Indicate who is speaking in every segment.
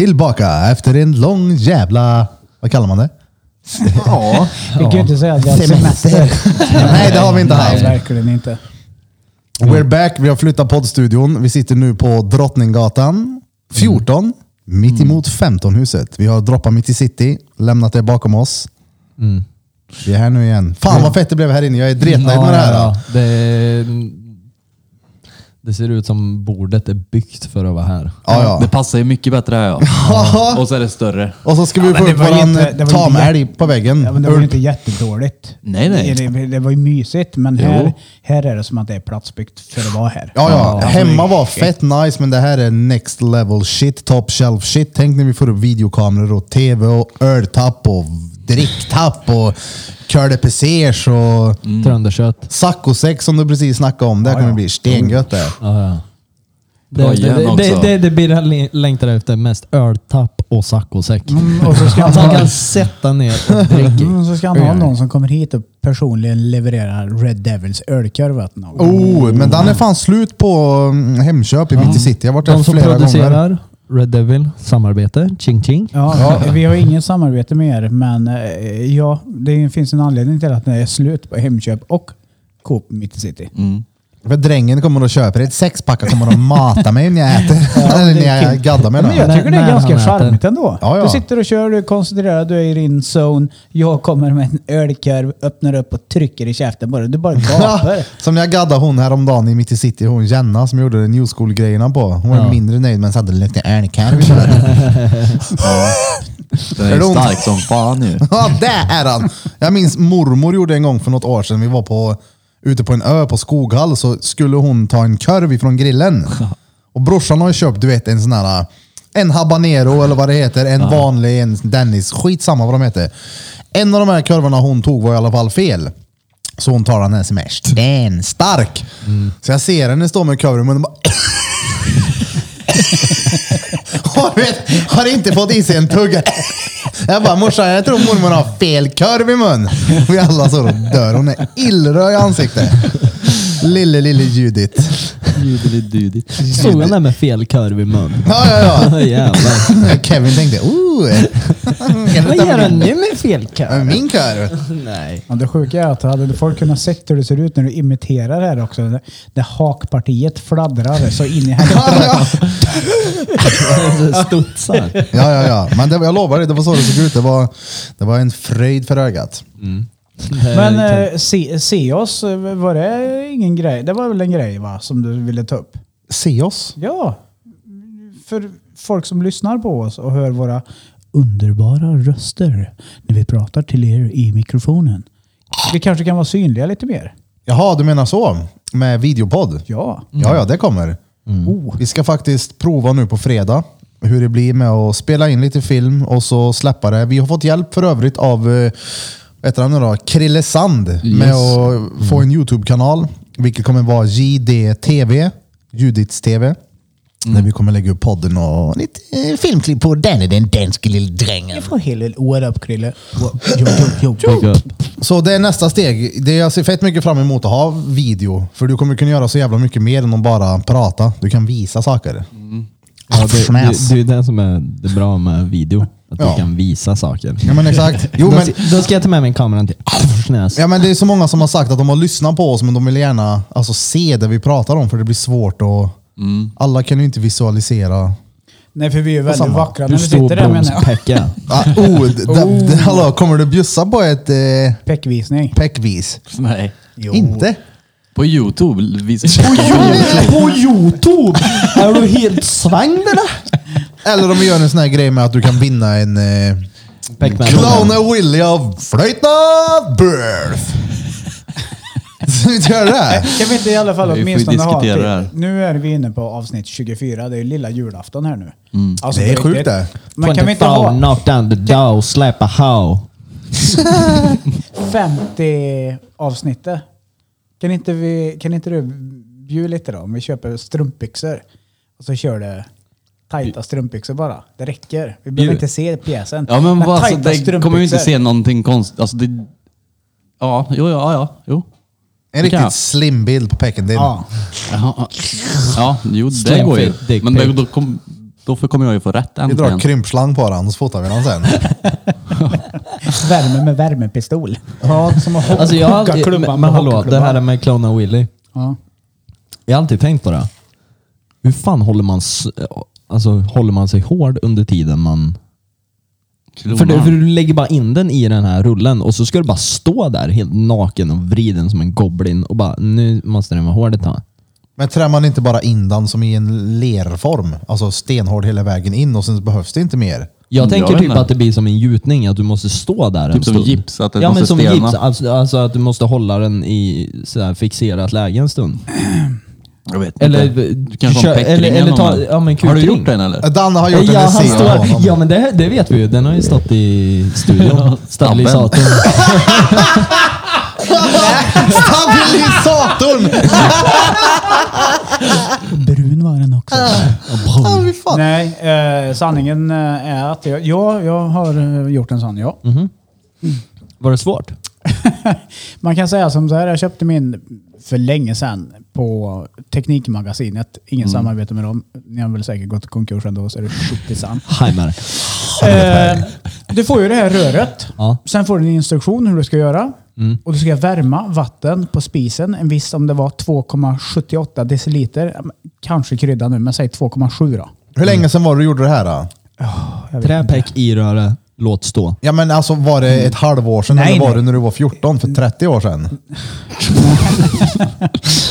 Speaker 1: Tillbaka efter en lång jävla... Vad kallar man det?
Speaker 2: Ja.
Speaker 3: Vi kan ju inte säga att vi har semester.
Speaker 1: Nej, det har vi inte
Speaker 3: Nej,
Speaker 1: haft.
Speaker 3: verkligen inte.
Speaker 1: We're back. Vi har flyttat poddstudion. Vi sitter nu på Drottninggatan 14, mitt
Speaker 3: Mm.
Speaker 1: emot 15-huset. Vi har droppat mitt i city, lämnat det bakom oss.
Speaker 3: Mm.
Speaker 1: Vi är här nu igen. Fan vad fett det blev här inne. Jag är dretnöjd med det här.
Speaker 4: ja. det, det ser ut som bordet är byggt för att vara här.
Speaker 1: Ja, ja.
Speaker 2: Det passar ju mycket bättre här ja. Och så är det större.
Speaker 1: Och så ska vi
Speaker 3: Ja,
Speaker 1: få
Speaker 3: men
Speaker 1: upp
Speaker 3: det var ju
Speaker 1: våran
Speaker 3: inte- det var ju inte
Speaker 1: tamälg på väggen.
Speaker 3: Ja, men det var ju inte jättedåligt.
Speaker 2: Nej, nej.
Speaker 3: Det, det, det var ju mysigt, men
Speaker 2: Jo.
Speaker 3: här, här är det som att det är platsbyggt för att vara här.
Speaker 1: Ja, ja.
Speaker 3: Alltså,
Speaker 1: Hemma
Speaker 3: det-
Speaker 1: var fett nice, men det här är next level shit, top shelf shit. Tänk när vi får upp videokameror och tv och öltapp och dricktapp och cœur de pesers och
Speaker 4: Trönderkött.
Speaker 1: saccosex som du precis snackade om. Det här kommer
Speaker 3: ja.
Speaker 1: bli stengött det.
Speaker 4: Ja, ja. Det,
Speaker 2: Bra igen
Speaker 4: det, det,
Speaker 2: också.
Speaker 4: det, det blir det han le- längtar efter mest. Öltapp och saccosäck.
Speaker 3: Mm, och så ska han
Speaker 4: Att han
Speaker 3: ha,
Speaker 4: kan sätta ner och dricka.
Speaker 3: mm, så ska han ha någon som kommer hit och personligen levererar Red Devils ölkorv åt någon.
Speaker 1: Oh, men den är fan slut på mm, Hemköp i mitt i city. Jag har varit där
Speaker 4: De som
Speaker 1: flera gånger.
Speaker 4: producerar Red Devil, samarbete, ching ching.
Speaker 3: Ja, vi har inget samarbete med er, men eh, ja, det finns en anledning till att det är slut på Hemköp och Coop Mitt i City.
Speaker 1: För drängen kommer och köper ett sexpack och kommer och mata mig när jag äter. Eller när jag gaddar mig.
Speaker 3: Men jag
Speaker 1: Då.
Speaker 4: Nej,
Speaker 3: tycker det är
Speaker 4: nej,
Speaker 3: ganska
Speaker 4: han äter.
Speaker 3: charmigt ändå.
Speaker 1: Ja, ja.
Speaker 3: Du sitter och kör, du är koncentrerad, du är i din zone. Jag kommer med en ölkorv, öppnar upp och trycker i käften bara. Du bara gapar.
Speaker 1: Som när jag gaddade hon häromdagen i mitt i city, hon Jenna som gjorde New School-grejerna på. Hon var
Speaker 4: Ja.
Speaker 1: mindre nöjd men hade lite ärnkalv.
Speaker 2: Den är
Speaker 1: Är det ont?
Speaker 2: stark som fan ju.
Speaker 1: Ja, det är han! Jag minns mormor gjorde en gång för något år sedan. Vi var på, ute på en ö på Skoghall så skulle hon ta en korv ifrån grillen. Och brorsan har ju köpt, du vet, en sån här... En habanero eller vad det heter. En vanlig, en Dennis. Skitsamma vad de heter. En av de här korvarna hon tog var i alla fall fel. Så hon tar den här som är stenstark. Så jag ser henne stå med korven i munnen och bara... Har, vet, har inte fått i sig en tugga. Jag bara, morsan jag tror mormor har fel korv i mun. Vi alla så och dör. Hon är illröd i ansiktet. Lille, lille Judith.
Speaker 4: Stod han där med fel korv i mun?
Speaker 1: Ja, ja,
Speaker 4: Jävlar.
Speaker 1: ja. Kevin tänkte, oh! Kan du
Speaker 4: Vad
Speaker 1: ta
Speaker 4: gör han
Speaker 1: min-
Speaker 4: nu med fel korv?
Speaker 1: Min korv?
Speaker 4: Nej.
Speaker 3: Ja, det sjuka är att hade folk kunnat sett hur det ser ut när du imiterar det här också. Det, det hakpartiet fladdrar så in i helvete.
Speaker 1: Ja,
Speaker 4: Det Studsar.
Speaker 1: ja, ja. Men det, var- jag lovar dig, det var så det såg ut. Det var, det var en fröjd för ögat.
Speaker 3: Men eh, se, se oss, eh, var det ingen grej? Det var väl en grej va, som du ville ta upp?
Speaker 1: Se oss.
Speaker 3: Ja, för folk som lyssnar på oss och hör våra underbara röster när vi pratar till er i mikrofonen. Vi kanske kan vara synliga lite mer.
Speaker 1: Jaha, du menar så? Med videopodd?
Speaker 3: Ja.
Speaker 1: Ja, ja, det kommer.
Speaker 3: Oh.
Speaker 1: Vi ska faktiskt prova nu på fredag hur det blir med att spela in lite film och så släppa det. Vi har fått hjälp för övrigt av eh, vad heter han nu då? Krille Sand med
Speaker 4: Mm.
Speaker 1: att få en YouTube-kanal, vilket kommer vara JDTV, Judits TV.
Speaker 4: Mm.
Speaker 1: Där vi kommer lägga upp podden och lite eh, filmklipp på den, den danske lille drängen.
Speaker 3: Jag får en hel del år upp Krille. Jo, jo, jo.
Speaker 4: Bygga upp.
Speaker 1: Så det är nästa steg. Det jag ser fett mycket fram emot att ha video. För du kommer kunna göra så jävla mycket mer än att bara prata. Du kan visa saker.
Speaker 4: Mm. Ja, det,
Speaker 1: Fnäs.
Speaker 4: det, det är det som är det bra med video. Att
Speaker 1: Ja.
Speaker 4: du kan visa saker.
Speaker 1: Ja men exakt. Jo,
Speaker 4: då,
Speaker 1: men,
Speaker 4: ska, då ska jag ta med mig kameran till Arsnäs.
Speaker 1: ja, men det är så många som har sagt att de har lyssnat på oss men de vill gärna alltså, se det vi pratar om för det blir svårt att... Alla kan ju inte visualisera.
Speaker 3: Nej, för vi är väldigt
Speaker 1: samma.
Speaker 3: vackra när
Speaker 4: Hur
Speaker 3: vi
Speaker 4: stor
Speaker 3: sitter där menar jag.
Speaker 4: bromspäcka?
Speaker 1: Ah, oh, d- d- d- hallå, kommer du bjussa på ett eh,
Speaker 3: Peckvisning.
Speaker 1: peckvis?
Speaker 2: Nej.
Speaker 1: Inte?
Speaker 2: På Youtube visar
Speaker 4: På Youtube? Är du helt svängd eller?
Speaker 1: Eller om vi gör en sån här grej med att du kan vinna en... Eh,
Speaker 4: Pac-Man.
Speaker 1: Clowna Willy av Flöjtnant Birth! Ska vi inte göra det?
Speaker 3: Eh, Kan vi inte i alla fall
Speaker 2: Vi får ju
Speaker 3: åtminstone ha...
Speaker 2: diskutera det här.
Speaker 3: Nu är vi inne på avsnitt 24. Det är ju lilla julafton här nu.
Speaker 2: Mm.
Speaker 3: Alltså,
Speaker 1: Det är
Speaker 3: på
Speaker 1: sjukt
Speaker 3: riktigt.
Speaker 1: det.
Speaker 3: Men kan vi inte ha
Speaker 4: knock down the door, slap a hoe.
Speaker 3: 50 avsnittet. Kan inte, vi, kan inte du bjuda lite då? Om vi köper strumpbyxor och så kör det tajta strumpbyxor bara. Det räcker. Vi behöver
Speaker 2: Bjud.
Speaker 3: inte se pjäsen.
Speaker 2: Ja men vad, alltså,
Speaker 3: tajta
Speaker 2: det kommer ju inte se någonting konstigt. Alltså, det... Ja, jo, ja, ja, jo.
Speaker 1: En
Speaker 2: Det kan
Speaker 1: riktigt
Speaker 2: jag.
Speaker 1: slim bild på pecken din.
Speaker 3: Ja.
Speaker 2: Jaha, ja. ja, jo det
Speaker 4: Slim
Speaker 2: går
Speaker 4: fit dick
Speaker 2: ju. Men det,
Speaker 4: pic.
Speaker 2: då kom, Då får- kommer jag ju få rätt
Speaker 1: Vi drar
Speaker 2: äntligen.
Speaker 1: krympslang på den så fotar vi den sen.
Speaker 3: Värme med värmepistol.
Speaker 1: ja, som har
Speaker 4: Alltså jag har
Speaker 3: Hocka
Speaker 4: alltid,
Speaker 3: klubban
Speaker 4: men,
Speaker 3: på
Speaker 4: men hallå,
Speaker 3: hockeyklubban.
Speaker 4: det här är med Clona Willy.
Speaker 3: Ja.
Speaker 4: Jag har alltid tänkt på det. Hur fan håller man, s- alltså, håller man sig hård under tiden man...
Speaker 2: Kronan.
Speaker 4: För, du- för du lägger bara in den i den här rullen och så ska du bara stå där helt naken och vriden som en goblin och bara nu måste den vara hård ett tag.
Speaker 1: Men trär man inte bara in den som i en lerform? Alltså stenhård hela vägen in och sen behövs det inte mer.
Speaker 4: Jag
Speaker 2: Mm, Jag
Speaker 4: tänker
Speaker 2: vet
Speaker 4: typ
Speaker 2: inte.
Speaker 4: att det blir som en gjutning, att du måste stå där en
Speaker 2: Typ som
Speaker 4: stund.
Speaker 2: gips, att den
Speaker 4: Ja men
Speaker 2: måste
Speaker 4: som
Speaker 2: stelna.
Speaker 4: gips, alltså, alltså att du måste hålla den i sådär fixerat läge en stund.
Speaker 2: Jag vet inte.
Speaker 4: Eller,
Speaker 2: du kanske har
Speaker 4: kör-
Speaker 2: en
Speaker 4: eller-
Speaker 2: peckring
Speaker 4: eller
Speaker 2: eller
Speaker 4: ta-
Speaker 2: något.
Speaker 4: ja, men
Speaker 2: Har du
Speaker 4: kukring.
Speaker 2: gjort den eller?
Speaker 1: Dan Eh, har gjort
Speaker 4: ja,
Speaker 1: en
Speaker 4: han
Speaker 1: visir på
Speaker 4: står,
Speaker 1: honom.
Speaker 4: ja men det, det vet vi ju, den har ju stått i studion.
Speaker 2: stabben.
Speaker 4: Stabilisatorn.
Speaker 1: Stabilisatorn!
Speaker 3: Brun var den också.
Speaker 2: Ah.
Speaker 1: Ja, fy fan.
Speaker 3: Nej, eh, sanningen eh, är att jag, ja, jag har eh, gjort en sån, ja.
Speaker 4: Var det svårt?
Speaker 3: Man kan säga som så här, jag köpte min för länge sedan på Teknikmagasinet. Ingen samarbete med dem. Ni har väl säkert gått i konkurs ändå, så är det skitsamma.
Speaker 4: Heimer.
Speaker 3: Eh, du får ju det här röret.
Speaker 4: Ja.
Speaker 3: Sen får du en instruktion hur du ska göra. Och du ska värma vatten på spisen. En viss, om det var 2,78 deciliter. Ja, men Kanske krydda nu, men säg 2,7 då.
Speaker 1: Hur länge sedan var det du gjorde det här? Då?
Speaker 4: Träpäck i röre, låt stå.
Speaker 1: Ja, men alltså, var det ett halvår sedan
Speaker 3: Nej,
Speaker 1: eller var
Speaker 3: nej.
Speaker 1: det när du var 14 för 30 år sedan?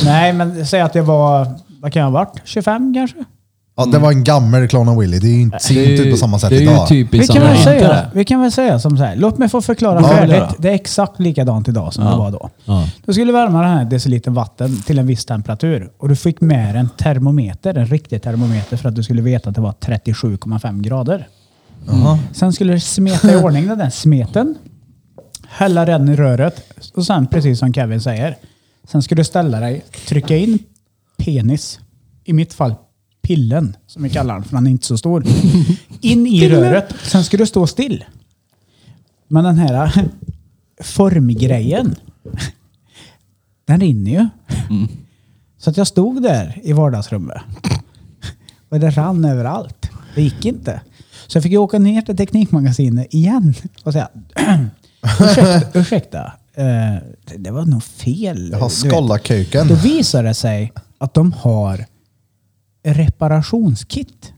Speaker 3: Nej, men säg att jag var, vad kan jag ha varit? 25 kanske?
Speaker 1: Ja, det var en gammal Clona Willy. Det är ju inte, ser ju inte ut på samma sätt
Speaker 4: det är
Speaker 1: idag.
Speaker 4: ju typ i
Speaker 3: Vi kan,
Speaker 4: samma
Speaker 3: väl
Speaker 4: riktning.
Speaker 3: säga, vi kan väl säga som så här. Låt mig få förklara
Speaker 2: Ja,
Speaker 3: färdigt.
Speaker 2: gör det.
Speaker 3: Det är exakt likadant idag som det var då.
Speaker 4: Ja.
Speaker 3: Du skulle värma den här deciliter vatten till en viss temperatur och du fick med en termometer, en riktig termometer för att du skulle veta att det var 37,5 grader. Sen skulle du smeta i ordning den där smeten, hälla den i röret och sen precis som Kevin säger, sen ska du ställa dig, trycka in penis, i mitt fall pillen som vi kallar den för den är inte så stor, in i röret. Sen ska du stå still. Men den här eh, formgrejen, den rinner ju.
Speaker 1: Mm.
Speaker 3: Så att jag stod där i vardagsrummet. Och det rann överallt. Det gick inte. Så jag fick ju åka ner till Teknikmagasinet igen och säga ursäkta, ursäkta eh, det- det var nog fel.
Speaker 1: Jag
Speaker 3: Du
Speaker 1: har
Speaker 3: vet.
Speaker 1: skollat kuken.
Speaker 3: Då visar det sig att de har reparationskit.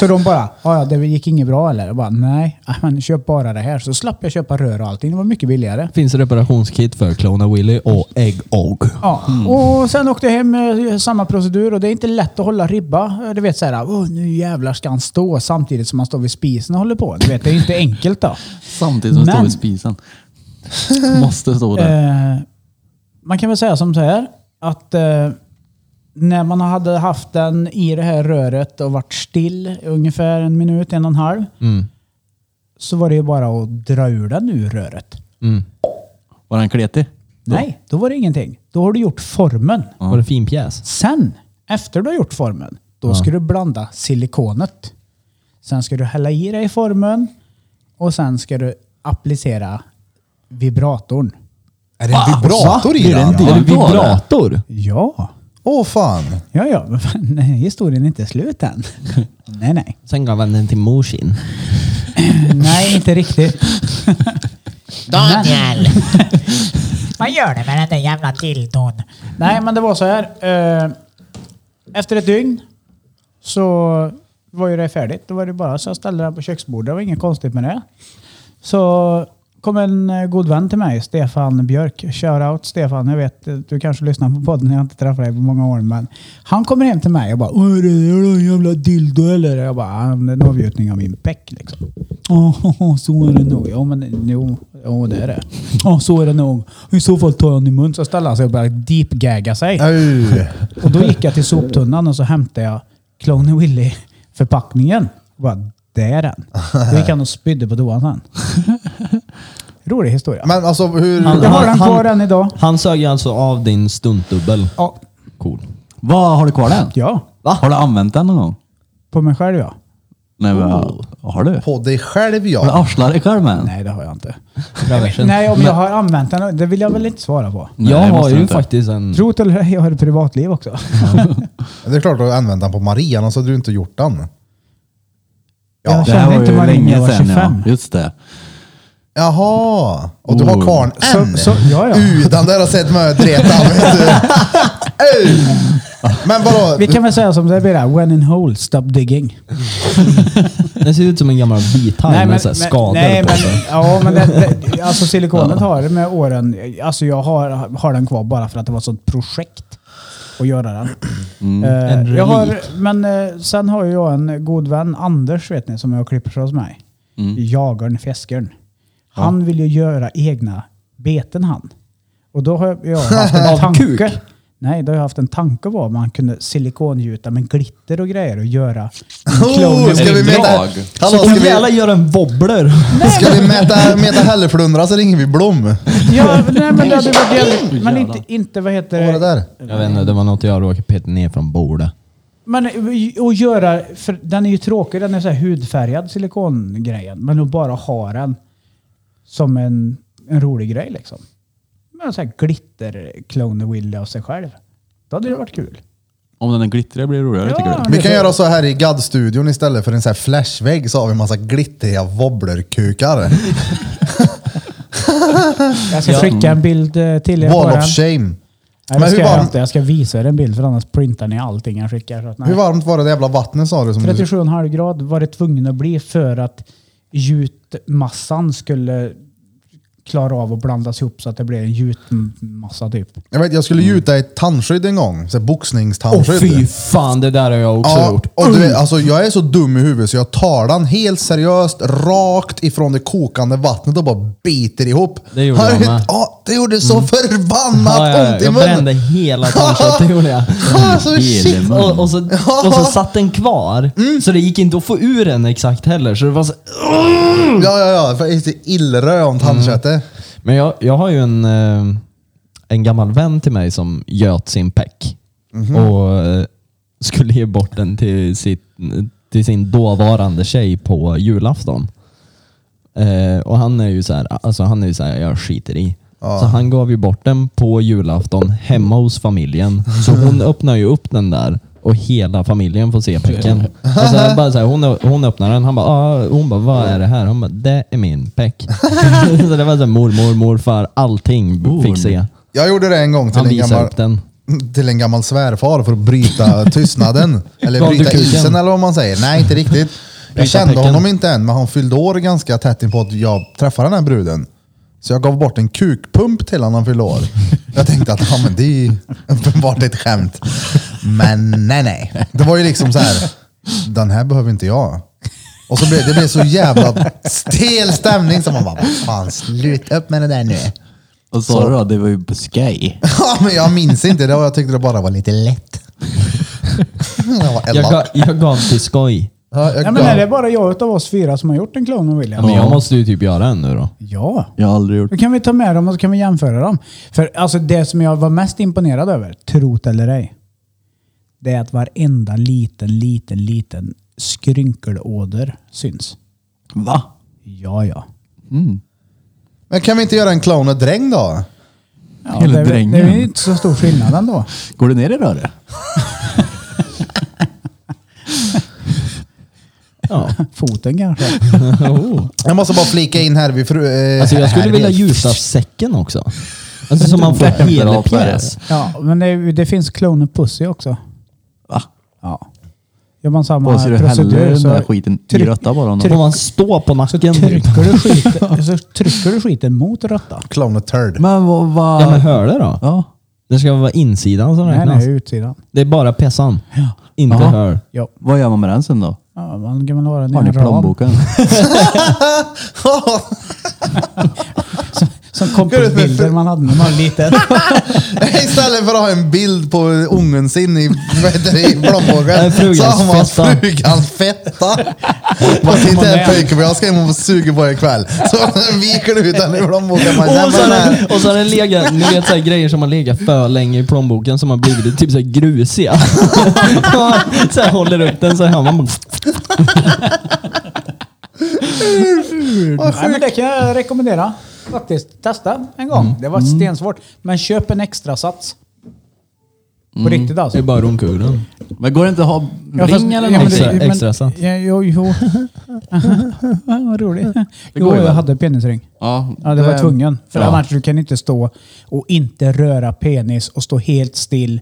Speaker 3: Så de bara, "Ah, ja det gick inget bra eller? Jag bara, nej, ah, men köp bara det här. Så slapp jag köpa rör och allting. Det var mycket billigare.
Speaker 4: Finns reparationskit för Clona Willy och Egg Og.
Speaker 3: Ja, och sen åkte jag hem med samma procedur och det är inte lätt att hålla ribba. Eh, Du vet såhär, oh, nu jävlar ska han stå samtidigt som han står vid spisen och håller på. Du vet, det är ju inte enkelt då.
Speaker 2: Samtidigt som det står
Speaker 3: Men-
Speaker 2: vid spisen. Måste stå där.
Speaker 3: Eh, man kan väl säga som så här att eh, när man hade haft den i det här röret och varit still i ungefär en minut, en och en halv,
Speaker 4: Mm.
Speaker 3: så var det ju bara att dra ur den ur röret.
Speaker 4: Mm.
Speaker 2: Var den kletig?
Speaker 3: Nej, då var det ingenting. Då har du gjort formen.
Speaker 4: Var det fin pjäs?
Speaker 3: Sen, efter du har gjort formen, då ska du blanda silikonet. Sen ska du hälla i det i formen och sen ska du applicera vibratorn.
Speaker 1: Är det en vibrator i
Speaker 4: Är det en
Speaker 1: den?
Speaker 4: del-
Speaker 2: Ja,
Speaker 4: är det
Speaker 2: det var det.
Speaker 4: vibrator?
Speaker 3: Ja,
Speaker 1: Åh fan.
Speaker 3: ja, ja. men fan, nej, Historien är inte slut än. nej, nej.
Speaker 4: Sen gav han den till morsin.
Speaker 3: Nej, inte riktigt.
Speaker 5: Daniel! Vad gör du med den där jävla dildon?
Speaker 3: Nej, men det var så här. eh, Efter ett dygn så var ju det färdigt. Då var det bara så jag ställde den på köksbordet. Det var inget konstigt med det. Så kom en eh, god vän till mig, Stefan Björk. Shoutout Stefan, jag vet eh, du kanske lyssnar på podden, jag har inte träffat dig på många år. Men han kommer hem till mig och bara "Åh, är det är det en jävla dildo eller?” Jag bara "Ah, men “Det är en avgjutning av min peck liksom”. “Åh, så är det nog.” “Jo, men jo, jo det är det.” “Åh, så är det nog.” “I så fall tar jag den i mun.” Så ställer han sig och börjar deep-gagga sig.
Speaker 1: Aj.
Speaker 3: Och då gick jag till soptunnan och så hämtade jag Clone Willy förpackningen. Och bara, det är den. Då gick han och spydde på toan sen. Rolig historia.
Speaker 1: Men alltså hur...
Speaker 3: jag Mm. har den
Speaker 4: han-
Speaker 3: kvar än idag.
Speaker 4: Han sög alltså av din stuntdubbel.
Speaker 3: Ja.
Speaker 4: Cool.
Speaker 2: Vad Har du kvar
Speaker 4: Eh.
Speaker 2: den?
Speaker 3: ja,
Speaker 4: Va?
Speaker 2: Har du använt den någon gång?
Speaker 3: på mig själv ja.
Speaker 2: Nej, men, Har du?
Speaker 1: På dig själv
Speaker 2: Har du
Speaker 1: ja.
Speaker 2: arslat dig själv med den?
Speaker 3: Nej, det har Oh. jag inte.
Speaker 4: Traversen.
Speaker 3: Nej, om jag har använt den, det vill jag väl inte svara på.
Speaker 2: Nej,
Speaker 4: jag
Speaker 2: det
Speaker 4: har
Speaker 2: måste du
Speaker 4: ju
Speaker 2: inte.
Speaker 4: faktiskt en...
Speaker 3: Tro det eller ej, jag har ett privatliv också.
Speaker 1: alltså, Det är klart att använda den på Marian så hade du inte gjort den. Ja,
Speaker 3: jag
Speaker 1: det
Speaker 2: Det här
Speaker 3: känner
Speaker 2: var
Speaker 3: inte
Speaker 2: ju
Speaker 3: vad jag
Speaker 2: länge
Speaker 3: var
Speaker 2: sedan
Speaker 3: 25.
Speaker 2: ja. Just det.
Speaker 1: Jaha! Och du har
Speaker 2: Oh.
Speaker 1: karln
Speaker 3: Så-
Speaker 1: än?
Speaker 3: så- ja, ja.
Speaker 1: Utan där har sett mig dreta vet du. Ey! Men vadå?
Speaker 3: Vi kan väl säga som det blir där. When in hole, stop digging.
Speaker 4: Den ser ut som en gammal bithaj med så här skador
Speaker 3: nej,
Speaker 4: på
Speaker 3: men,
Speaker 4: sig.
Speaker 3: ja, men det, det, alltså silikonet har med åren, alltså jag har, har den kvar bara för att det var ett sånt projekt att göra den. Eh,
Speaker 4: Mm. En
Speaker 3: jag har,
Speaker 4: relik.
Speaker 3: men eh, sen har ju jag en god vän, Anders vet ni, som jag klipper hos mig.
Speaker 4: Mm.
Speaker 3: Jagaren, fiskaren. Han vill ju göra egna beten han. Och då har jag haft en
Speaker 4: Av
Speaker 3: tanke.
Speaker 4: kuk?
Speaker 3: Nej, då har jag haft en tanke om vad man kunde silikongjuta med glitter och grejer och göra en klon
Speaker 1: Oh,
Speaker 3: med
Speaker 1: ska vi
Speaker 2: drag?
Speaker 1: mäta... Hallå,
Speaker 4: Så
Speaker 1: ska
Speaker 4: kan vi alla
Speaker 1: vi,
Speaker 4: göra en wobbler.
Speaker 1: ska vi mäta, mäta hälleflundra så ringer vi Blom.
Speaker 3: Ja, nej, men det hade varit jävligt. Men inte, inte vad
Speaker 1: Vad
Speaker 3: heter
Speaker 1: var Mm. det där?
Speaker 4: Jag vet inte, det var något jag råkade peta ner från bordet.
Speaker 3: Men att göra, för den är ju tråkig, den är så här hudfärgad silikongrejen. Men att bara ha den som en, en rolig grej liksom. Men så här glitter clone Willy av sig själv. Då hade det varit kul.
Speaker 2: Om den är glittrig blir det roligare tycker
Speaker 3: Ja.
Speaker 2: du?
Speaker 1: Vi kan göra så här i GAD-studion istället för en sån här flashvägg så har vi en massa glittriga wobblerkukar.
Speaker 3: Jag ska skicka en bild eh, till er på
Speaker 1: Wall
Speaker 3: den.
Speaker 1: of shame. Men
Speaker 3: Nej, det
Speaker 1: hur
Speaker 3: ska jag
Speaker 1: varm-
Speaker 3: inte. Jag ska visa er en bild för annars printar ni allting jag skickar. Så att, nej.
Speaker 1: Hur varmt var det där jävla vattnet sa du? Som du
Speaker 3: 37,5 grad var det tvungen att bli för att gjutmassan skulle klara av att blandas ihop så att det blir en gjutmassa typ.
Speaker 1: jag, vet, jag skulle gjuta ett tandskydd en gång. Så här
Speaker 4: Mm. Åh
Speaker 1: boxningstandskydd.
Speaker 4: fy fan, det där har jag också
Speaker 1: Ja,
Speaker 4: gjort.
Speaker 1: och du vet, alltså, jag är så dum i huvudet så jag tar den helt seriöst rakt ifrån det kokande vattnet och bara biter ihop.
Speaker 4: Det gjorde
Speaker 1: Har
Speaker 4: jag
Speaker 1: du-
Speaker 4: med. Mm.
Speaker 1: Ja, det gjorde så förbannat
Speaker 4: Ja, ja, ja.
Speaker 1: ont i
Speaker 4: Jag brände
Speaker 1: munnen.
Speaker 4: hela tandköttet gjorde jag.
Speaker 1: Ah, så shit.
Speaker 2: Hela
Speaker 4: Och, och, så, och så satt den kvar, så det gick inte att få ur den exakt heller. Så det var så,
Speaker 1: Ja, ja, ja. För det är så illrönt
Speaker 4: Mm.
Speaker 1: handköttet.
Speaker 4: Men jag, jag har ju en, eh, en gammal vän till mig som göt sin peck och eh, skulle ge bort den till, sitt, till sin dåvarande tjej på julafton. Eh, och han är ju så här, alltså han är ju så här, jag skiter i. Så han gav ju bort den på julafton hemma hos familjen. Så hon öppnar ju upp den där och hela familjen får se pecken. Alltså han bara så här, hon, hon öppnar den, han bara, ah, hon bara, vad är det här? Hon bara, det är min peck. så det var så här, mormor, morfar, allting fick se.
Speaker 1: Jag gjorde det en gång till
Speaker 4: Han
Speaker 1: en,
Speaker 4: visade
Speaker 1: gammal,
Speaker 4: upp den.
Speaker 1: till en gammal svärfar för att bryta tystnaden. Eller
Speaker 4: Gav du
Speaker 1: bryta
Speaker 4: kuken?
Speaker 1: isen eller vad man säger. Nej, inte riktigt. Jag kände
Speaker 4: pecken.
Speaker 1: honom inte än, men han fyllde år ganska tätt inpå att jag träffade den här bruden. Så jag gav bort en kukpump till honom när han fyllde år. Jag tänkte att ja, men det är ju uppenbart ett skämt. Men nej, nej. Det var ju liksom så här. Den här behöver inte jag. Och så blev det blev så jävla stel stämning. Så man bara, "Vad fan sluta upp med det där nu.
Speaker 2: Och sa du då, det var ju på skoj.
Speaker 1: Ja, men jag minns inte det och jag tyckte det bara var lite lätt. jag var
Speaker 4: Jag,
Speaker 1: elak.
Speaker 4: ga, jag gav till skoj.
Speaker 1: Ja, jag
Speaker 3: Ja, men
Speaker 1: gav-
Speaker 3: är det bara jag utav oss fyra som har gjort en klon av William?
Speaker 4: Men jag måste ju typ göra en nu då.
Speaker 3: Ja.
Speaker 2: Jag har aldrig gjort
Speaker 3: Då kan vi ta med dem och så kan vi jämföra dem. För alltså det som jag var mest imponerad över, trot eller ej, det är att varenda liten, liten, liten skrynkelåder syns.
Speaker 2: Va?
Speaker 3: Ja, ja.
Speaker 1: Men kan vi inte göra en clown och dräng då?
Speaker 3: ja
Speaker 2: Hela
Speaker 3: det, är väl- det är väl
Speaker 2: drängen.
Speaker 3: inte så stor skillnad ändå.
Speaker 2: Går det ner i röret?
Speaker 4: Ja.
Speaker 3: Foten kanske.
Speaker 4: Oh.
Speaker 1: Jag måste bara flika in här vid fru... eh,
Speaker 4: Alltså jag skulle
Speaker 1: här
Speaker 4: vilja
Speaker 1: vid-
Speaker 4: gjuta säcken också. Alltså så man får hela
Speaker 2: Bra
Speaker 4: pjäs.
Speaker 3: Ja, men det, det finns kloner Pussy också.
Speaker 2: Va?
Speaker 3: Ja. Gör man samma
Speaker 2: Bara så du häller
Speaker 3: procedur
Speaker 2: den
Speaker 3: så,
Speaker 2: där skiten i
Speaker 3: tryck-
Speaker 2: rötta bara.
Speaker 4: Får
Speaker 2: Någon.
Speaker 4: man stå på nacken? typ?
Speaker 3: trycker du skiten, så trycker du skiten mot rötta.
Speaker 1: Clown och turd.
Speaker 2: Men vad... vad-
Speaker 4: Ja men hör det då.
Speaker 2: ja.
Speaker 4: Det ska vara insidan som
Speaker 3: Nej,
Speaker 4: räknas.
Speaker 3: nej, utsidan.
Speaker 4: Det är bara pessan. Inte
Speaker 2: Jaha.
Speaker 4: hör.
Speaker 3: Ja.
Speaker 2: Vad gör man med den sen då?
Speaker 3: Ja, man kan väl ha den i
Speaker 2: Har ni
Speaker 3: en ram.
Speaker 2: plånboken?
Speaker 3: Som kompisbilder man hade när man var liten.
Speaker 1: Istället för att ha en bild på ungen sin i, vad heter det, i
Speaker 4: Nej,
Speaker 1: plånboken
Speaker 4: frugans
Speaker 1: så har man
Speaker 4: fetta.
Speaker 1: frugans fetta. Man sitter här
Speaker 3: Portmonnaie.
Speaker 1: pojken, jag ska hem och suga på er ikväll. Så viker du ut den i plånboken. Man,
Speaker 4: Och så har
Speaker 1: "Nämen, här."
Speaker 4: den- och så har den legat, ni vet så här grejer som har legat för länge i plånboken som har blivit typ så här grusiga. så här håller upp den så här man bara,
Speaker 3: Nej, men det kan jag rekommendera. Faktiskt, testa en gång.
Speaker 2: Mm.
Speaker 3: Det var stensvårt. Men köp en extra sats. På riktigt
Speaker 4: Det är
Speaker 2: Mm.
Speaker 3: alltså.
Speaker 4: bara romkulan.
Speaker 2: Men går det inte att ha
Speaker 3: Ja, fast-
Speaker 2: ring eller
Speaker 3: ja, men
Speaker 2: någonting?
Speaker 3: det-
Speaker 4: Extra-
Speaker 3: men-
Speaker 4: extra sant.
Speaker 3: Ja, jo, jo. Vad roligt. Jo,
Speaker 2: går ju
Speaker 3: jag
Speaker 2: väl.
Speaker 3: hade penisring.
Speaker 2: Ja,
Speaker 3: Ja, det var tvungen. För
Speaker 2: Ja.
Speaker 3: annars du kan inte stå och inte röra penis och stå helt still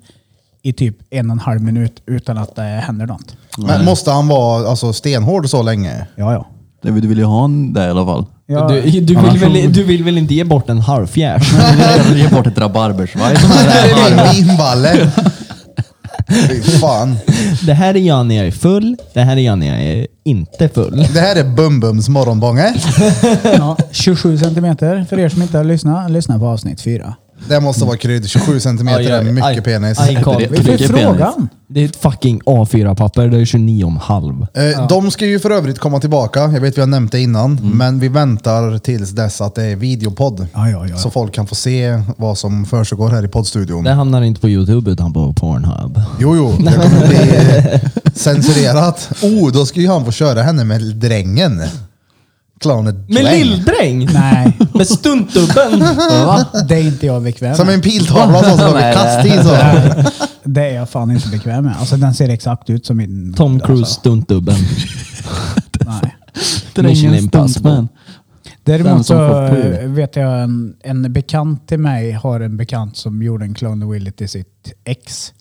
Speaker 3: i typ en och en halv minut utan att det händer något.
Speaker 1: Men måste han vara alltså, stenhård så länge?
Speaker 3: Ja, ja.
Speaker 2: Det vill- Du vill ju ha en där i alla fall.
Speaker 3: ja.
Speaker 4: Du, du, vill väl, du vill väl inte ge bort en halvfjärs?
Speaker 2: Jag vill Ge bort ett rabarbersvaj. som är
Speaker 1: Det
Speaker 2: där.
Speaker 1: är din vinballe. Fy fan.
Speaker 4: det här är jag när jag är full, det här är jag när jag är inte full.
Speaker 1: Det här är Bumbums morgonbånge.
Speaker 3: Ja, 27 centimeter. För er som inte har lyssnat, lyssna på avsnitt fyra.
Speaker 1: Det måste vara krydd. 27 centimeter är mycket penis.
Speaker 4: Aj, Carl.
Speaker 2: Det-
Speaker 3: För
Speaker 2: Mycket penis.
Speaker 3: frågan.
Speaker 4: Det är ett fucking A4-papper, det är 29,5.
Speaker 1: Eh, De ska ju för övrigt komma tillbaka. Jag vet vi har nämnt det innan,
Speaker 2: Mm.
Speaker 1: men vi väntar tills dess att det är videopodd.
Speaker 3: Ja, ja, ja.
Speaker 1: Så folk kan få se vad som försiggår här i poddstudion.
Speaker 4: Det hamnar inte på Youtube utan på Pornhub.
Speaker 1: Jo, jo, det kommer bli eh, censurerat. Oh, då ska ju han få köra henne med drängen. Clownet Dräng.
Speaker 4: Lilldräng!
Speaker 3: Nej,
Speaker 4: Med stuntdubben!
Speaker 3: Alltså.
Speaker 2: Va?
Speaker 3: det är inte jag bekväm
Speaker 1: Som en piltavla som slår
Speaker 2: Nej,
Speaker 1: ett kast i. Så.
Speaker 3: Det är jag fan inte bekväm med. Alltså den ser exakt ut som min...
Speaker 4: Tom Cruise
Speaker 3: Alltså,
Speaker 4: stuntdubben.
Speaker 3: nej.
Speaker 4: Mission
Speaker 2: Drängen
Speaker 4: Impossible.
Speaker 2: stuntman. Den
Speaker 3: Däremot
Speaker 2: som
Speaker 3: så
Speaker 2: får pur.
Speaker 3: eh, vet jag en, en bekant till mig har en bekant som gjorde en Clone Willy till sitt ex.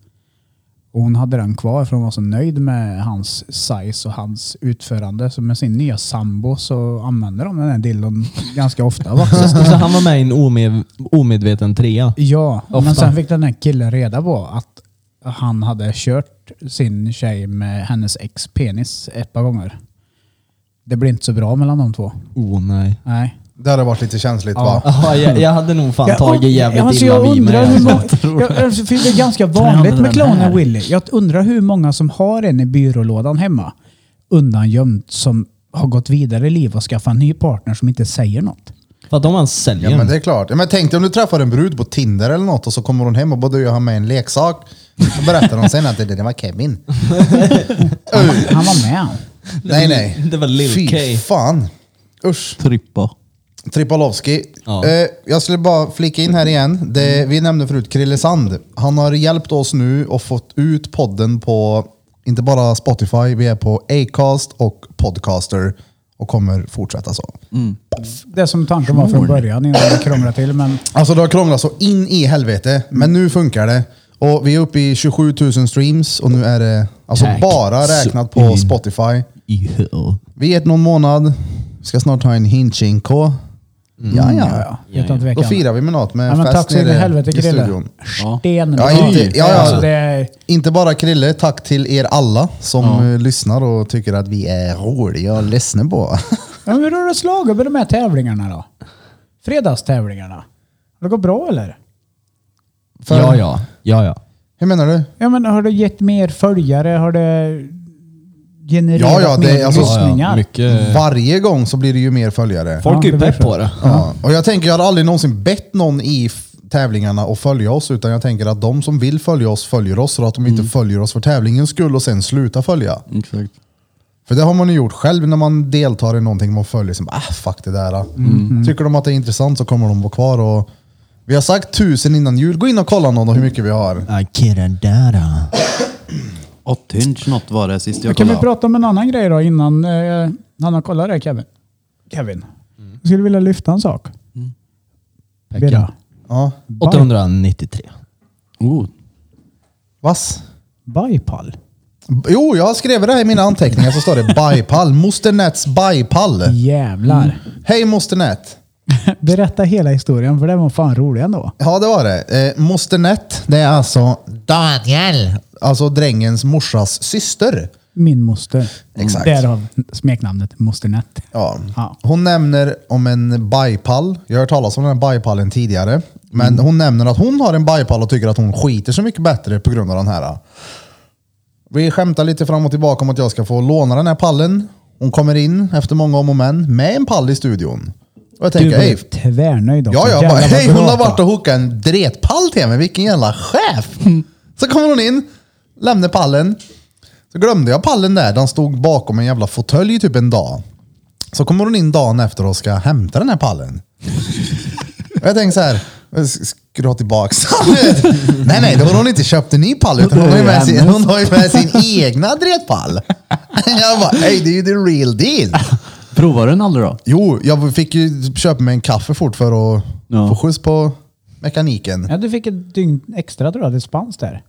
Speaker 3: Och hon hade den kvar för hon var så nöjd med hans size och hans utförande. Så med sin nya sambo så använder de den här dillon ganska ofta. Va? Så
Speaker 4: Så han var med i en omed, omedveten trea.
Speaker 3: Ja,
Speaker 4: Ofta.
Speaker 3: men sen fick den här killen reda på att han hade kört sin tjej med hennes ex penis ett par gånger. Det blir inte så bra mellan de två.
Speaker 4: Oh nej.
Speaker 3: Nej.
Speaker 1: Det hade varit lite känsligt va?
Speaker 4: Ja, jag, jag hade nog fan tagit jävligt
Speaker 3: alltså,
Speaker 4: illa
Speaker 3: jag
Speaker 4: vid mig.
Speaker 3: undrar hur
Speaker 4: alltså.
Speaker 3: många, jag, alltså, för Det är ganska vanligt med Clone Willy. Jag undrar hur många som har en i byrålådan hemma undangömd som har gått vidare i liv och skaffat en ny partner som inte säger något.
Speaker 4: Vad om han säljer
Speaker 1: Ja men
Speaker 4: den?
Speaker 1: det är klart. Ja, men tänk dig om du träffar en brud på Tinder eller något och så kommer hon hem och bara du jag har med en leksak. Så berättar hon sen att det, det var Kevin.
Speaker 3: Han, han var med.
Speaker 1: Nej nej.
Speaker 4: Det var Lil
Speaker 1: Fy
Speaker 4: K.
Speaker 1: fan. Usch.
Speaker 2: Trippa.
Speaker 1: Tripalovski.
Speaker 4: Ja. Mm.
Speaker 1: Eh, jag skulle bara flika in här igen. Det, vi nämnde förut Krille Sand. Han har hjälpt oss nu och fått ut podden på inte bara Spotify, vi är på Acast och Podcaster och kommer fortsätta så.
Speaker 3: Det som tanken var från början innan jag krånglade till. Men
Speaker 1: Alltså det har krånglat så in i helvete, men
Speaker 3: Mm.
Speaker 1: nu funkar det. Och vi är uppe i 27 000 streams och nu är det alltså
Speaker 4: Tack
Speaker 1: bara räknat på
Speaker 4: så in.
Speaker 1: Spotify.
Speaker 4: Ja.
Speaker 1: Vi är ett någon månad, vi ska snart ha en hinchinko. Ja, ja.
Speaker 3: ja, utan tvekan.
Speaker 1: Då firar vi med något med
Speaker 3: Ja, men tack
Speaker 1: fest
Speaker 3: så in i
Speaker 1: nere
Speaker 3: helvete
Speaker 1: i
Speaker 3: Krille.
Speaker 1: studion.
Speaker 3: Stenbra.
Speaker 1: Ja, inte- ja, ja.
Speaker 3: Alltså, det är,
Speaker 1: Inte bara Krille, tack till er alla som eh, lyssnar och tycker att vi är roliga att lyssna på.
Speaker 3: ja, men hur har det slagit med de här tävlingarna då? Fredagstävlingarna. Har det gått bra eller?
Speaker 1: För-
Speaker 4: ja, ja. Ja, ja.
Speaker 1: Hur menar du?
Speaker 3: Ja, men har det gett mer följare? Har det genererat
Speaker 1: Ja, ja, det är
Speaker 3: mer
Speaker 1: alltså-
Speaker 3: lyssningar? eh,
Speaker 4: Mycket...
Speaker 1: Varje gång så blir det ju mer följare.
Speaker 4: Folk är
Speaker 3: Ja,
Speaker 4: ju
Speaker 3: det
Speaker 4: pepp
Speaker 3: blir så.
Speaker 4: på det.
Speaker 1: Ja. Och jag tänker, jag har aldrig någonsin bett någon i f- tävlingarna att följa oss, utan jag tänker att de som vill följa oss följer oss och att de inte följer oss för tävlingens skull och sen slutar följa.
Speaker 2: Exakt.
Speaker 1: För det har man ju gjort själv när man deltar i någonting man följer. Som, ah, fuck det där. då." Tycker de att det är intressant så kommer de vara kvar. Och vi har sagt tusen innan jul. Gå in och kolla någon och hur mycket vi har.
Speaker 4: Ja, killen där då.
Speaker 2: Åtta inch något var det sist jag
Speaker 3: Kan vi
Speaker 2: kollade.
Speaker 3: prata om en annan grej då innan eh, han har kollat det Kevin? Kevin,
Speaker 1: Mm.
Speaker 3: jag skulle vilja lyfta en sak. Birra.
Speaker 1: Ja.
Speaker 3: Bi-
Speaker 4: 893.
Speaker 2: Oh,
Speaker 1: Vass?
Speaker 3: Bipall.
Speaker 1: Jo, jag skrev det här i mina anteckningar så står det bajpall. Moster Nets
Speaker 3: Mm.
Speaker 1: bajpall.
Speaker 3: Jävlar.
Speaker 1: Hej Moster Net.
Speaker 3: Berätta hela historien för den var fan rolig ändå.
Speaker 1: Ja, det var det. Eh, Moster Net, det är alltså Daniel. Alltså drängens morsas syster.
Speaker 3: Min moster.
Speaker 1: Exakt.
Speaker 3: Därav smeknamnet Mosternett.
Speaker 1: Ja.
Speaker 3: Ja.
Speaker 1: Hon nämner om en bajpall. Jag har hört talas om den här bajpallen tidigare. Men hon nämner att hon har en bajpall och tycker att hon skiter så mycket bättre på grund av den här. Vi skämtar lite fram och tillbaka om att jag ska få låna den här pallen. Hon kommer in efter många om och men med en pall i studion. Och jag
Speaker 3: Du
Speaker 1: tänker,
Speaker 3: blev
Speaker 1: hej,
Speaker 3: tvärnöjd också.
Speaker 1: ja, jag
Speaker 3: Jävlar
Speaker 1: bara,
Speaker 3: vad
Speaker 1: hej,
Speaker 3: bra
Speaker 1: hon har
Speaker 3: då.
Speaker 1: varit och hookat en dretpall till mig. Vilken jävla chef! Så kommer hon in, lämnar pallen. Så glömde jag pallen där. Den stod bakom en jävla fåtölj i typ en dag. Så kommer hon in dagen efter och ska hämta den här pallen. Och jag tänker så här, s- s- ska du ha tillbaks? nej, nej, då har hon inte köpt en ny pall utan hon har ju med sin, hon har ju med sin egna dretpall. jag bara, hej det är ju the real deal.
Speaker 2: Provar du den aldrig då?
Speaker 1: Jo, jag fick ju köpa mig en kaffe fort för att
Speaker 2: Ja.
Speaker 1: få skjuts på mekaniken.
Speaker 3: Ja, du fick ett dygn extra tror jag, dispens där.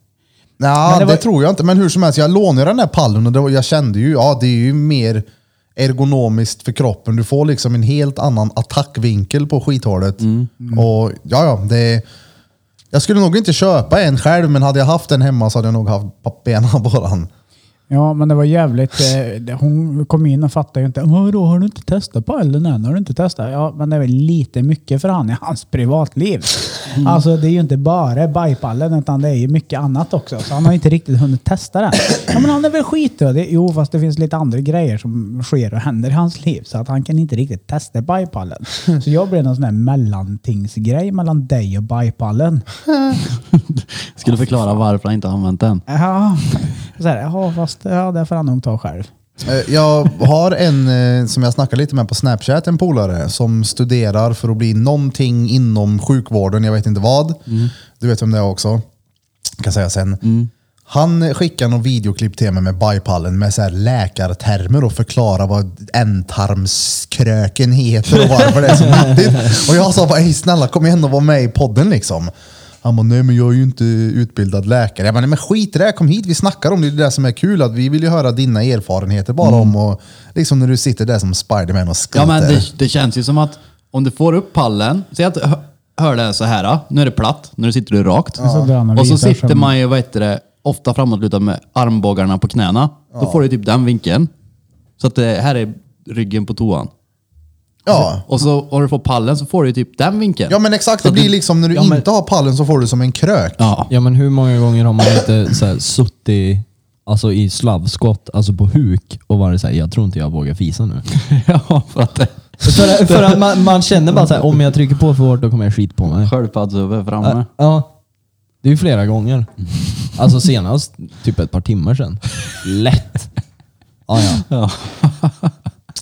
Speaker 1: Nej, det,
Speaker 3: Men det var-
Speaker 1: tror jag inte. Men hur som helst, jag lånade den här pallen och det var, jag kände ju, ja det är ju mer ergonomiskt för kroppen. Du får liksom en helt annan attackvinkel på skithålet.
Speaker 3: Mm.
Speaker 1: Och ja, ja, det... Jag skulle nog inte köpa en själv, men hade jag haft en hemma så hade jag nog haft benen på den.
Speaker 3: Ja, men det var jävligt. eh, det- Hon kom in och fattade ju inte. Vadå, har du inte testat pallen än? Har du inte testat? Ja, men det är väl lite mycket för han i hans privatliv. Alltså, det är ju inte bara bajpallen, utan det är ju mycket annat också. Så han har inte riktigt hunnit testa den. Ja, men han är väl skitdödig? Jo, fast det finns lite andra grejer som sker och händer i hans liv. Så att han kan inte riktigt testa bajpallen. Så jag blev någon sån här mellantingsgrej mellan dig och bajpallen.
Speaker 2: Skulle förklara varför han inte har använt den.
Speaker 3: Ja, så här, ja fast ja, det får han nog ta själv.
Speaker 1: Eh, Jag har en eh, som jag snackar lite med på Snapchat, en polare som studerar för att bli någonting inom sjukvården, jag vet inte vad. Du vet vem det är också. Jag kan säga sen.
Speaker 2: Mm.
Speaker 1: Han skickar någon videoklipp till mig med bipallen med så här läkartermer och förklarar vad ändtarmskröken heter och varför det är så nyttigt. Och jag sa bara, "Ey, snälla kom igen och var med i podden liksom. Han bara, nej men jag är ju inte utbildad läkare. Jag bara, nej men skit i det, här, kom hit, vi snackar om det, det är det som är kul. Att vi vill ju höra dina erfarenheter bara om och liksom när du sitter där som Spiderman och skiter.
Speaker 2: Mm. Ja men det, det känns ju som att om du får upp pallen, säg att hö- hör det så här, ah, nu är det platt, nu sitter du rakt.
Speaker 3: Så drar han och
Speaker 2: Och så
Speaker 3: visar
Speaker 2: sitter
Speaker 3: som-
Speaker 2: man ju, vad heter det, ofta framåtlutad med armbågarna på knäna. Då får du typ den vinkeln. Så att det här är ryggen på toan.
Speaker 1: ja.
Speaker 2: Och så om du får pallen så får du ju typ den vinkeln.
Speaker 1: ja men exakt, det
Speaker 2: Så att
Speaker 1: blir
Speaker 2: du-
Speaker 1: liksom när du
Speaker 2: Ja, men-
Speaker 1: inte har pallen så får du som en krök.
Speaker 2: Ja.
Speaker 4: Ja men hur många gånger har man inte så här, suttit alltså, i slavskott, alltså på huk och varit såhär, jag tror inte jag vågar fisa nu.
Speaker 2: ja, för att det...
Speaker 4: för, för att man, man känner bara såhär, om jag trycker på för hårt då kommer jag skit på mig.
Speaker 2: Sköldpaddshuvud framme.
Speaker 4: Ja, ja. Det är ju flera gånger. Alltså senast typ ett par timmar sedan. Lätt. Ja, ja.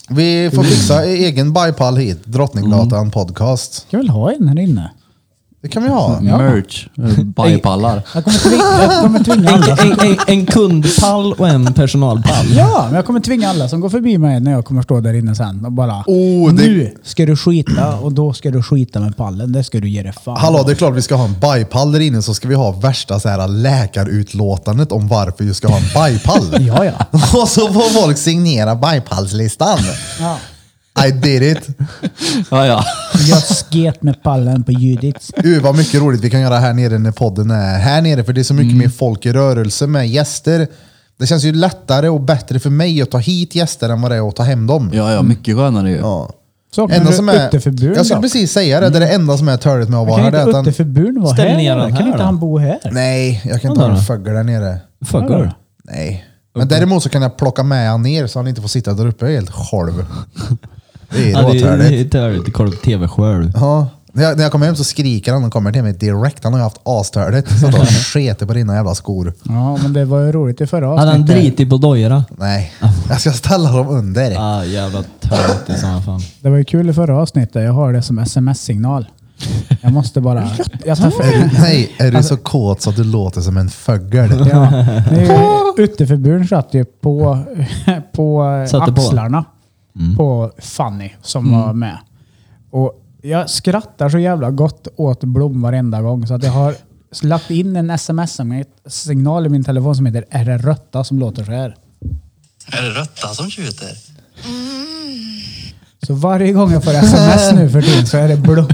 Speaker 1: Vi får fixa e- egen bipall hit, Drottninggatan podcast.
Speaker 3: Ska väl ha en här inne?
Speaker 1: Det kan vi ha.
Speaker 2: Mm. Merch. Bajpallar.
Speaker 3: Jag kommer tvinga, jag kommer tvinga alla. Som,
Speaker 4: En, en, en kundpall och en personalpall.
Speaker 3: ja, men jag kommer tvinga alla som går förbi mig när jag kommer stå där inne sen och bara
Speaker 1: Oh, det-
Speaker 3: Nu ska du skita och då ska du skita med pallen. Det ska du ge dig fan.
Speaker 1: Hallå, det är klart vi ska ha en bajpall där inne så ska vi ha värsta så här läkarutlåtandet om varför du ska ha en bajpall.
Speaker 3: Ja, ja.
Speaker 1: Och så får folk signera bajpallslistan.
Speaker 3: ja.
Speaker 1: I did it.
Speaker 2: Ja, ja.
Speaker 3: Jag sket med pallen på Judits.
Speaker 1: Uh, vad mycket roligt vi kan göra här nere när podden är här nere. För det är så mycket mer folk i rörelse med gäster. Det känns ju lättare och bättre för mig att ta hit gäster än vad det är att ta hem dem.
Speaker 2: Ja, ja. Mycket skönare ju.
Speaker 1: Ja.
Speaker 3: Saknar
Speaker 1: Enda
Speaker 3: du
Speaker 1: som är,
Speaker 3: utteförbud
Speaker 1: jag skulle
Speaker 3: då? Mm.
Speaker 1: precis säga det, det är det enda som är törligt med att vara
Speaker 3: Kan
Speaker 1: här. det är att
Speaker 3: inte
Speaker 1: han-
Speaker 3: utteförbuden vara
Speaker 4: Ställ
Speaker 3: här?
Speaker 4: ner den
Speaker 3: eller? Kan
Speaker 4: här
Speaker 3: inte
Speaker 4: då.
Speaker 3: han bo här?
Speaker 1: Nej, jag kan inte ha en fuggel där nere.
Speaker 4: Fuckar.
Speaker 1: Nej. Men däremot så kan jag plocka med han ner så han inte får sitta där uppe helt själv. Det är
Speaker 4: Ja, det är- det
Speaker 1: råtörligt.
Speaker 4: är törligt. Kolla på TV själv.
Speaker 1: Ja. När jag, när jag kommer hem så skriker han och kommer till mig direkt. Han har ju haft astörligt. Så då sketer på dina jävla skor.
Speaker 3: Ja, men det var ju roligt i förra
Speaker 4: Hade han
Speaker 3: avsnittet.
Speaker 4: dritit på dojorna?
Speaker 1: Nej, jag ska ställa dem under.
Speaker 4: Ah, jävla tönt i sådana fall.
Speaker 3: Det var ju kul i förra avsnittet. Jag har det som sms-signal. Jag måste bara... Jag tar
Speaker 1: Är du, nej, är du
Speaker 3: Alltså-
Speaker 1: så kåt så att du låter som en föggel?
Speaker 3: Ja, det är ju- ytterförbuden satt ju på, på
Speaker 4: Satte på. Mm.
Speaker 3: axlarna på Fanny som var med. Och jag skrattar så jävla gott åt Blom varenda gång så att jag har lagt in en sms-signal i min telefon som heter “Är det rötta?” som låter så här.
Speaker 6: Är det Rötta som tjuter?
Speaker 3: Så varje gång jag får sms nu för tiden så är det Blom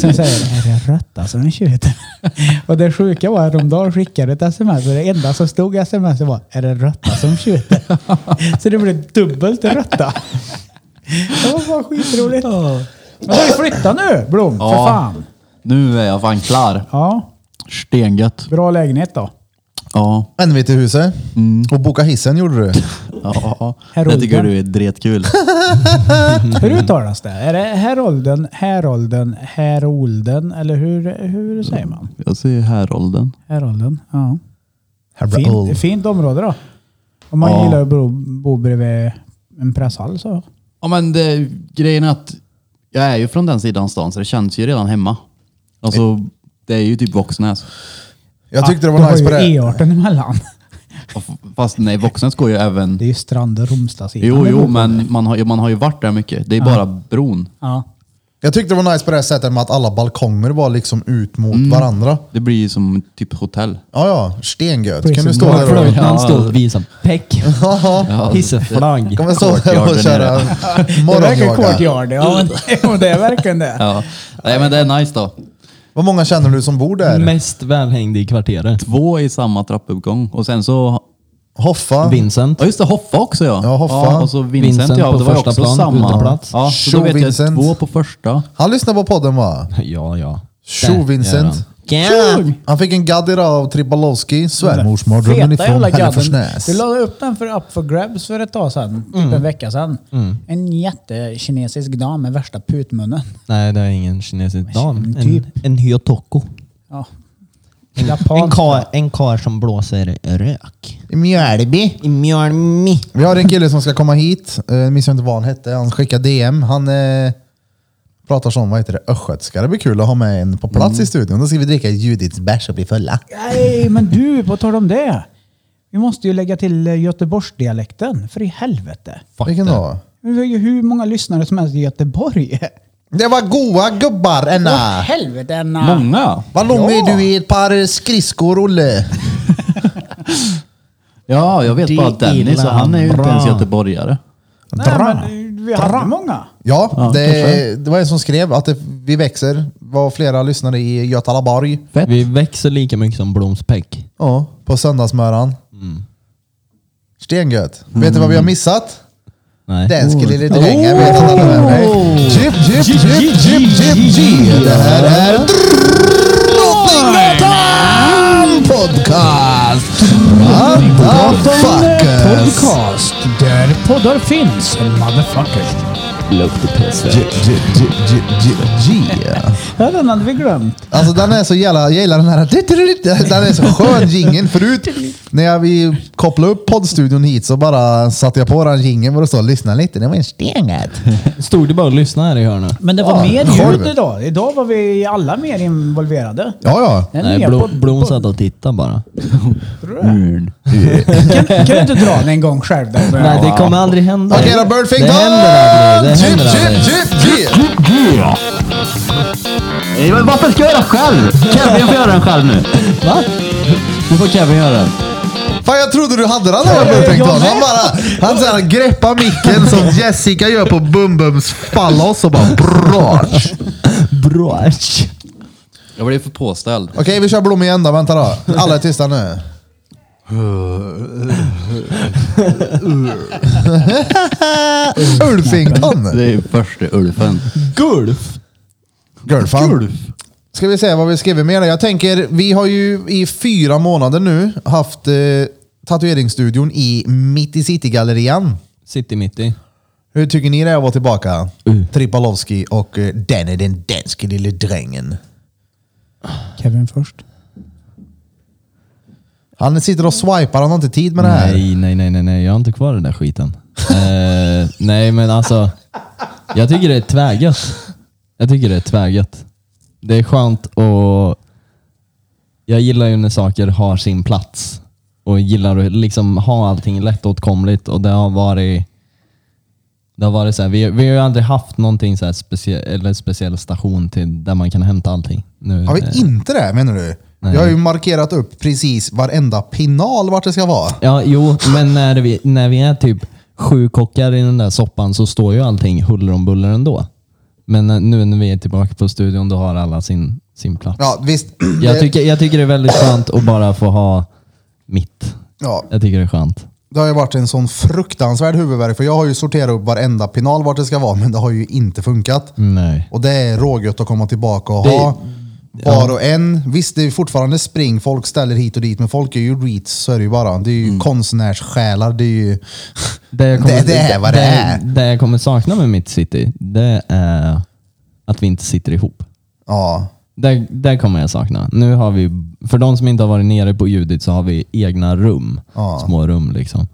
Speaker 3: som säger “Är det alltså? rötta som är tjuter?” Och det sjuka var att om dagen skickade ett sms och det enda som stod i sms var “Är det alltså? rötta som tjuter?” Så det blev dubbelt rötta. Det var bara skitroligt. Men ska vi flytta nu Blom? För
Speaker 2: Ja.
Speaker 3: fan.
Speaker 2: Nu är jag fan klar.
Speaker 3: Ja,
Speaker 2: Stengött.
Speaker 3: bra lägenhet då.
Speaker 2: Ja.
Speaker 1: Men vi till huset.
Speaker 3: Mm.
Speaker 1: Och boka hissen gjorde du.
Speaker 2: Ja, ja, ja.
Speaker 3: Herolden.
Speaker 2: Det tycker du är dretkul.
Speaker 3: Hur uttalas det? Är det Herolden, Herolden, Herolden eller hur, hur säger man?
Speaker 2: Jag säger härolden.
Speaker 3: Herolden, ja.
Speaker 1: Herald.
Speaker 3: Fint, fint område då. Om man
Speaker 2: Ja.
Speaker 3: gillar att bo, bo bredvid en presshall så.
Speaker 2: Ja men det, grejen är att jag är ju från den sidan stan så det känns ju redan hemma. Alltså Det är ju typ Våxnäs.
Speaker 1: Jag tyckte det
Speaker 3: Du
Speaker 1: var
Speaker 3: har
Speaker 1: nice
Speaker 3: ju E
Speaker 1: på det.
Speaker 3: E18 emellan.
Speaker 2: Och f- Fast nej, Våxnäs går ju även...
Speaker 3: Det är ju Strand och Romstadsidan.
Speaker 2: Jo, jo, men man har, ju- man har ju varit där mycket. Det är bara bron.
Speaker 3: Ja.
Speaker 1: Jag tyckte det var nice på det sättet med att alla balkonger var liksom ut mot varandra.
Speaker 2: Det blir ju som typ hotell.
Speaker 1: Ja, ja. Stengött. Kan
Speaker 3: Prison
Speaker 1: du stå
Speaker 3: guard.
Speaker 1: där och...
Speaker 4: Flöjtnant stod och visade peck.
Speaker 1: Ja,
Speaker 4: Hisseflagg.
Speaker 1: Kommer stå där och
Speaker 2: Courtyarden är
Speaker 1: köra
Speaker 2: det.
Speaker 3: Det verkar
Speaker 1: morgonyoga.
Speaker 3: courtyard. Ja, men, jo, det är verkligen det.
Speaker 2: Ja. Nej, men det är nice då.
Speaker 1: Vad många känner du som bor där?
Speaker 4: Mest välhängd i kvarteret.
Speaker 2: Två i samma trappuppgång. Och sen så...
Speaker 1: Hoffa.
Speaker 4: Vincent.
Speaker 2: Ja just det, Hoffa också ja.
Speaker 1: Ja, Hoffa.
Speaker 2: och så Vincent,
Speaker 4: Vincent
Speaker 2: ja.
Speaker 4: på
Speaker 2: Det var ju
Speaker 4: första
Speaker 2: också
Speaker 4: plan,
Speaker 2: samma.
Speaker 4: uteplats.
Speaker 2: Ja, så då
Speaker 1: Show
Speaker 2: vet jag
Speaker 1: Vincent.
Speaker 2: två på första.
Speaker 1: Han lyssnar på podden va?
Speaker 4: Ja, ja.
Speaker 1: Tjo Vincent. Han fick en gadd idag av Tribalowski. Svärmorsmardrömmen
Speaker 3: Feta
Speaker 1: ifrån
Speaker 3: jävla gadden.
Speaker 1: Hälleforsnäs.
Speaker 3: Du la upp den för Up for Grabs för ett tag sedan. Typ en vecka sedan. En jättekinesisk dam med värsta putmunnen.
Speaker 4: Nej, det är ingen kinesisk dam.
Speaker 3: typ.
Speaker 4: En, en hyotoko.
Speaker 3: Ja.
Speaker 4: En
Speaker 3: Japan.
Speaker 4: kar, en kar som blåser rök.
Speaker 1: I Mjölby.
Speaker 4: I Mjölnby.
Speaker 1: Vi har en kille som ska komma hit. Eh, minns jag inte vad han hette. Han skickade DM. Han eh, pratar som, vad heter det, östgötska. Det blir kul att ha med en på plats i studion. Då ska vi dricka Judiths bärs och bli fulla.
Speaker 3: Nej, men du, på tal om det. Vi måste ju lägga till eh, Göteborgsdialekten, för i helvete.
Speaker 1: Vilken då?
Speaker 3: Vi har ju hur många lyssnare som helst i Göteborg.
Speaker 1: Det var goa gubbar
Speaker 3: Åh,
Speaker 1: Enna!
Speaker 3: helvete Anna!
Speaker 4: Ah.
Speaker 2: Många!
Speaker 1: Vad lång är du i ett par skridskor Olle?
Speaker 2: Ja, jag vet
Speaker 4: Det
Speaker 2: bara att Dennis
Speaker 4: gillar
Speaker 2: och han är ju
Speaker 4: han.
Speaker 2: inte
Speaker 4: Bra.
Speaker 2: ens göteborgare.
Speaker 3: Nej,
Speaker 1: Dra.
Speaker 3: men eh, vi hade många.
Speaker 1: Ja,
Speaker 2: Ja,
Speaker 1: det,
Speaker 2: kanske.
Speaker 1: det var en som skrev att det, vi växer. var flera lyssnare i Götalaborg.
Speaker 2: Fett.
Speaker 4: Vi växer lika mycket som Bloms peck.
Speaker 1: Ja, på söndagsmöran. Stengött. Vet du vad vi har missat?
Speaker 4: Nej.
Speaker 1: Den skulle lite hänga med ett annat nummer. Jip, jip, Oh. jip, jip, jip, jip. Det här är Drottninggatan Podcast. What the fuckers?
Speaker 3: Podcast, där poddar finns. Motherfuckers.
Speaker 1: Jip, jip, jip, jip, jip, jip.
Speaker 3: Ja, den hade vi glömt.
Speaker 1: Alltså den är så jävla, jag gillar den här. Den är så skön jingeln. Förut när jag vi kopplade upp poddstudion hit så bara satte jag på den jingeln och det stod lyssna lite. Det var en stengat.
Speaker 4: Stod du bara och lyssnade här i hörnet?
Speaker 3: Men det var
Speaker 1: Ja,
Speaker 3: mer
Speaker 1: själv.
Speaker 3: ljud idag. Idag var vi alla mer involverade.
Speaker 1: Ja, ja.
Speaker 3: Den
Speaker 4: Nej,
Speaker 3: nya
Speaker 4: Blom,
Speaker 3: pod-
Speaker 4: Blom
Speaker 3: pod-
Speaker 4: satt och tittade bara.
Speaker 2: Mm.
Speaker 3: Kan, kan du inte dra den en gång själv? Där?
Speaker 4: Nej, det kommer aldrig hända.
Speaker 1: Okej då, Birdfing
Speaker 4: Det händer aldrig. Det händer aldrig.
Speaker 2: Nej, men varför ska jag göra själv? Kevin får göra den själv nu. Va? Nu får Kevin göra den.
Speaker 1: Fan jag trodde du hade den där Birdfing
Speaker 3: jag
Speaker 1: Dan. Han
Speaker 3: med.
Speaker 1: bara, han såhär greppar micken som Jessica gör på Bumbums fallos och bara bra.
Speaker 4: Bra.
Speaker 2: Jag blev för påställd.
Speaker 1: Okej vi kör Blom igen då, vänta då. Alla är tysta nu. Ulfington!
Speaker 2: Det är första Ulfen.
Speaker 4: Gulf.
Speaker 1: Girlfan. Ska vi se vad vi skriver mer? Jag tänker, vi har ju i fyra månader nu haft eh, tatueringsstudion i Mitt i City-gallerian.
Speaker 4: City mitt i.
Speaker 1: Hur tycker ni det är att vara tillbaka?
Speaker 4: Mm.
Speaker 1: Tripalowski och eh, den är den danske lille drängen.
Speaker 3: Kevin först.
Speaker 1: Han sitter och swipar, han har inte tid med det här.
Speaker 4: Nej, nej, nej, nej, nej. Jag har inte kvar den där skiten. eh, nej, men alltså. Jag tycker det är tvärgött. Jag tycker det är tvärgött. Det är skönt och jag gillar ju när saker har sin plats och gillar att liksom ha allting lättåtkomligt och det har varit det har varit så här, vi, vi har ju aldrig haft någonting så här specie, eller speciell station till där man kan hämta allting. Nu,
Speaker 1: Har
Speaker 4: eh,
Speaker 1: vi inte det menar du? Jag har ju markerat upp precis varenda pinal vart det ska vara.
Speaker 4: Ja, jo, men när vi, när vi är typ sju kockar i den där soppan så står ju allting huller om buller ändå. Men eh, nu när vi är tillbaka på studion, då har alla sin, sin plats.
Speaker 1: Ja, visst.
Speaker 4: Jag,
Speaker 1: Det-
Speaker 4: tycker, jag tycker det är väldigt skönt att bara få ha mitt.
Speaker 1: ja,
Speaker 4: Jag tycker det är skönt.
Speaker 1: Det har ju varit en sån fruktansvärd huvudvärk för jag har ju sorterat upp varenda pinal vart det ska vara men det har ju inte funkat.
Speaker 4: Nej.
Speaker 1: Och det är rågött att komma tillbaka och
Speaker 4: Det-
Speaker 1: ha var och en. Visst, det är fortfarande spring, folk ställer hit och dit men folk är ju reats, så är det ju bara. Det är ju konstnärssjälar, det är ju...
Speaker 4: Det, jag
Speaker 1: Det- det är vad det är.
Speaker 4: Det jag kommer sakna med mitt city, det är att vi inte sitter ihop.
Speaker 1: Ja.
Speaker 4: Där, där kommer jag sakna. Nu har vi, för de som inte har varit nere på Judit så har vi egna rum.
Speaker 1: Ja.
Speaker 4: Små rum liksom.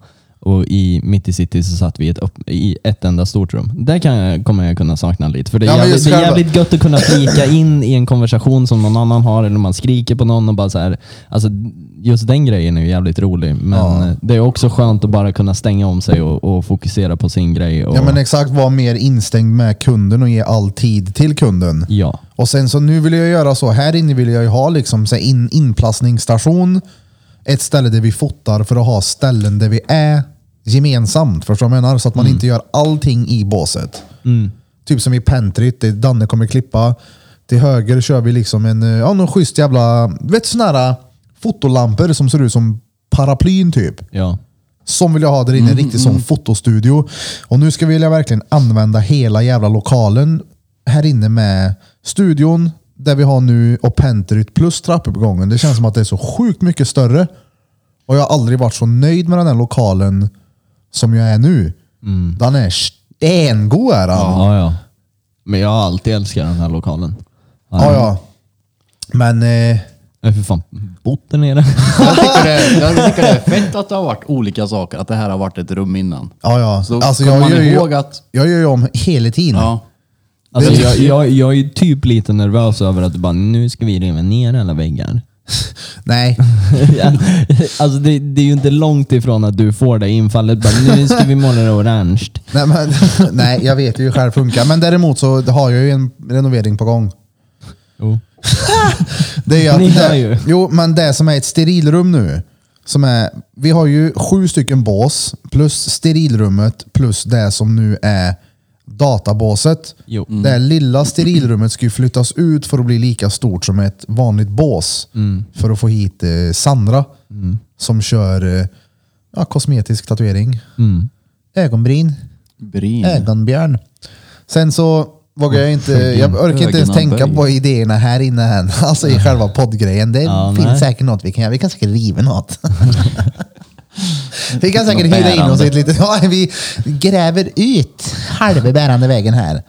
Speaker 4: Och i, mitt i city så satt vi i ett, upp, i ett enda stort rum. Där kan jag, kommer jag kunna sakna lite. För det är,
Speaker 1: Ja, men
Speaker 4: jävligt,
Speaker 1: just
Speaker 4: det är
Speaker 1: själva-
Speaker 4: jävligt gött att kunna flika in i en konversation som någon annan har, eller man skriker på någon och bara så här. Alltså, just den grejen är ju jävligt rolig. Men eh, det är också skönt att bara kunna stänga om sig och, och fokusera på sin grej. Och,
Speaker 1: Ja men exakt, var mer instängd med kunden och ge all tid till kunden.
Speaker 4: Ja.
Speaker 1: Och sen så nu vill jag göra så, här inne vill jag ju ha liksom så här in, inplastningsstation, ett ställe där vi fotar för att ha ställen där vi är gemensamt. Förstår du vad jag menar? Så att man inte gör allting i båset. Typ som i pentryt, där Danne kommer klippa. Till höger kör vi liksom en, eh, ja någon schysst jävla, du vet sådana här eh, fotolampor som ser ut som paraplyn typ.
Speaker 4: ja.
Speaker 1: Som vill jag ha där inne, en
Speaker 2: Mm,
Speaker 1: riktig sån fotostudio. Och nu ska vi vilja verkligen använda hela jävla lokalen här inne med studion där vi har nu och pentryt plus trappuppgången. Det känns som att det är så sjukt mycket större. Och jag har aldrig varit så nöjd med den här lokalen som jag är nu.
Speaker 2: Mm.
Speaker 1: Den är stengod är den.
Speaker 4: Ja, ja. Men jag har alltid älskat den här lokalen.
Speaker 1: Ja, ja. Men eh,
Speaker 4: Jag har för fan bott där nere.
Speaker 2: Jag tycker, det, jag tycker det är fett att det har varit olika saker, att det här har varit ett rum innan.
Speaker 1: ja, ja.
Speaker 2: Så
Speaker 1: alltså,
Speaker 2: kommer
Speaker 1: jag,
Speaker 2: man
Speaker 1: gör ju,
Speaker 2: ihåg att...
Speaker 1: jag gör ju om hela tiden.
Speaker 2: Ja.
Speaker 4: Alltså, jag, jag, jag är ju typ lite nervös över att du bara, nu ska vi riva ner alla väggar.
Speaker 1: Nej,
Speaker 4: Ja, alltså det, det är ju inte långt ifrån att du får det infallet. Bara, nu ska vi måla det orange.
Speaker 1: Nej, men, nej, jag vet ju hur själv funkar. Men däremot så har jag ju en renovering på gång.
Speaker 4: Jo.
Speaker 1: Det är ju att,
Speaker 4: Ni hör ju.
Speaker 1: Det, jo, men det som är ett sterilrum nu. Som är, vi har ju sju stycken bås plus sterilrummet plus det som nu är databåset.
Speaker 4: Jo. Mm.
Speaker 1: Det här lilla sterilrummet ska ju flyttas ut för att bli lika stort som ett vanligt bås.
Speaker 4: Mm.
Speaker 1: För att få hit eh, Sandra som kör eh, ja, kosmetisk tatuering.
Speaker 4: Mm.
Speaker 1: Ögonbryn.
Speaker 2: Brin.
Speaker 1: Ögonbjörn. Sen så vågar jag inte, jag orkar inte ens
Speaker 2: Ögonaböj.
Speaker 1: tänka på idéerna här inne än. Alltså i själva poddgrejen. Det
Speaker 4: Ja,
Speaker 1: finns
Speaker 4: nej.
Speaker 1: säkert något vi kan göra. Vi kan säkert riva något. vi kan säkert
Speaker 2: Något
Speaker 1: hyra in oss i ett
Speaker 2: bärande.
Speaker 1: litet... Ja, vi gräver ut halva bärande vägen här.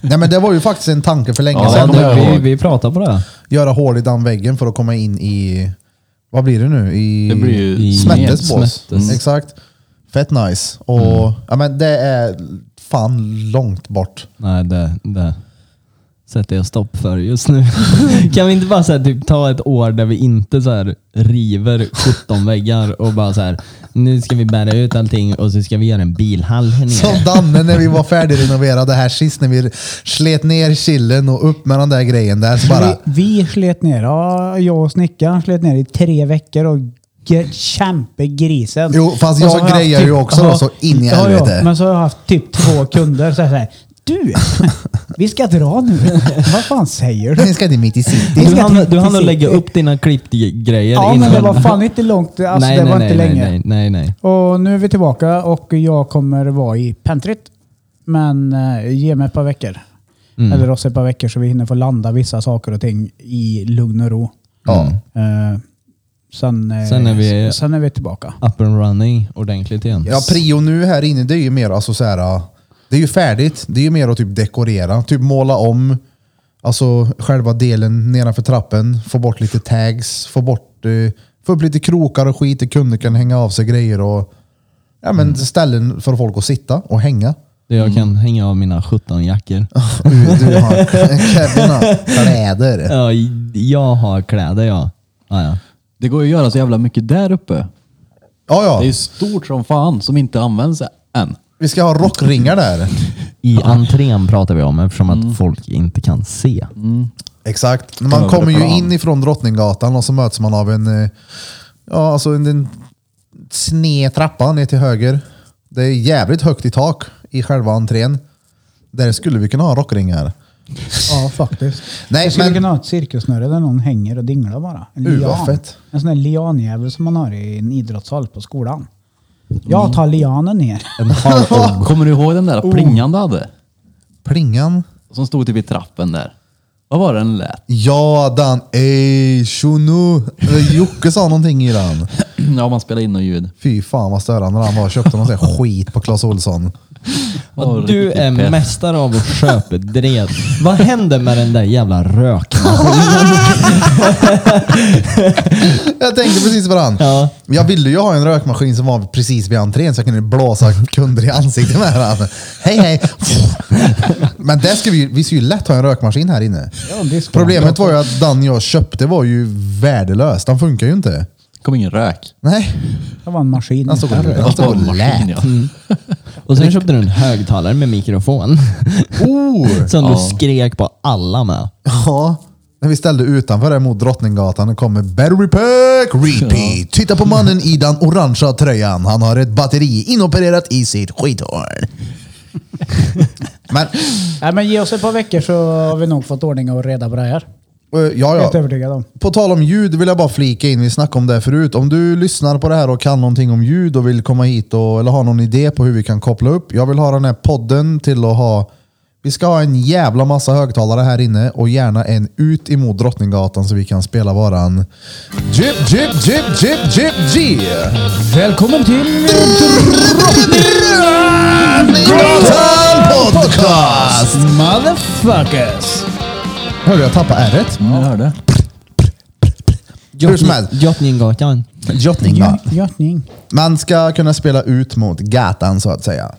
Speaker 1: Nej men det var ju faktiskt en tanke för länge
Speaker 2: Ja,
Speaker 1: sedan.
Speaker 2: det kommer jag
Speaker 4: Alltså, vi,
Speaker 2: ihåg.
Speaker 4: vi pratar på det.
Speaker 1: Göra hål i den väggen för att komma in i... Vad blir det nu? I,
Speaker 2: Det blir ju
Speaker 1: i Smettes
Speaker 4: smet-
Speaker 1: bås.
Speaker 4: Smettes.
Speaker 1: Mm. Exakt. Fett nice. Och ja, men det är fan långt bort.
Speaker 4: Nej, det, det sätter jag stopp för just nu. kan vi inte bara så här, typ, ta ett år där vi inte så här, river 17 väggar och bara så här, nu ska vi bära ut allting och så ska vi göra en bilhall här nere.
Speaker 1: Som Danne när vi var färdigrenoverade här sist när vi slet ner killen och upp med den där grejen där. Så bara,
Speaker 3: Vi, vi slet ner, ja, jag och snickaren slet ner i tre veckor och ge- kämpe grisen.
Speaker 1: Jo, fast jag
Speaker 3: Och så har haft typ-
Speaker 1: grejer ju också då,
Speaker 3: ja,
Speaker 1: så in i
Speaker 3: ja,
Speaker 1: helvete.
Speaker 3: Ja, men så har jag haft typ två kunder så här, så här du, vi ska dra nu. Vad fan säger du?
Speaker 1: ni ska till mitt i city.
Speaker 4: Du hann, du hann att lägga upp dina klippgrejer
Speaker 3: Ja,
Speaker 4: innan.
Speaker 3: men det var fan inte långt. Alltså, det var inte
Speaker 4: nej,
Speaker 3: länge.
Speaker 4: Nej, nej, nej.
Speaker 3: Och nu är vi tillbaka och jag kommer vara i pentryt. Men eh, ge mig ett par veckor.
Speaker 4: Mm.
Speaker 3: Eller oss ett par veckor så vi hinner få landa vissa saker och ting i lugn och ro.
Speaker 1: Ja.
Speaker 3: Eh, sen, eh,
Speaker 4: Sen är vi-
Speaker 3: sen är vi tillbaka.
Speaker 4: Up and running ordentligt igen.
Speaker 1: Ja, prio nu här inne det är ju mer alltså så här, ah, det är ju färdigt. Det är ju mer att typ dekorera, typ måla om. Alltså själva delen nedanför trappen, få bort lite tags, få bort, eh, få upp lite krokar och skit där kunder kan hänga av sig grejer och ja, men ställen för folk att sitta och hänga.
Speaker 4: Där jag
Speaker 3: Mm.
Speaker 4: kan hänga av mina 17 jackor.
Speaker 1: Du, du har Kevin har kläder.
Speaker 4: Ja, jag har kläder ja. Ja, ja.
Speaker 2: Det går ju att göra så jävla mycket där uppe.
Speaker 1: Ja, ja.
Speaker 2: Det är ju stort som fan som inte används än.
Speaker 1: Vi ska ha rockringar där.
Speaker 4: I entrén pratar vi om eftersom
Speaker 3: Mm.
Speaker 4: att folk inte kan se.
Speaker 1: Exakt. Man kommer ju in ifrån Drottninggatan och så möts man av en, eh, ja, alltså en, en sned trappa ner till höger. Det är jävligt högt i tak i själva entrén. Där skulle vi kunna ha rockringar.
Speaker 3: Ja, faktiskt.
Speaker 1: Nej,
Speaker 3: jag skulle
Speaker 1: men-
Speaker 3: kunna ha ett cirkussnöre där någon hänger och dinglar bara. En
Speaker 1: Uh, vad fett.
Speaker 3: En sån där lianjävel som man har i en idrottshall på skolan. Jag tar lianen ner.
Speaker 4: Mm. En hard
Speaker 2: Kommer du ihåg den där plingan du hade?
Speaker 1: Plingan.
Speaker 2: Som stod typ i trappen där. Vad var den lät?
Speaker 1: Ja, Dan. Ey, shuno. Jocke sa någonting i den.
Speaker 2: Ja, man spelar in något ljud.
Speaker 1: Fy fan vad störande den var. Köpte någon sån här skit på Clas Ohlson.
Speaker 2: Åh,
Speaker 4: Du
Speaker 2: riktigt
Speaker 4: är
Speaker 2: pet.
Speaker 4: mästare av att köpa dred. Vad händer med den där jävla röken?
Speaker 1: Jag tänkte precis på den.
Speaker 4: Ja.
Speaker 1: Jag ville ju ha en rökmaskin som var precis vid entrén så jag kunde blåsa kunder i ansiktet med den. Hej hej! Men det ska vi, vi ska ju lätt ha en rökmaskin här inne. Problemet var ju att den jag köpte var ju värdelös. Den funkar ju inte.
Speaker 2: Det kom ingen rök.
Speaker 1: Nej,
Speaker 3: Det var en maskin.
Speaker 1: den stod och
Speaker 3: inte
Speaker 1: rök.
Speaker 3: en
Speaker 1: Den
Speaker 3: rök.
Speaker 1: stod
Speaker 2: Det var
Speaker 1: och
Speaker 2: en
Speaker 1: lät.
Speaker 2: maskin, ja.
Speaker 4: Och sen köpte du en högtalare med mikrofon.
Speaker 1: Oh!
Speaker 4: Som du skrek på alla med.
Speaker 1: Ja, när vi ställde utanför där mot Drottninggatan och kommer Battery Pack Repeat. Titta på mannen i den orangea tröjan. Han har ett batteri inopererat i sitt skithål. Men,
Speaker 3: Nej, men ge oss ett par veckor så har vi nog fått ordning och reda på det här.
Speaker 1: eh, ja
Speaker 3: Helt
Speaker 1: ja.
Speaker 3: övertygad om.
Speaker 1: På tal om ljud vill jag bara flika in, vi snackade om det förut. Om du lyssnar på det här och kan någonting om ljud och vill komma hit och, eller har någon idé på hur vi kan koppla upp. Jag vill ha den här podden till att ha vi ska ha en jävla massa högtalare här inne och gärna en ut emot Drottninggatan så vi kan spela våran Jip, jip, jip, jip, jip, G!
Speaker 3: Välkommen till...
Speaker 1: Drottninggatan podcast!
Speaker 3: Motherfuckers!
Speaker 1: Hörde jag tappa ärret?
Speaker 2: Mm, jag hörde.
Speaker 1: Hur som helst.
Speaker 4: Drottninggatan.
Speaker 1: Drottninggatan.
Speaker 3: Götning.
Speaker 1: Man ska kunna spela ut mot gatan så att säga.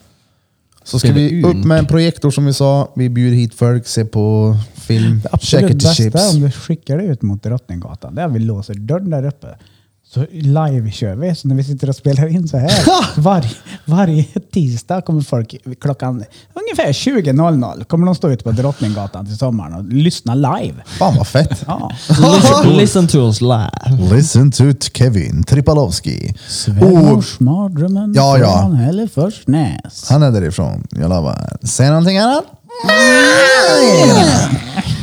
Speaker 1: Så ska
Speaker 4: Spela
Speaker 1: vi upp
Speaker 4: ut.
Speaker 1: med en projektor som vi sa. Vi bjuder hit folk, se på film, käka
Speaker 3: Absolut
Speaker 1: till
Speaker 3: bästa
Speaker 1: chips.
Speaker 3: är om du skickar det ut mot Drottninggatan. Där vi låser dörren där uppe. Så live kör vi. Så när vi sitter och spelar in så här. Varje, varje tisdag kommer folk klockan ungefär 20.00 kommer de stå ute på Drottninggatan till sommaren och lyssna live.
Speaker 1: Fan vad fett.
Speaker 3: Ja.
Speaker 4: Listen, listen to us live.
Speaker 1: Listen to Kevin Tripalowski. Oh,
Speaker 3: Svärmors mardrömmen
Speaker 1: Ja, ja.
Speaker 3: från Hälleforsnäs.
Speaker 1: han är därifrån. Jag lovar. Säg någonting annat.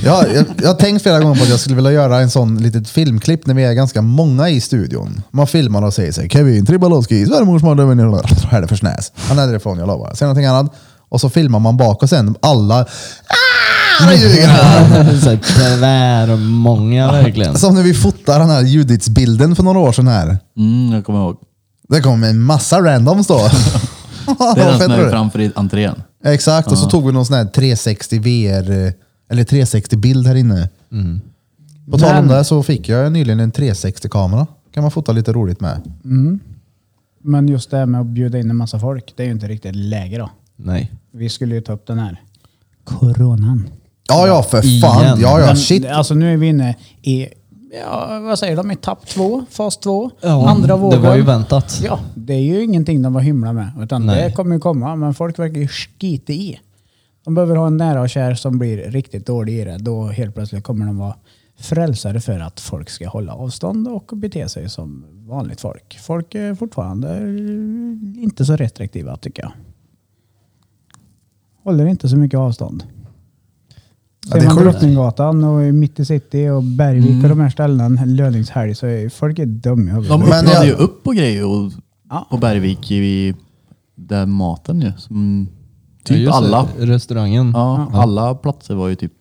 Speaker 1: Ja, jag, jag har tänkt flera gånger på att jag skulle vilja göra en sån litet filmklipp när vi är ganska många i studion. Man filmar och säger så här, Kevin Tribalowski, svärmors mardrömmen, här är för snäs. Han är därifrån, jag lovar. Säg någonting annat. Och så filmar man bak och sen alla "Ah, vad ljuger han?"
Speaker 4: Så tyvärr många verkligen.
Speaker 1: Som när vi fotade den här Judits-bilden för några år sedan här.
Speaker 2: Mm, jag kommer ihåg.
Speaker 1: Det kom en massa randoms då.
Speaker 2: Det är den
Speaker 1: Ah, Fett
Speaker 2: som
Speaker 1: var
Speaker 2: är
Speaker 1: det.
Speaker 2: framför i entrén.
Speaker 1: Exakt, och så tog vi någon sån här 360 VR, eh, eller 360-bild här inne.
Speaker 2: Mm.
Speaker 1: På tal om
Speaker 3: Men-
Speaker 1: det så fick jag nyligen en 360-kamera. kan man fota lite roligt med.
Speaker 3: Men just det här med att bjuda in en massa folk, det är ju inte riktigt läge då.
Speaker 4: Nej.
Speaker 3: Vi skulle ju ta upp den här coronan.
Speaker 1: Ja, ja för
Speaker 4: Igen.
Speaker 1: fan. Ja, ja,
Speaker 3: Men,
Speaker 1: shit.
Speaker 3: Alltså nu är vi inne i, ja, vad säger de, etapp två, fas två,
Speaker 4: Ja,
Speaker 3: andra vågen.
Speaker 4: Det var ju väntat.
Speaker 3: Ja, det är ju ingenting de var hymla med. Utan
Speaker 4: Nej.
Speaker 3: det kommer ju komma, men folk verkar ju skita i. De behöver ha en nära och kär som blir riktigt dålig i det. Då helt plötsligt kommer de vara frälsare för att folk ska hålla avstånd och bete sig som vanligt folk. Folk är fortfarande eh, inte så restriktiva tycker jag. Håller inte så mycket avstånd.
Speaker 1: Ja, det
Speaker 3: Ser
Speaker 1: är
Speaker 3: man
Speaker 1: sjukt.
Speaker 3: Drottninggatan och i mitt i city och Bergvik och de här ställen löningshelg så är folk är dumma i huvudet.
Speaker 2: De
Speaker 1: Men
Speaker 2: öppnade
Speaker 1: jag-
Speaker 2: ju upp på grejer och,
Speaker 3: Ja.
Speaker 2: på Bergvik i där maten ju. Som, typ
Speaker 4: just det,
Speaker 2: alla.
Speaker 4: Restaurangen.
Speaker 2: Ja, alla platser var ju typ...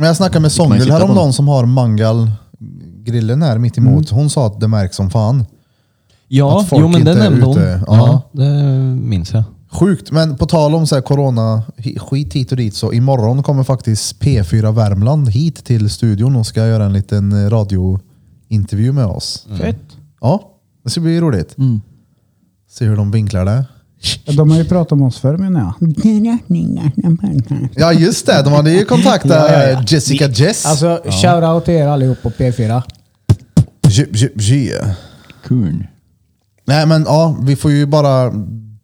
Speaker 1: Men jag snackade med
Speaker 2: man ju
Speaker 1: Songul
Speaker 2: sitta på Mm.
Speaker 1: häromdagen
Speaker 2: den.
Speaker 1: som har mangalgrillen här mitt emot. Hon sa att det märks som fan.
Speaker 4: Ja,
Speaker 1: Att folk
Speaker 4: jo men det
Speaker 1: inte är
Speaker 4: nämnde hon.
Speaker 1: ute.
Speaker 4: Ja, det minns jag.
Speaker 1: Sjukt, men på tal om så här corona, hi- skit hit och dit, så imorgon kommer faktiskt P4 Värmland hit till studion och ska göra en liten eh, radiointervju med oss.
Speaker 3: Mm. Fett.
Speaker 1: Ja, det ska bli roligt.
Speaker 3: Mm.
Speaker 1: Se hur de vinklar det.
Speaker 3: Ja, De har ju pratat om oss förr menar jag.
Speaker 1: Ja, just det. De hade ju kontaktat
Speaker 3: Ja, ja, ja.
Speaker 1: Jessica Jess.
Speaker 3: Alltså shoutout till er allihop på P4.
Speaker 1: J- j- j.
Speaker 2: Kurn.
Speaker 1: Nej, men ja, vi får ju bara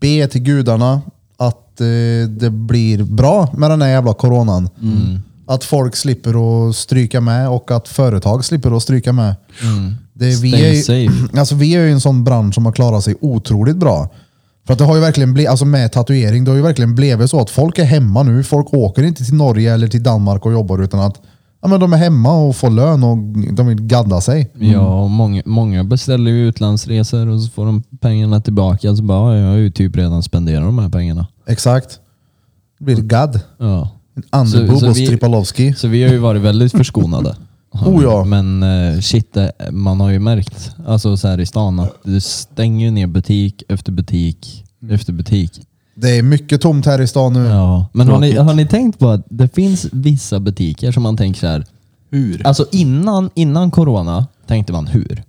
Speaker 1: be till gudarna att eh, det blir bra med den här jävla coronan.
Speaker 4: Mm.
Speaker 1: Att folk slipper att stryka med och att företag slipper att stryka med. Det, är- vi,
Speaker 4: Mm. Stay
Speaker 1: är ju,
Speaker 4: safe.
Speaker 1: alltså, vi är ju en sån bransch som har klarat sig otroligt bra. För att det har ju verkligen blivit, alltså med tatuering, det har ju verkligen blivit så att folk är hemma nu. Folk åker inte till Norge eller till Danmark och jobbar utan att ja, men de är hemma och får lön och de vill gadda sig.
Speaker 4: Ja, och många, många beställer ju utlandsresor och så får de pengarna tillbaka. Så bara, ja, jag har ju typ redan spenderat de här pengarna.
Speaker 1: Exakt. Det blir gadd.
Speaker 4: Ja.
Speaker 1: En Anderbo
Speaker 4: Så- så
Speaker 1: och
Speaker 4: vi-
Speaker 1: Stripalowski.
Speaker 4: Så vi har ju varit väldigt förskonade.
Speaker 1: Oh ja.
Speaker 4: Men eh, shit, det- man har ju märkt, alltså så här i stan, att du stänger ju ner butik efter butik efter butik.
Speaker 1: Det är mycket tomt här i stan nu.
Speaker 4: Ja. Men har ni,
Speaker 2: Tråkigt.
Speaker 4: har ni tänkt på att det finns vissa butiker som man tänker så här,
Speaker 2: Hur?
Speaker 4: Alltså innan, innan corona tänkte man hur.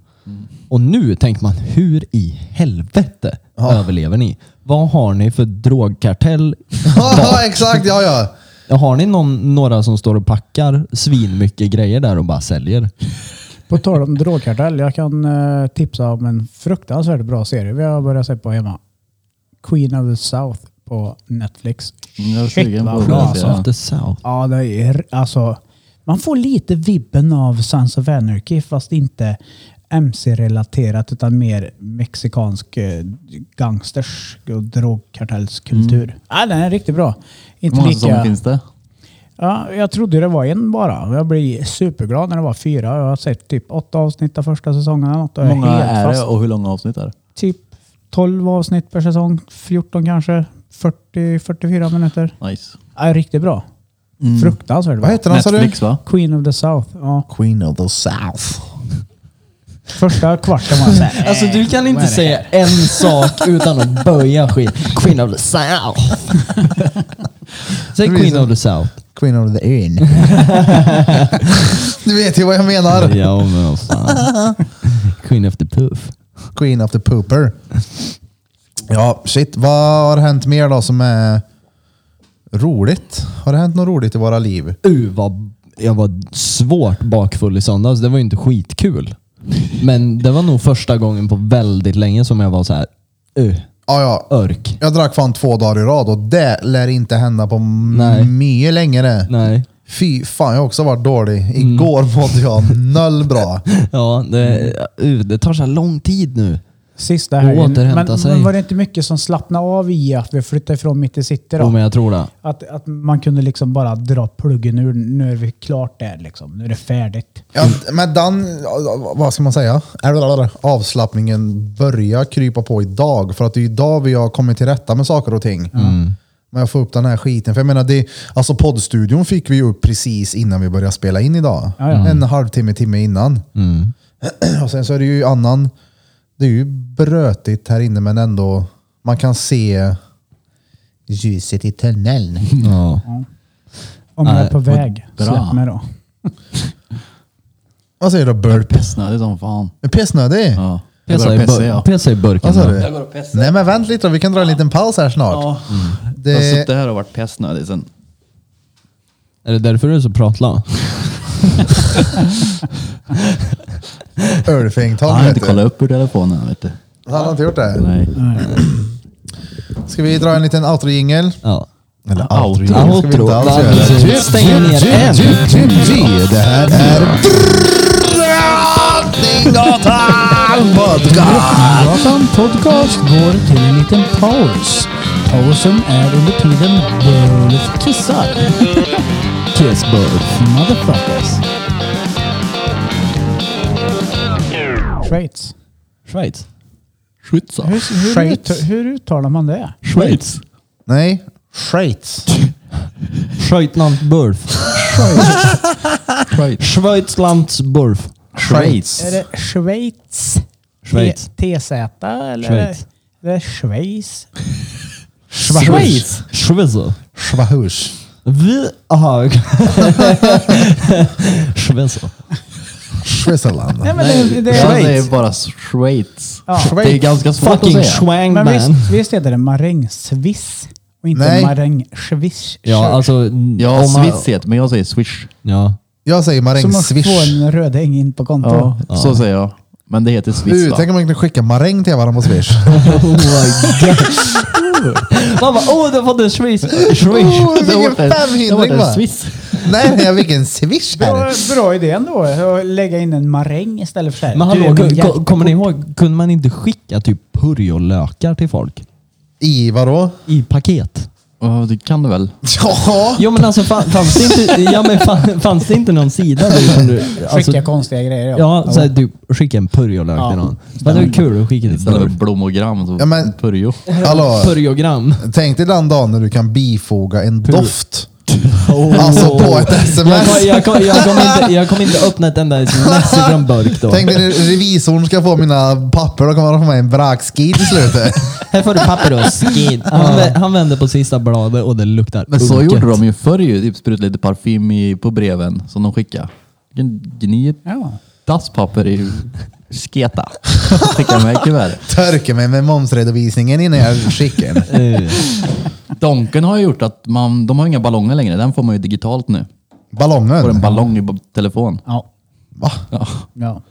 Speaker 4: Och nu tänker man hur i helvete överlever ni? Vad har ni för drogkartell?
Speaker 1: Ja, exakt. Ja, ja.
Speaker 4: har ni någon, några som står och packar svinmycket grejer där och bara säljer?
Speaker 3: På tal om drogkartell, jag kan eh, tipsa om en fruktansvärt bra serie vi har börjat se på hemma. Queen of the South på Netflix.
Speaker 2: Mm, Jag är
Speaker 3: Shit,
Speaker 2: sugen
Speaker 3: vad
Speaker 2: på att
Speaker 3: bra,
Speaker 2: se
Speaker 3: alltså.
Speaker 2: den.
Speaker 4: the South.
Speaker 3: Ja, det är alltså. Man får lite vibben av Sons of Anarchy fast inte MC-relaterat utan mer mexikansk eh, gangsters och drogkartellskultur. Ja, den är riktigt bra. Inte
Speaker 2: Hur Mm. många
Speaker 3: lika...
Speaker 2: säsonger finns det?
Speaker 3: Ja, jag trodde det var en bara. Jag blev superglad när det var fyra. Jag har sett typ åtta avsnitt av första säsongen. eller något. Jag
Speaker 2: Hur många
Speaker 3: helt
Speaker 2: är det
Speaker 3: fast.
Speaker 2: och hur långa avsnitt är det?
Speaker 3: Typ 12 avsnitt per säsong. 14 kanske. 40-44 minuter.
Speaker 2: Nice.
Speaker 3: Ja, riktigt bra.
Speaker 2: Mm.
Speaker 3: Fruktansvärt
Speaker 1: Vad
Speaker 3: bra.
Speaker 1: heter den sa du?
Speaker 2: Netflix va?
Speaker 3: Queen of the South. Ja.
Speaker 1: Queen of the South.
Speaker 3: Första kvarten var såhär.
Speaker 4: Alltså du kan inte säga en sak utan att böja skit. Queen of the South. Säg Queen of the South.
Speaker 1: Queen of the Inn. du vet ju vad jag menar.
Speaker 4: Ja men vad fan. Queen of the Puff.
Speaker 1: Queen of the Pooper. Ja, shit. Vad har hänt mer då som är roligt? Har det hänt något roligt i våra liv?
Speaker 4: Uh, vad, jag var svårt bakfull i söndags. Det var ju inte skitkul. Men det var nog första gången på väldigt länge som jag var så här. Uh,
Speaker 1: Ja, ja.
Speaker 4: örk.
Speaker 1: Jag drack fan två dagar i rad och det lär inte hända på m-
Speaker 4: Nej.
Speaker 1: mycket längre.
Speaker 4: Nej.
Speaker 1: Fy fan, jag har också varit dålig. Igår
Speaker 3: Mm.
Speaker 1: mådde jag noll bra.
Speaker 4: Ja, det, uh, det tar så här lång tid nu.
Speaker 3: Sista
Speaker 4: Och
Speaker 3: helgen.
Speaker 4: återhämta
Speaker 3: Men,
Speaker 4: sig.
Speaker 3: men var det inte mycket som slappnade av i att vi flyttade ifrån mitt i city då?
Speaker 4: Jo, men jag tror det.
Speaker 3: Att, att man kunde liksom bara dra pluggen ur. Nu är vi klart där liksom. Nu är det färdigt.
Speaker 1: Ja, men den, vad ska man säga? Avslappningen börjar krypa på idag. För att det är idag vi har kommit till rätta med saker och ting.
Speaker 3: Mm.
Speaker 1: Men jag får upp den här skiten. För jag menar, det, alltså poddstudion fick vi ju upp precis innan vi började spela in idag.
Speaker 3: Ja, ja. Mm.
Speaker 1: En halvtimme, timme innan. Och sen så är det ju annan... Det är ju brötigt här inne men ändå... Man kan se ljuset i tunneln.
Speaker 4: Ja.
Speaker 3: Om jag
Speaker 4: Nej,
Speaker 3: är på
Speaker 4: vad
Speaker 3: väg,
Speaker 2: bra.
Speaker 3: släpp mig då.
Speaker 1: Vad säger du? Burp?
Speaker 2: Pissnödig som fan.
Speaker 1: Pissnödig?
Speaker 2: Ja. Jag
Speaker 4: Pesa,
Speaker 2: börjar
Speaker 4: i
Speaker 2: pissa
Speaker 4: bur-
Speaker 2: ja.
Speaker 4: pesa i burken.
Speaker 1: Vad sa du?
Speaker 4: då.
Speaker 1: Nej men vänt lite då, vi kan dra en liten paus här snart.
Speaker 2: Ja. Jag har
Speaker 1: Det,
Speaker 2: suttit här och varit pissnödig sen.
Speaker 4: Är det därför du är så pratla?
Speaker 2: Jag
Speaker 1: Ölfängtång
Speaker 2: har inte
Speaker 1: vet du.
Speaker 2: kollat upp ur telefonen vet du.
Speaker 1: Han har inte gjort det.
Speaker 2: Nej.
Speaker 1: Ska vi dra en liten outro-jingel?
Speaker 4: Ja.
Speaker 1: Eller
Speaker 2: Outro.
Speaker 1: outro-jingel ska vi
Speaker 4: Outro.
Speaker 1: inte alls
Speaker 4: Ja,
Speaker 1: göra.
Speaker 4: precis. Stänger ner en.
Speaker 1: Det här är Drottninggatan Podcast!
Speaker 3: Gatan Podcast går till en liten paus. Pausen är under tiden Wolf kissar.
Speaker 4: Kiss burf.
Speaker 3: Motherfuckers. Schweiz.
Speaker 4: Schweiz.
Speaker 2: Schweiz.
Speaker 3: Hur, hur,
Speaker 1: Schweiz.
Speaker 3: ut- hur uttalar man det?
Speaker 2: Schweiz.
Speaker 1: Nej, Schweiz.
Speaker 4: Schweitland burf. Schweizlands burf.
Speaker 3: Är det Schweiz?
Speaker 4: Schweiz.
Speaker 3: T- TZ eller?
Speaker 4: Schweiz.
Speaker 3: Det är Schweiz.
Speaker 4: Schweiz. Schweizer.
Speaker 1: Schwahus.
Speaker 4: Vi... Aha. Schweizer.
Speaker 1: Schweizerland.
Speaker 3: Nej, men det, det,
Speaker 2: Jag
Speaker 4: Schweiz.
Speaker 2: säger bara Schweiz.
Speaker 3: Ja.
Speaker 2: Det är ganska svårt
Speaker 4: Fucking
Speaker 2: att säga.
Speaker 3: men
Speaker 4: schwangman.
Speaker 3: visst, visst heter det marängsviss och inte
Speaker 1: Nej.
Speaker 3: marängsviss?
Speaker 4: Ja, alltså...
Speaker 2: Ja,
Speaker 4: om man-
Speaker 2: Swiss heter men jag säger Swish.
Speaker 4: Ja.
Speaker 1: Jag säger
Speaker 3: Som att få
Speaker 1: marängswish.
Speaker 3: en röding in på kontot.
Speaker 2: Ja, så säger jag. Men det heter Swiss
Speaker 1: Du,
Speaker 2: va?
Speaker 1: tänk om man kunde skicka maräng till varandra på swish.
Speaker 2: Oh
Speaker 4: Man bara, åh, du har fått en Swiss. Swish.
Speaker 1: Oh,
Speaker 2: Det
Speaker 1: vilken
Speaker 2: vart en- det vart
Speaker 1: femhindring
Speaker 2: en
Speaker 1: va?
Speaker 2: Swiss.
Speaker 1: Nej, nej, vilken swish
Speaker 3: Bra,
Speaker 1: här.
Speaker 3: bra idé ändå, att lägga in en maräng istället för så här.
Speaker 4: Men
Speaker 3: Du,
Speaker 4: hallå,
Speaker 3: min
Speaker 4: ko-
Speaker 3: jävla-
Speaker 4: ko- kommer ni ihåg? Kunde man inte skicka typ purjolökar till folk?
Speaker 1: I vadå?
Speaker 4: I paket?
Speaker 2: Ja, det kan du väl?
Speaker 1: Ja!
Speaker 4: Jo men alltså fan- fanns det inte, ja, men fan- fanns det inte någon sida där som du... Alltså,
Speaker 3: Skicka konstiga grejer. Ja.
Speaker 4: ja, såhär, du skicka en purjolök
Speaker 3: Ja.
Speaker 4: till någon. Men det är kul att skicka till
Speaker 2: Istället för
Speaker 4: burf.
Speaker 2: blommogram så
Speaker 1: Ja, men-
Speaker 2: purjo.
Speaker 1: Hallå,
Speaker 4: Purjogram.
Speaker 1: tänk dig den dagen när du kan bifoga en doft Alltså på ett
Speaker 4: Jag, kom-
Speaker 1: sms.
Speaker 4: jag, kom- jag, kommer inte, jag kommer inte öppna ett enda sms från Burk då.
Speaker 1: Tänk när revisorn ska få mina papper, då kommer han få mig en vrakskid i slutet.
Speaker 4: Här får du papper och skid. Han, vä- han vänder på sista bladet och det luktar
Speaker 2: Men så
Speaker 4: unket.
Speaker 2: gjorde de ju förr ju. Typ sprut lite parfym i, på breven som de skickade. Vilken Gni ett
Speaker 3: Ja.
Speaker 2: dasspapper i sketa. Skicka mig kuvertet.
Speaker 1: Törker mig med momsredovisningen innan jag skickar den.
Speaker 4: Eh,
Speaker 2: Donken har ju gjort att man, de har inga ballonger längre. Den får man ju digitalt nu.
Speaker 1: Ballongen.
Speaker 2: Får en ballong i b- telefon.
Speaker 3: Ja.
Speaker 1: Va?
Speaker 3: ja.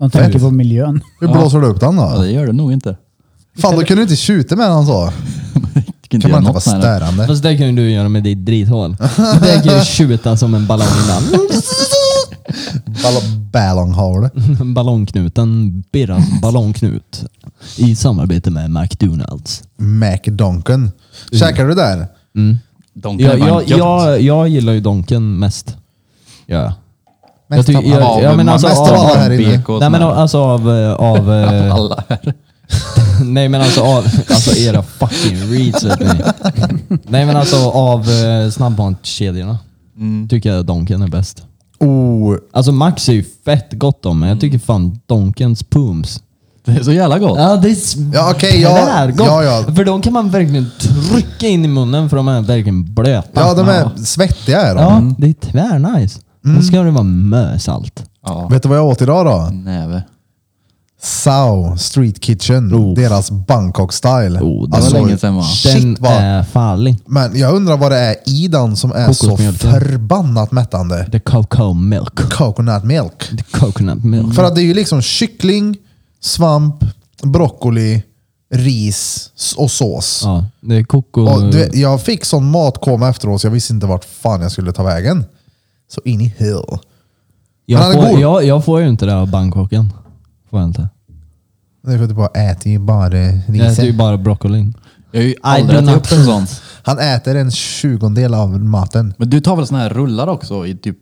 Speaker 3: De tänker på miljön.
Speaker 1: Hur blåser du upp den
Speaker 2: Ja,
Speaker 1: då?
Speaker 2: det gör det nog inte.
Speaker 1: Fan, då kunde du inte tjuta med den så.
Speaker 2: Det kan
Speaker 1: Kan
Speaker 2: inte
Speaker 1: man
Speaker 2: göra
Speaker 1: inte vara
Speaker 2: något med den.
Speaker 1: störande?
Speaker 4: Fast det kan ju du göra med ditt drithål. Det kan ju tjuta som en ballong ibland.
Speaker 1: Ball- Ballonghål.
Speaker 4: Ballongknuten, Birras ballongknut. I samarbete med McDonalds.
Speaker 1: McDonken. Käkar du där?
Speaker 2: Donken
Speaker 4: Jag,
Speaker 2: är bara
Speaker 4: jag,
Speaker 2: gött.
Speaker 4: jag, jag gillar ju Donken mest. Ja. Jag tycker-
Speaker 1: Mest av
Speaker 4: jag-
Speaker 1: alla.
Speaker 4: jag menar alltså
Speaker 1: Mest av
Speaker 4: av-
Speaker 1: alla här inne.
Speaker 2: BK och
Speaker 4: Nej men
Speaker 2: sådär.
Speaker 4: alltså av... eh, av eh,
Speaker 2: alla här.
Speaker 4: Nej men alltså av, alltså era fucking reads vet ni. Nej men alltså av eh, snabbmatskedjorna tycker jag Donken är bäst.
Speaker 1: Oh,
Speaker 4: Alltså Max är ju fett gott om men jag tycker fan Donkens Pooms.
Speaker 2: Det är så jävla gott.
Speaker 4: Ja det är s-
Speaker 1: Ja, okej, ja.
Speaker 4: tvärgott.
Speaker 1: Ja, ja.
Speaker 4: För de kan man verkligen trycka in i munnen för de är verkligen blöta.
Speaker 1: Ja, de är Mm. svettiga är de.
Speaker 4: Ja, det är tvärnice. Och
Speaker 1: Mm.
Speaker 4: ska det vara mösalt.
Speaker 2: Ja.
Speaker 1: Vet du vad jag åt idag då?
Speaker 2: Näve.
Speaker 1: Sao Street Kitchen.
Speaker 4: Oh.
Speaker 1: Deras Bangkok style.
Speaker 4: Oh, det var
Speaker 1: Alltså,
Speaker 2: länge sedan, va?
Speaker 1: Shit
Speaker 4: Den
Speaker 1: vad...
Speaker 4: är farlig.
Speaker 1: Men jag undrar vad det är i den som är så
Speaker 4: Kokosmjölken.
Speaker 1: förbannat mättande.
Speaker 4: The cocoa milk.
Speaker 1: Coconut milk.
Speaker 4: The coconut milk.
Speaker 1: För att det är ju liksom kyckling, svamp, broccoli, ris s- och sås.
Speaker 4: Ja, mm. det är koko...
Speaker 1: Och du vet, jag fick sån matkoma efteråt så jag visste inte vart fan jag skulle ta vägen. Så in i hell. Men
Speaker 4: Jag
Speaker 1: han är
Speaker 4: får,
Speaker 1: god.
Speaker 4: jag, jag får ju inte det av Bangkoken. Får jag inte.
Speaker 1: Det är för att du bara äter ju bara
Speaker 4: Jag äter ju
Speaker 1: riset.
Speaker 4: bara broccolin.
Speaker 2: Jag har ju
Speaker 4: do
Speaker 2: aldrig ätit
Speaker 4: not.
Speaker 2: upp en sån.
Speaker 1: Han äter en tjugondel av maten.
Speaker 2: Men du tar väl såna här rullar också i typ...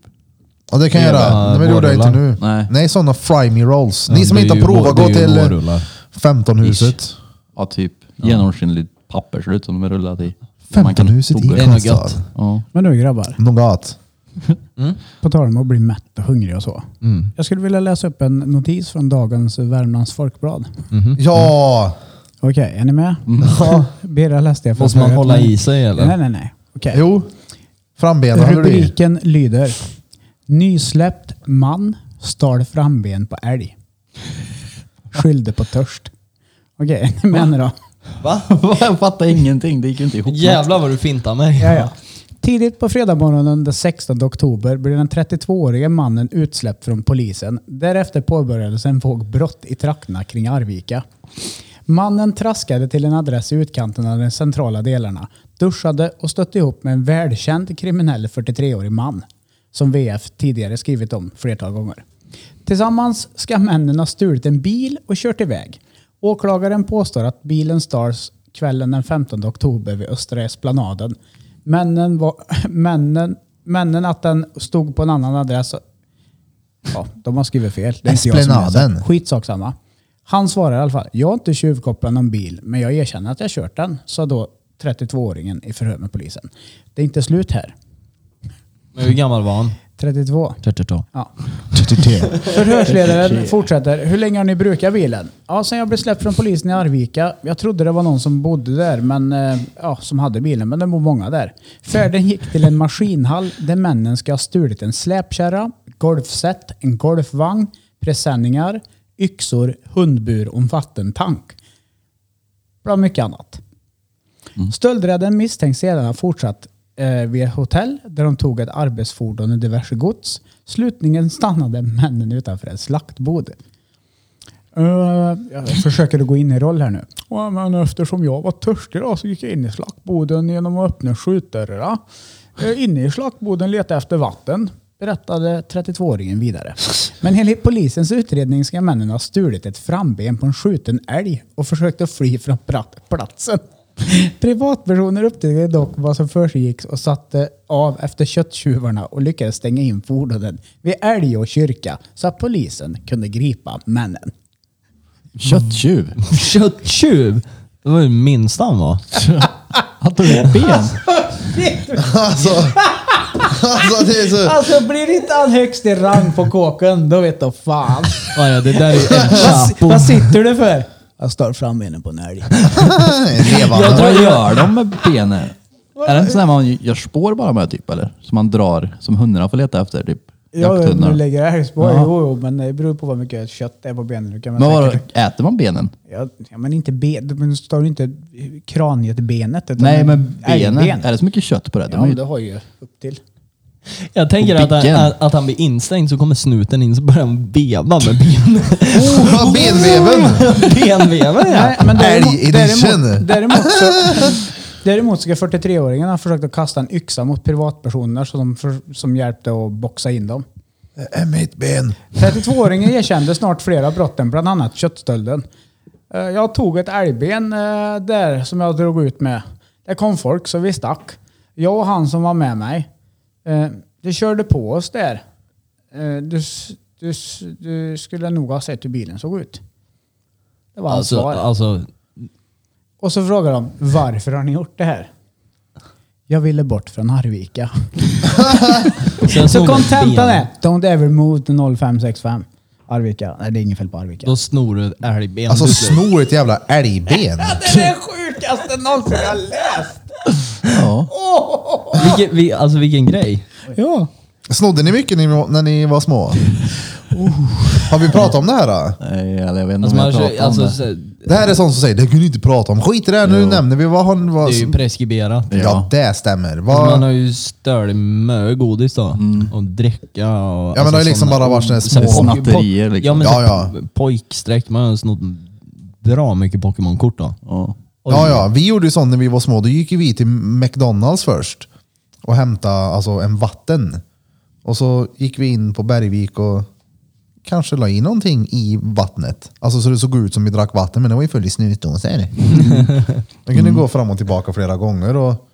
Speaker 1: Och det kan jag
Speaker 4: Det är
Speaker 1: göra.
Speaker 4: bara
Speaker 1: Men det gjorde jag inte
Speaker 4: vårrullar.
Speaker 1: nu.
Speaker 2: Nej.
Speaker 1: Nej, sådana fry me rolls. Ni
Speaker 4: Ja,
Speaker 1: som
Speaker 4: det är
Speaker 1: inte har
Speaker 4: ju
Speaker 1: provat,
Speaker 4: vår-
Speaker 1: gå
Speaker 4: det är ju
Speaker 1: till
Speaker 4: vårrullar.
Speaker 1: 15-huset.
Speaker 2: Ja, typ genomskinligt papper ser det ut som de är rullat i. Man kan
Speaker 1: 15-huset i
Speaker 2: tugga.
Speaker 4: Det är nog
Speaker 1: Karlstad.
Speaker 4: gött.
Speaker 2: Ja.
Speaker 3: Men du grabbar,
Speaker 1: Nougat.
Speaker 3: på tal om att bli mätt och hungrig och så.
Speaker 4: Mm.
Speaker 3: Jag skulle vilja läsa upp en notis från dagens Värmlands Folkblad.
Speaker 4: Mm. Mhm.
Speaker 1: Ja!
Speaker 3: Okej, är ni med? Birra läste jag. för
Speaker 4: Måste
Speaker 3: att
Speaker 4: man
Speaker 3: höra.
Speaker 4: hålla i sig eller?
Speaker 3: Nej, nej, nej.
Speaker 4: Mhm.
Speaker 3: Okej.
Speaker 1: Jo. Frambenen hade du i.
Speaker 3: Rubriken lyder Nysläppt man stal framben på älg. Skyllde på törst. Okej, är ni med nu då?
Speaker 4: Va?
Speaker 2: Jag fattar ingenting. Det gick ju inte ihop.
Speaker 4: Jävlar vad du fintar mig.
Speaker 3: Ja, ja. Tidigt på fredagsmorgonen den 16 oktober blev den 32-årige mannen utsläppt från polisen. Därefter påbörjades en våg brott i trakterna kring Arvika. Mannen traskade till en adress i utkanten av de centrala delarna, duschade och stötte ihop med en välkänd kriminell 43-årig man som VF tidigare skrivit om flertal gånger. Tillsammans ska männen ha stulit en bil och kört iväg. Åklagaren påstår att bilen stals kvällen den 15 oktober vid Östra Esplanaden. Männen, var, männen, männen att den stod på en annan adress. Ja, de har skrivit fel. Det är inte jag som läser.
Speaker 1: Esplanaden.
Speaker 3: Skitsak samma. Han svarar i alla fall. Jag har inte tjuvkopplat någon bil, men jag erkänner att jag kört den, sa då 32-åringen i förhör med polisen. Det är inte slut här.
Speaker 4: Men hur gammal var han?
Speaker 3: 32.
Speaker 4: Tjärtjärtå.
Speaker 3: Ja. Förhörsledaren fortsätter. Hur länge har ni brukat bilen? Ja, sen jag blev släppt från polisen i Arvika. Jag trodde det var någon som bodde där, men, eh, ja, som hade bilen, men det bor många där. Färden gick till en maskinhall där männen ska ha stulit en släpkärra, golfset, en golfvagn, presenningar, yxor, hundbur och en vattentank. Bland mycket annat. Stöldräden misstänks sedan ha fortsatt eh, vid ett hotell där de tog ett arbetsfordon och diverse gods. Slutligen stannade männen utanför ett slaktbod. Eh, jag försöker att gå in i roll här nu. Ja, men eftersom jag var törstig då, så gick jag in i slaktboden genom att öppna skjutdörrarna. Eh, inne i slaktboden letade jag efter vatten, berättade 32-åringen vidare. Men enligt polisens utredning ska männen ha stulit ett framben på en skjuten älg och försökt att fly från prat- platsen. Privatpersoner upptäckte dock vad som försiggick och satte av efter kötttjuvarna och lyckades stänga in fordonen vid älg och kyrka så att polisen kunde gripa männen.
Speaker 2: Kötttjuv.
Speaker 4: Kötttjuv! Det var ju minsta han var.
Speaker 2: Han tog ett ben.
Speaker 1: Alltså, alltså det är så...
Speaker 3: Alltså blir inte han högst i rang på kåken, då vet du fan.
Speaker 4: Ja, ja, det där är El
Speaker 3: Vad,
Speaker 4: Chapo.
Speaker 3: vad sitter du för? Jag står frambenen på en älg.
Speaker 1: Levande.
Speaker 2: Vad gör de med benen? Är det inte sådär man gör spår bara med typ eller? Som man drar, som hundarna får leta efter typ?
Speaker 3: Ja, om
Speaker 2: Jakthundar.
Speaker 3: du lägger älgspår.
Speaker 2: Ja.
Speaker 3: Jo, jo, men det beror på vad mycket kött det är på benen. Du kan väl
Speaker 2: Men vad,
Speaker 3: säkert-
Speaker 2: äter man benen?
Speaker 3: ja, ja, men inte ben. Men står det inte kraniebenet? utan
Speaker 2: Nej men benen,
Speaker 3: älgben.
Speaker 2: är det så mycket kött på det?
Speaker 3: Ja,
Speaker 2: De är
Speaker 3: men
Speaker 2: ju,
Speaker 3: det har ju upp till.
Speaker 4: Jag tänker att,
Speaker 2: Bicken.
Speaker 4: han- att han blir instängd så kommer snuten in så börjar han veva med benen.
Speaker 1: Oh, vad benveven!
Speaker 4: Benveven ja.
Speaker 3: Nej, men däremot,
Speaker 1: Älg edition.
Speaker 3: däremot, däremot, så, däremot så ska 43-åringen ha försökt att kasta en yxa mot privatpersoner som, för, som hjälpte att boxa in dem.
Speaker 1: Det är mitt ben.
Speaker 3: 32-åringen erkände snart flera brotten, bland annat köttstölden. Eh, Jag tog ett älgben eh, där som jag drog ut med. Det kom folk så vi stack. Jag och han som var med mig. eh, De körde på oss där. Eh, Du, s- du, s- du skulle nog ha sett hur bilen såg ut. Det var hans
Speaker 4: Alltså,
Speaker 3: svar.
Speaker 4: alltså,
Speaker 3: Och så frågar de, varför har ni gjort det här? Jag ville bort från Arvika. Så
Speaker 4: sen snor du
Speaker 3: kontentan
Speaker 4: benen.
Speaker 3: är, don't ever move to 0565. Arvika. Nej, det är inget fel på Arvika.
Speaker 4: Då snor du ett älgben.
Speaker 1: Alltså
Speaker 4: Du-
Speaker 1: snor ett jävla älgben.
Speaker 3: Det är det sjukaste någonsin jag läst!
Speaker 2: ja.
Speaker 4: Vilken, vi, alltså vilken grej.
Speaker 3: Ja.
Speaker 1: Snodde ni mycket ni- när ni var små? Har vi pratat om det här? Då?
Speaker 2: Nej, eller jag vet inte om
Speaker 4: Alltså,
Speaker 2: jag
Speaker 4: man,
Speaker 2: pratar
Speaker 4: kör-
Speaker 2: om
Speaker 4: alltså,
Speaker 2: det.
Speaker 4: så-
Speaker 1: Det här är sånt som säger det kan du inte prata om. Skit i det här, nu
Speaker 2: Jo.
Speaker 1: nämner vi vad han
Speaker 4: det
Speaker 1: var.
Speaker 4: är ju preskriberat.
Speaker 1: Alltså- Ja, det stämmer.
Speaker 4: Alltså,
Speaker 1: Vad,
Speaker 4: man har ju stört mycket godis då. Och dricka och... alltså, Ja
Speaker 1: Mm. men det har ju liksom bara varit såna här små-
Speaker 2: Snatterier, liksom.
Speaker 4: Ja men
Speaker 1: Ja,
Speaker 4: ja,
Speaker 1: ja.
Speaker 4: pojkstreck, man har snott bra mycket Pokémon-kort då.
Speaker 2: Ja.
Speaker 1: ja, ja, vi gjorde ju sånt när vi var små. Då gick ju vi till McDonalds först och hämtade alltså, en vatten. Och så gick vi in på Bergvik och kanske la i någonting i vattnet. Alltså så det såg ut som vi drack vatten, men det var ju full i snusdosor. Man
Speaker 4: Mm.
Speaker 1: kunde gå fram och tillbaka flera gånger. Och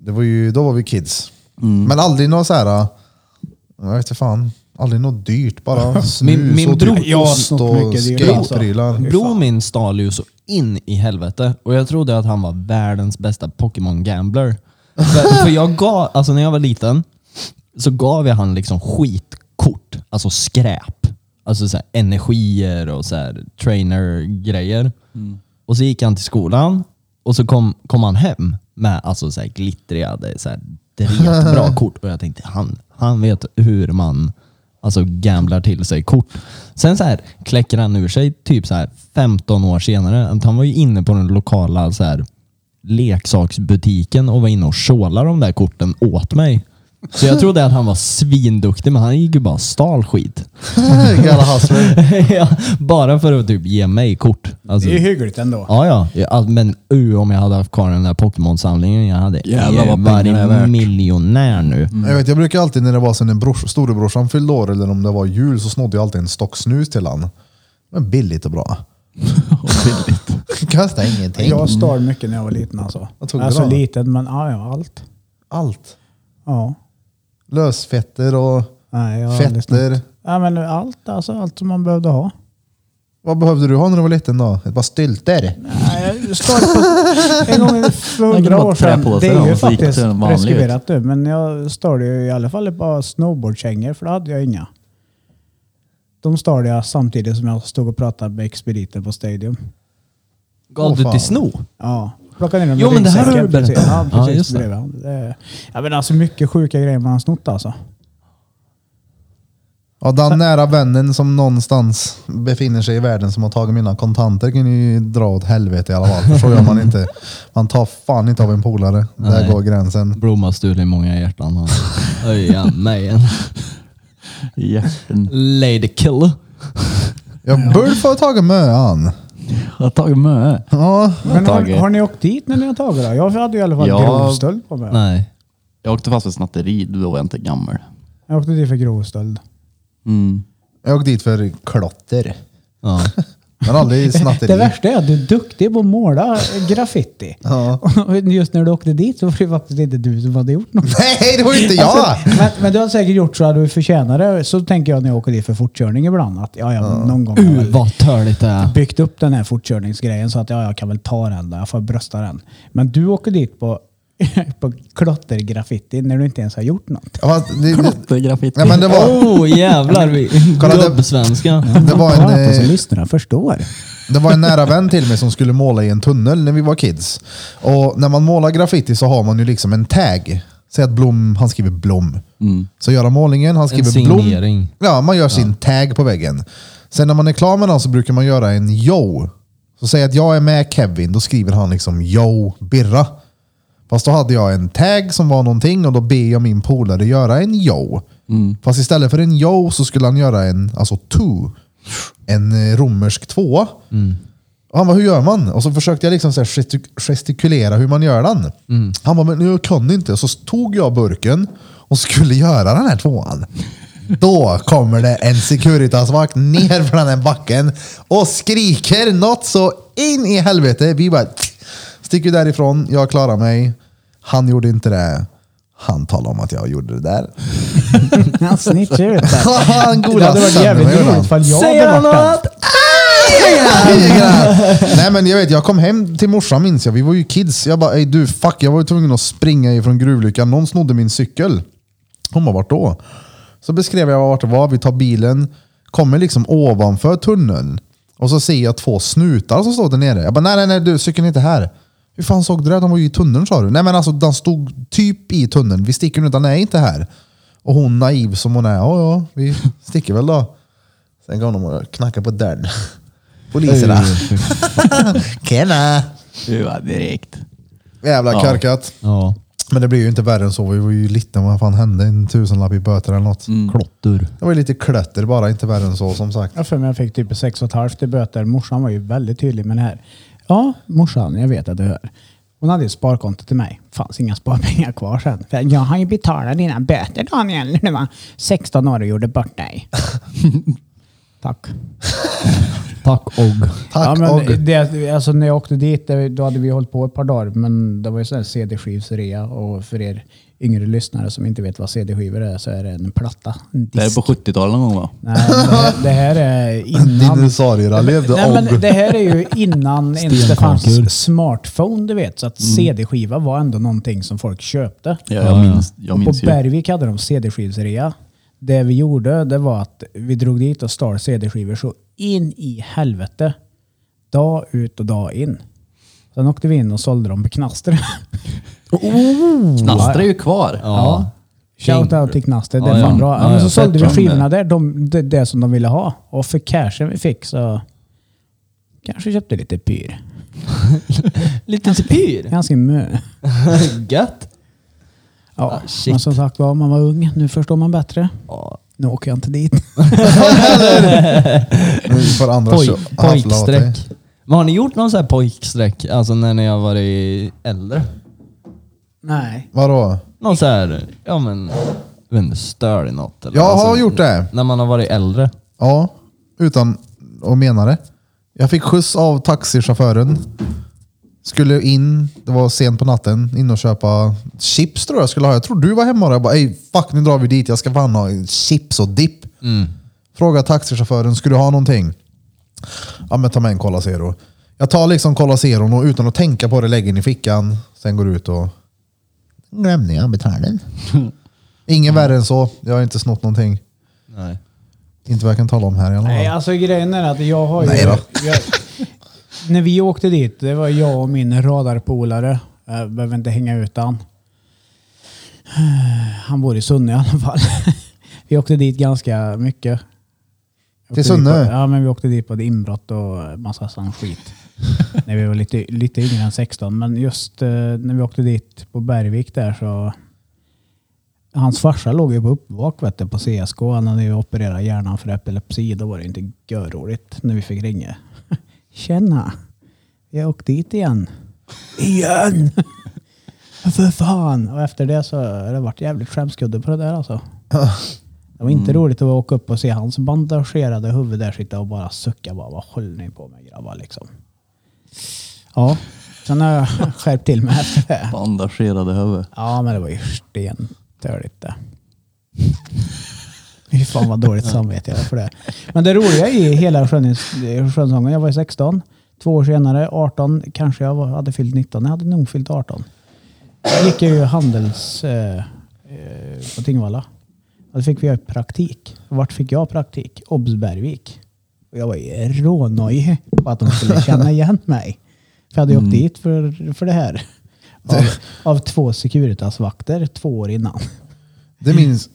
Speaker 1: det var ju, då var vi kids.
Speaker 4: Mm.
Speaker 1: Men aldrig något så här... Jag vet inte fan. Aldrig något dyrt. Bara snus
Speaker 4: Min- min
Speaker 1: och typ
Speaker 4: bror-
Speaker 1: ost
Speaker 3: Jag har snott
Speaker 1: och
Speaker 3: mycket dyrt, alltså.
Speaker 1: skateprylar.
Speaker 4: Bror min stal ju så in i helvete och jag trodde att han var världens bästa Pokémon-gambler. för, för jag gav, alltså när jag var liten så gav jag han liksom skitkort, alltså skräp. Alltså så här, energier och så här, trainer-grejer. Och så gick han till skolan och så kom, kom han hem med alltså så här, glittriga, det är så här, bra kort. Och jag tänkte, han, han vet hur man alltså gamblar till sig kort. Sen så här kläcker han ur sig typ så här 15 år senare. Att han var ju inne på den lokala så här, leksaksbutiken och var inne och sålade de där korten åt mig. Så jag trodde att han var svinduktig, men han gick ju bara och stal skit.
Speaker 1: Jävla hustler.
Speaker 4: Ja, bara för att typ ge mig kort. Alltså,
Speaker 3: Det är ju hyggligt ändå.
Speaker 4: Ja, ja. ja. all- Men u om jag hade haft kvar den där Pokémon-samlingen jag hade
Speaker 2: Jävlar vad pengarna är
Speaker 4: varit
Speaker 2: värt.
Speaker 4: miljonär nu.
Speaker 1: Jag, vet, jag brukar alltid när det var sen en brors, storebrorsan fyllde år eller om det var jul så snodde jag alltid en stock snus till han. Men billigt och bra. billigt. Kostar ingenting.
Speaker 3: Jag stal mycket när jag var liten alltså.
Speaker 1: Vad tog du
Speaker 3: alltså
Speaker 1: då?
Speaker 3: liten, men ja, ja, allt.
Speaker 1: Allt.
Speaker 3: Ja.
Speaker 1: Lösfetter och
Speaker 3: Nej, jag har aldrig snott.
Speaker 1: fetter.
Speaker 3: Ja, men allt, alltså, allt som man behövde ha.
Speaker 1: Vad behövde du ha när du var liten då? Ett par stylter?
Speaker 3: Nej, jag stal på, en gång för
Speaker 2: Man kan
Speaker 3: hundra
Speaker 2: bara
Speaker 3: år
Speaker 2: trä
Speaker 3: sedan.
Speaker 2: på sig
Speaker 3: Det är
Speaker 2: dem
Speaker 3: ju
Speaker 2: och så gick det
Speaker 3: faktiskt
Speaker 2: till en vanlig,
Speaker 3: preskriberat du. Men jag stal ju i alla fall ett par snowboardkängor för då hade jag inga. De stal jag samtidigt som jag stod och pratade med expediten på Stadium.
Speaker 4: Gav
Speaker 1: Åh,
Speaker 4: du
Speaker 1: fan.
Speaker 4: till sno?
Speaker 3: Ja. Plockade ner dem i
Speaker 4: Jo, men det här
Speaker 3: ryggsäcken
Speaker 4: har du
Speaker 3: precis.
Speaker 4: berättat.
Speaker 3: Ja,
Speaker 4: Ja,
Speaker 3: precis.
Speaker 4: just det.
Speaker 3: bredvid honom. det. är- Ja, men alltså mycket sjuka grejer man har snott alltså.
Speaker 1: Ja, den nära vännen som någonstans befinner sig i världen som har tagit mina kontanter kan ju dra åt helvete i alla fall. För så gör man inte. Man tar fan inte av en polare. Där
Speaker 4: Nej.
Speaker 1: går gränsen.
Speaker 4: Blomma stulit många hjärtan. han. Öja mig. en
Speaker 2: Hjärten.
Speaker 4: Lady kill.
Speaker 1: Jag borde få tag i möan.
Speaker 2: Jag har tagit mö.
Speaker 1: Ja,
Speaker 3: Men har,
Speaker 2: Tage.
Speaker 3: har ni åkt dit när ni har tagit det? Jag hade ju i alla fall
Speaker 2: Ja.
Speaker 3: grov stöld på mig.
Speaker 4: Nej.
Speaker 2: Jag åkte fast för snatteri, då var jag inte gammal.
Speaker 3: Jag åkte dit för grov stöld.
Speaker 2: Mm.
Speaker 1: jag åkte dit för klotter.
Speaker 4: Ja.
Speaker 1: Men aldrig
Speaker 3: Det
Speaker 1: snatteri.
Speaker 3: värsta är att du är duktig på att måla graffiti.
Speaker 1: Ja.
Speaker 3: Och Just när du åkte dit så var det faktiskt inte du som hade gjort något.
Speaker 1: Nej, det var ju inte jag!
Speaker 3: Alltså, men, men du har säkert gjort så att du förtjänar det. Så tänker jag när jag åker dit för fortkörning ibland. Att ja, ja, någon gång har jag
Speaker 4: Uh,
Speaker 3: väl
Speaker 4: vad törligt det är.
Speaker 3: byggt upp den här fortkörningsgrejen så att ja, jag kan väl ta den då. Jag får brösta den. Men du åker dit på på klottergraffiti när du inte ens har gjort något.
Speaker 1: Ja, fast det, det,
Speaker 2: Klottergraffiti.
Speaker 1: nej, men det var,
Speaker 4: Oh jävlar, vi-
Speaker 1: Kolla, det-
Speaker 4: gubbsvenska.
Speaker 1: det, var en,
Speaker 3: Prata så
Speaker 1: eh,
Speaker 3: lyssnarna förstår.
Speaker 1: det var en nära vän till mig som skulle måla i en tunnel när vi var kids. Och när man målar graffiti så har man ju liksom en tag. Säg att Blom, han skriver Blom.
Speaker 3: Mm.
Speaker 1: Så gör han målningen, han skriver Blom.
Speaker 4: signering.
Speaker 1: Ja, man gör sin tag på väggen. Sen när man är klar med den så brukar man göra en yo. Så säg att jag är med Kevin, då skriver han liksom yo Birra. Fast då hade jag en tag som var någonting och då ber jag min polare göra en yo. Fast istället för en yo så skulle han göra en, alltså two. En eh, romersk tvåa. Och han bara, hur gör man? Och så försökte jag liksom så här gestik- gestikulera hur man gör den. Han bara, men jag kan inte. Så tog jag burken och skulle göra den här tvåan. Då kommer det en Securitas-vakt ner från den backen och skriker något så in i helvete. Vi bara sticker därifrån, jag klarar mig. Han gjorde inte det. Han talade om att jag gjorde det där.
Speaker 3: Han snitchar ut där.
Speaker 1: Han
Speaker 3: Det hade
Speaker 1: godade
Speaker 3: varit
Speaker 1: sönder
Speaker 3: jävligt
Speaker 1: mig. gjorde han.
Speaker 3: roligt ifall jag hade varit den.
Speaker 1: Nej men jag vet, jag kom hem till morsan minns jag. Vi var ju kids. Jag bara, "Ey, du fuck, jag var ju tvungen att springa ifrån gruvlyckan. Någon snodde min cykel. Hon bara, vart då? Så beskrev jag vart det var. Vi tar bilen, kommer liksom ovanför tunneln. Och så ser jag två snutar som står där nere. Jag bara, nej nej nej du, cykeln är inte här. Hur fan såg du det? De var ju i tunneln sa du. Nej men alltså den stod typ i tunneln. Vi sticker nu, den är inte här. Och hon naiv som hon är, ja ja, vi sticker väl då. Sen går de och knackar på dörren. Poliserna. Tjena!
Speaker 2: Det var direkt.
Speaker 1: Jävla
Speaker 2: Ja.
Speaker 1: körkat.
Speaker 4: Ja.
Speaker 1: Men det blir ju inte värre än så. Vi var ju liten. Vad fan hände? En tusenlapp i böter eller något.
Speaker 4: Klottur.
Speaker 1: Det var ju lite klötter bara. Inte värre än så som sagt.
Speaker 3: Jag har för mig jag fick typ sex och ett halvt i böter. Morsan var ju väldigt tydlig med det här. Ja, morsan, jag vet att du hör. Hon hade ju ett sparkonto till mig. fanns inga sparpengar kvar sen. För jag har ju betalat dina böter Daniel, när du var 16 år och gjorde bort dig. Tack.
Speaker 4: Tack og.
Speaker 1: Tack
Speaker 3: ja,
Speaker 1: och...
Speaker 3: men det, alltså när jag åkte dit, det, då hade vi hållit på ett par dagar, men det var ju sån här CD-skivsrea och för er yngre lyssnare som inte vet vad CD-skivor är så är det en platta. En
Speaker 2: Det här
Speaker 3: disk.
Speaker 2: är på 70-talet någon gång va?
Speaker 3: Nej, det, här, det här är innan...
Speaker 1: Dinosaurierna levde
Speaker 3: Nej, men
Speaker 1: och...
Speaker 3: det här är ju innan ens det
Speaker 4: Stenkonkur.
Speaker 3: fanns smartphone, du vet. Så att CD-skiva var ändå någonting som folk köpte.
Speaker 2: Ja, jag minns, jag
Speaker 3: På
Speaker 2: minns ju.
Speaker 3: Bergvik hade de CD-skivsrea. Det vi gjorde, det var att vi drog dit och stal CD-skivor så in i helvete. Dag ut och dag in. Sen åkte vi in och sålde dem på Knaster.
Speaker 2: Knastra är ju kvar.
Speaker 4: Ja.
Speaker 3: Shoutout till Knaster, det
Speaker 4: Ja,
Speaker 3: är fan
Speaker 4: ja.
Speaker 3: bra.
Speaker 4: Ja,
Speaker 3: men så
Speaker 4: jag
Speaker 3: sålde vi
Speaker 2: fett bra.
Speaker 3: skivorna där, de, det, det som de ville ha. Och för cashen vi fick så kanske köpte lite pyr.
Speaker 4: Liten sepyr.
Speaker 3: Ganska mö.
Speaker 4: Gött.
Speaker 3: Ja,
Speaker 4: Ah, shit.
Speaker 3: men som sagt var, man var ung. Nu förstår man bättre.
Speaker 4: Ja.
Speaker 3: Nu åker jag inte dit.
Speaker 1: Nu får andra
Speaker 4: Poj,
Speaker 1: kö- haffla åt dig.
Speaker 4: pojkstreck. Men har ni gjort någon sån här pojkstreck? Alltså när ni har varit äldre?
Speaker 3: Nej.
Speaker 1: Vadå?
Speaker 4: Någon så här, ja men, jag vet inte, stör i något? Eller?
Speaker 1: Jag
Speaker 4: alltså,
Speaker 1: har gjort det.
Speaker 4: När man har varit äldre?
Speaker 1: Ja, utan att mena det. Jag fick skjuts av taxichauffören. Skulle in, det var sent på natten, in och köpa chips tror jag skulle ha. Jag tror du var hemma då. Jag bara, ey fuck nu drar vi dit, jag ska fan ha chips och dipp. Fråga taxichauffören, ska du ha någonting? Ja men ta med en Cola Zero. Jag tar liksom Cola Zero och utan att tänka på det lägger den i fickan. Sen går ut och... Glömde jag betala den. Ingen värre än så. Jag har inte snott någonting.
Speaker 4: Nej.
Speaker 1: Inte vad jag kan tala om här i alla fall.
Speaker 3: Nej, alltså grejen är att jag har ju...
Speaker 1: Nej då.
Speaker 3: Jag, när vi åkte dit, det var jag och min radarpolare. Jag behöver inte hänga ut han. Han bor i Sunne i alla fall. Vi åkte dit ganska mycket. Jag
Speaker 1: Till
Speaker 3: åkte dit
Speaker 1: Sunne?
Speaker 3: På, ja, men vi åkte dit på ett inbrott och massa sån skit. när vi var lite, lite yngre än 16. Men just eh, när vi åkte dit på Bergvik där så... Hans farsa låg ju på uppvak vet du, på CSK. Han hade ju opererat hjärnan för epilepsi. Då var det inte görroligt när vi fick ringa. Tjena! Jag åkte dit igen. Igen! för fan! Och efter det så har det varit jävligt skämskudde på det där alltså. Det var inte roligt att åka upp och se hans bandagerade huvud där sitta och bara sucka. Bara, Vad håller ni på med grabbar liksom? Ja, sen har jag skärpt till mig efter det.
Speaker 2: Bandagerade huvud.
Speaker 3: Ja, men det var ju stentörligt det. Fy fan vad dåligt samvete jag har för det. Men det roliga i hela skönhets- skönsången, jag var ju 16. Två år senare, 18, kanske jag var, hade fyllt 19. Jag hade nog fyllt 18. gick jag ju Handels eh, eh, på Tingvalla. Och då fick vi göra praktik. Vart fick jag praktik? Obs Bergvik. Och jag var ju rånojig på att de skulle känna igen mig. För jag hade ju åkt dit för, för det här. Av, av två Securitas-vakter två år innan.
Speaker 1: Det minns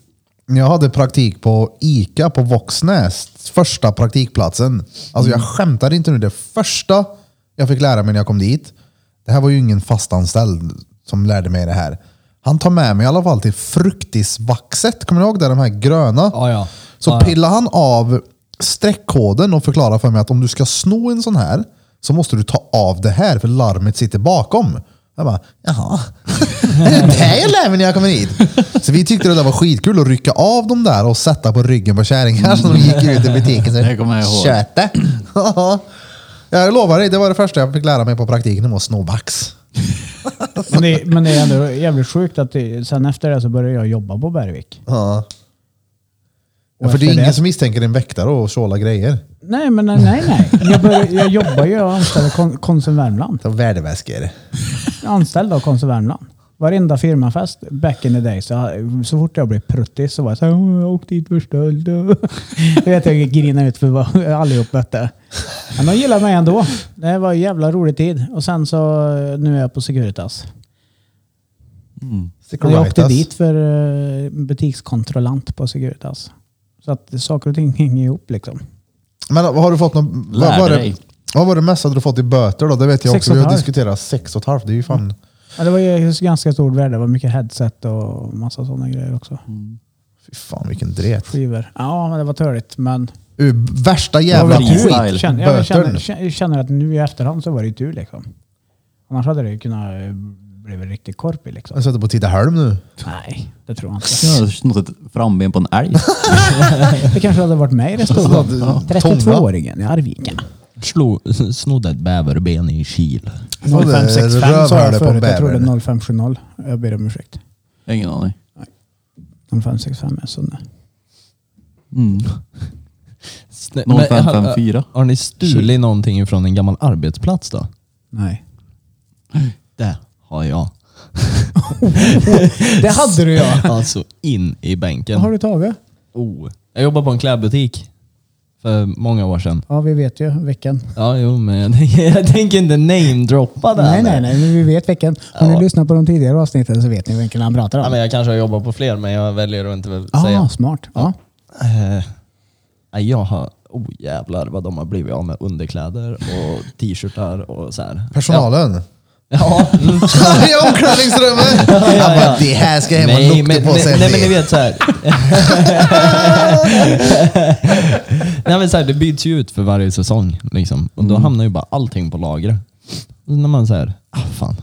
Speaker 1: när jag hade praktik på ICA på Våxnäs. Första praktikplatsen. Alltså jag skämtar inte nu. Det första jag fick lära mig när jag kom dit. Det här var ju ingen fastanställd som lärde mig det här. Han tar med mig i alla fall till fruktisvaxet. Kommer ni ihåg det? De här gröna.
Speaker 4: Ja, ja.
Speaker 1: Så
Speaker 4: Ja, ja.
Speaker 1: pillar han av streckkoden och förklarar för mig att om du ska sno en sån här så måste du ta av det här för larmet sitter bakom. Jag bara, jaha. Är det det jag lär mig när jag kommer hit? Så vi tyckte det där var skitkul att rycka av dem där och sätta på ryggen på kärringar som de gick ut i butiken. Så,
Speaker 2: Det kommer jag ihåg.
Speaker 1: Köte. jag lovar dig, det var det första jag fick lära mig på praktiken, att sno vax.
Speaker 3: Men det, men det är ändå jävligt sjukt att det, sen efter det så började jag jobba på Bergvik.
Speaker 1: Ja. Ja,
Speaker 3: Och
Speaker 1: för det är
Speaker 3: efter
Speaker 1: ingen
Speaker 3: det-
Speaker 1: som misstänker en väktare och tjåla grejer.
Speaker 3: Nej, men nej, nej. nej. Jag, började, jag jobbar ju och anställer kon, Konsum Värmland.
Speaker 1: Ta värdeväskor.
Speaker 3: anställd av Konsum Värmland. Varenda firmafest back in the day, så, så fort jag blev pruttig så var jag såhär, "Åh, jag åkte dit för stöld. Jag vet, jag grinade ut för vad allihop mötte. Men de gillade mig ändå. Det var en jävla rolig tid. Och sen så, nu är jag på Securitas. Och jag åkte
Speaker 1: Securitas.
Speaker 3: dit för eh, butikskontrollant på Securitas. Så att saker och ting hänger ihop liksom.
Speaker 1: Men har du fått någon...
Speaker 2: Lär
Speaker 1: Vad var, det,
Speaker 2: dig.
Speaker 1: vad var det mesta du fått i böter då? Det vet jag
Speaker 3: Sex
Speaker 1: också.
Speaker 3: och
Speaker 1: Vi
Speaker 3: ett
Speaker 1: har
Speaker 3: halvt.
Speaker 1: diskuterat sex och ett halvt. Det är ju fan...
Speaker 3: Ja, det var ju ganska stort värde. Det var mycket headset och massa sådana grejer också.
Speaker 1: Fy fan vilken dret.
Speaker 3: Skivor. Ja, men det var törligt. Men
Speaker 1: Ur Värsta
Speaker 2: Det
Speaker 1: jävla
Speaker 2: var väl
Speaker 1: skit.
Speaker 2: freestyle. Eller
Speaker 3: Känner, jag
Speaker 1: böterna.
Speaker 3: känner, känner- känner att nu i efterhand så var det ju tur liksom. Annars hade det ju kunnat eh, bli en riktig korpi liksom.
Speaker 1: Jag sitter på Tidaholm nu.
Speaker 3: Nej, det tror jag
Speaker 2: Jag
Speaker 3: inte.
Speaker 2: har snott ett framben på en älg.
Speaker 3: Det kanske hade varit mig det stod.
Speaker 1: hade du- Tånga.
Speaker 3: 32-åringen i Arvika.
Speaker 4: Slå, snodde ett bäverben i Kil.
Speaker 1: Så det är
Speaker 3: 0565 sa
Speaker 1: rövhålet på
Speaker 3: jag förut. Jag
Speaker 1: bävern.
Speaker 3: trodde 0570. Jag ber om ursäkt.
Speaker 2: Ingen aning.
Speaker 3: 0565 är Sunne.
Speaker 2: Mm.
Speaker 4: Snä-
Speaker 2: 0554.
Speaker 4: Har, har ni stulit någonting från en gammal arbetsplats då?
Speaker 3: Nej.
Speaker 4: Det har jag.
Speaker 3: Det hade du ja.
Speaker 4: Alltså in i bänken.
Speaker 3: Vad har du tagit?
Speaker 4: Oh. Jag jobbade på en klädbutik för många år sedan.
Speaker 3: Ja, vi vet ju vilken.
Speaker 4: Ja, jo, men jag tänker, jag tänker inte namedroppa det.
Speaker 3: Nej, nej, nej, men vi vet vilken. Om
Speaker 4: Ja.
Speaker 3: ni lyssnar på de tidigare avsnitten så vet ni vilken han pratar
Speaker 4: Ja,
Speaker 3: om.
Speaker 4: men jag kanske har jobbat på fler, men jag väljer att inte väl säga.
Speaker 3: Ah, smart. Ja.
Speaker 4: Eh, nej, jag har... Oh jävlar vad de har blivit av med underkläder och t-shirtar och så här.
Speaker 1: Personalen.
Speaker 4: Ja. mm.
Speaker 1: I omklädningsrummet! Han bara, det här ska hem och
Speaker 4: Nej,
Speaker 1: lukta
Speaker 4: men,
Speaker 1: på
Speaker 4: nej,
Speaker 1: sig.
Speaker 4: nej men ni vet så här. nej men så här, det byts ju ut för varje säsong. Liksom. Och då
Speaker 1: Mm.
Speaker 4: hamnar ju bara allting på lagret. Och när man säger, ah fan,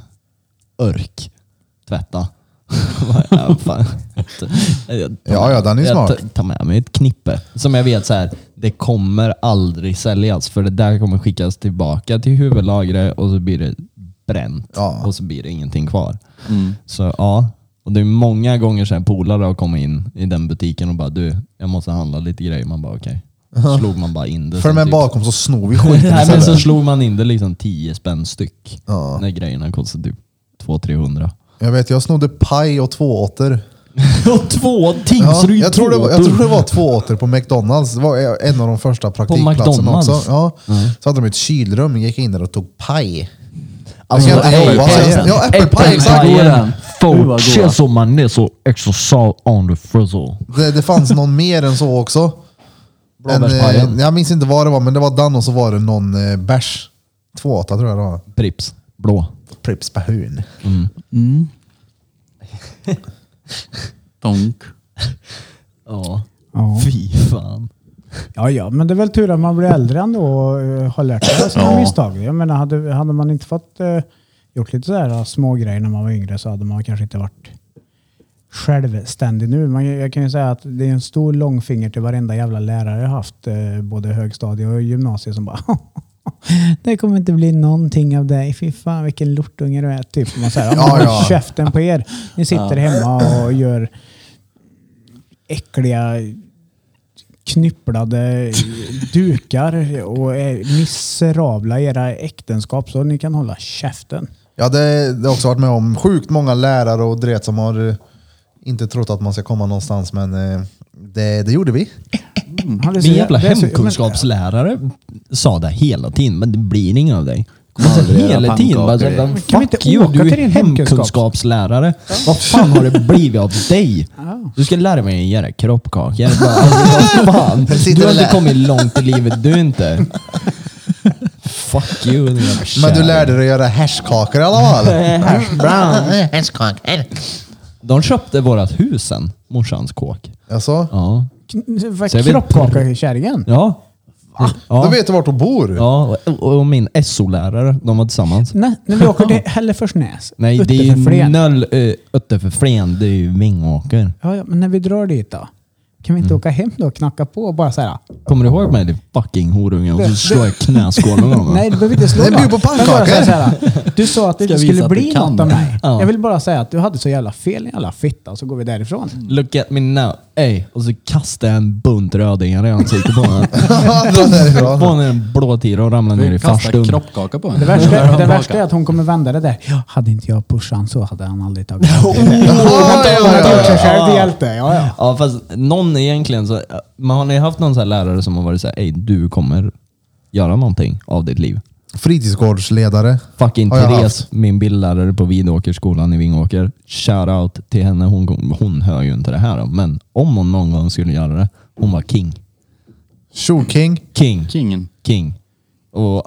Speaker 4: örk, tvätta. ja, fan. Jag tar-
Speaker 1: Ja, ja, den är ju
Speaker 4: jag
Speaker 1: smart.
Speaker 4: tar- tar med mig ett knippe som jag vet så här, det kommer aldrig säljas för det där kommer skickas tillbaka till huvudlagret och så blir det bränt
Speaker 1: Ja. Mm.
Speaker 4: och så blir det ingenting kvar. Så ja, och det är många gånger sedan polare har kommit in i den butiken och bara du, jag måste handla lite grejer. Man bara okej. Slog man bara in det.
Speaker 1: För
Speaker 4: som
Speaker 1: med
Speaker 4: typ-
Speaker 1: bakom så snor vi skiten
Speaker 4: Nej, men så
Speaker 1: istället.
Speaker 4: slog man in det liksom 10 spänn styck.
Speaker 1: Ja.
Speaker 4: När grejerna kostade typ 200-300.
Speaker 1: Jag vet, jag snodde paj och tvååter.
Speaker 4: och två
Speaker 1: Ja,
Speaker 4: Tingsryd
Speaker 1: jag, tror Alltså, det var, jag
Speaker 4: tårtor.
Speaker 1: tror det var tvååter på McDonalds. Det var en av de första praktikplatserna
Speaker 4: McDonald's?
Speaker 1: också. Ja. Så hade de ett kylrum, gick in där och tog paj.
Speaker 4: Alltså,
Speaker 1: Jag kan inte lova
Speaker 4: äppelpajen.
Speaker 1: det. Ja, äppelpaj, exakt.
Speaker 2: Äppelpajen. Gud, vad goda.
Speaker 4: och manéz och extra salt on the frizzle.
Speaker 1: Det, det fanns någon mer än så också. En, eh,
Speaker 4: Blåbärspajen.
Speaker 1: jag minns inte vad det var, men det var den och så var det någon eh, bärs. Tvååtta tror jag det var.
Speaker 4: Pripps. Blå.
Speaker 1: Pripps Bahun.
Speaker 2: Donk.
Speaker 4: Ja.
Speaker 3: Ja.
Speaker 4: Fy fan.
Speaker 3: Ja, ja, men det är väl tur att man blir äldre ändå och eh, har lärt sig av sina
Speaker 2: Ja.
Speaker 3: misstag. Jag menar, hade, hade man inte fått eh, gjort lite sådär små grejer när man var yngre så hade man kanske inte varit självständig nu. Man, jag kan ju säga att det är en stor långfinger till varenda jävla lärare jag haft, eh, både högstadie och gymnasiet som bara Det kommer inte bli någonting av dig. Fy fan vilken lortunge du är. Typ. Man säger,
Speaker 1: Ja,
Speaker 3: ja,
Speaker 1: ja.
Speaker 3: ja. käften på er. Ni sitter hemma och gör äckliga knypplade dukar och är miserabla i era äktenskap så ni kan hålla käften.
Speaker 1: Ja, det, det har också varit med om sjukt många lärare och dret som har eh, inte trott att man ska komma någonstans, men eh, det, det gjorde vi.
Speaker 3: Han är så
Speaker 4: Min jävla
Speaker 3: det är så- men-
Speaker 4: hemkunskapslärare sa det hela tiden, men det blir inget av dig. Alltså,
Speaker 2: Kommer aldrig göra
Speaker 4: hela tiden.
Speaker 2: pannkakor
Speaker 4: Bara,
Speaker 2: igen.
Speaker 4: "Men
Speaker 3: kan vi
Speaker 4: fuck
Speaker 3: inte
Speaker 4: you,
Speaker 3: åka
Speaker 4: du
Speaker 3: till
Speaker 4: är
Speaker 3: din hemkunskap?"
Speaker 4: hemkunskapslärare. Vad fan har det blivit av dig? Du ska lära mig att göra kroppkakor. Jag bara, alltså, vad fan?
Speaker 1: Sitter
Speaker 4: Du har inte
Speaker 1: där.
Speaker 4: kommit långt i livet, du inte. Fuck you, din jävla
Speaker 1: Men du
Speaker 4: kärring.
Speaker 1: lärde dig att göra hashkakor i alla fall.
Speaker 6: Hästkakor.
Speaker 4: De köpte vårat hus sen, morsans kåk.
Speaker 1: Alltså,
Speaker 4: Ja.
Speaker 3: Kn- vad-
Speaker 4: Så jag vet-
Speaker 3: Kroppkakekärringen?
Speaker 4: Ja.
Speaker 1: Då
Speaker 4: Ja.
Speaker 1: vet du vart du bor.
Speaker 4: ja. Och, och min SO-lärare, de var tillsammans.
Speaker 3: Nej, När vi åker till Hälleforsnäs.
Speaker 4: Nej, det är
Speaker 3: utanför
Speaker 4: ju
Speaker 3: Flen.
Speaker 4: noll uh, uppe för Flen. Det är ju Vingåker.
Speaker 3: Ja, ja, men när vi drar dit då? Kan vi inte åka hem då och knacka på och bara så här?
Speaker 4: Kommer du ihåg mig din fucking horunge? Och så slår jag knäskålen med honom.
Speaker 3: Nej, du behöver inte slå
Speaker 1: Nej,
Speaker 3: någon.
Speaker 1: bjud på
Speaker 3: Jag bara
Speaker 1: pannkakor.
Speaker 3: säger så här, Du sa att det
Speaker 2: Ska
Speaker 3: inte
Speaker 2: visa
Speaker 3: skulle
Speaker 2: att du
Speaker 3: bli
Speaker 2: kan.
Speaker 3: något av mig.
Speaker 4: Ja.
Speaker 3: Jag vill bara säga att du hade så jävla fel, jävla fitta, och så går vi därifrån.
Speaker 4: Look at me now. Ey, och så kastar jag en bunt rödingar i ansiktet på honom.
Speaker 1: Dra därifrån.
Speaker 4: På honom en blå tira och ramlar ner i
Speaker 2: Vi kastar
Speaker 4: farstun.
Speaker 2: kroppkaka på henne.
Speaker 3: Det värsta, det värsta är att hon kommer vända det där. Ja, hade inte jag pushat han så hade han aldrig tagit upp det. där.
Speaker 1: Ja, ja,
Speaker 3: Hon har
Speaker 1: ja.
Speaker 3: gjort sig själv till hjälte. Ja, ja.
Speaker 4: Ja fast någon egentligen så... Men har ni haft någon sån här lärare som har varit såhär, ey du kommer göra någonting av ditt liv?
Speaker 1: Fritidsgårdsledare.
Speaker 4: Fucking
Speaker 1: Har jag
Speaker 4: Therese,
Speaker 1: haft.
Speaker 4: min bildlärare på Vidåkerskolan i Vingåker. Shoutout till henne. Hon, hon hör ju inte det här då, men om hon någon gång skulle göra det. Hon var king.
Speaker 1: Tjoking.
Speaker 4: King.
Speaker 2: Kingen.
Speaker 4: King. Och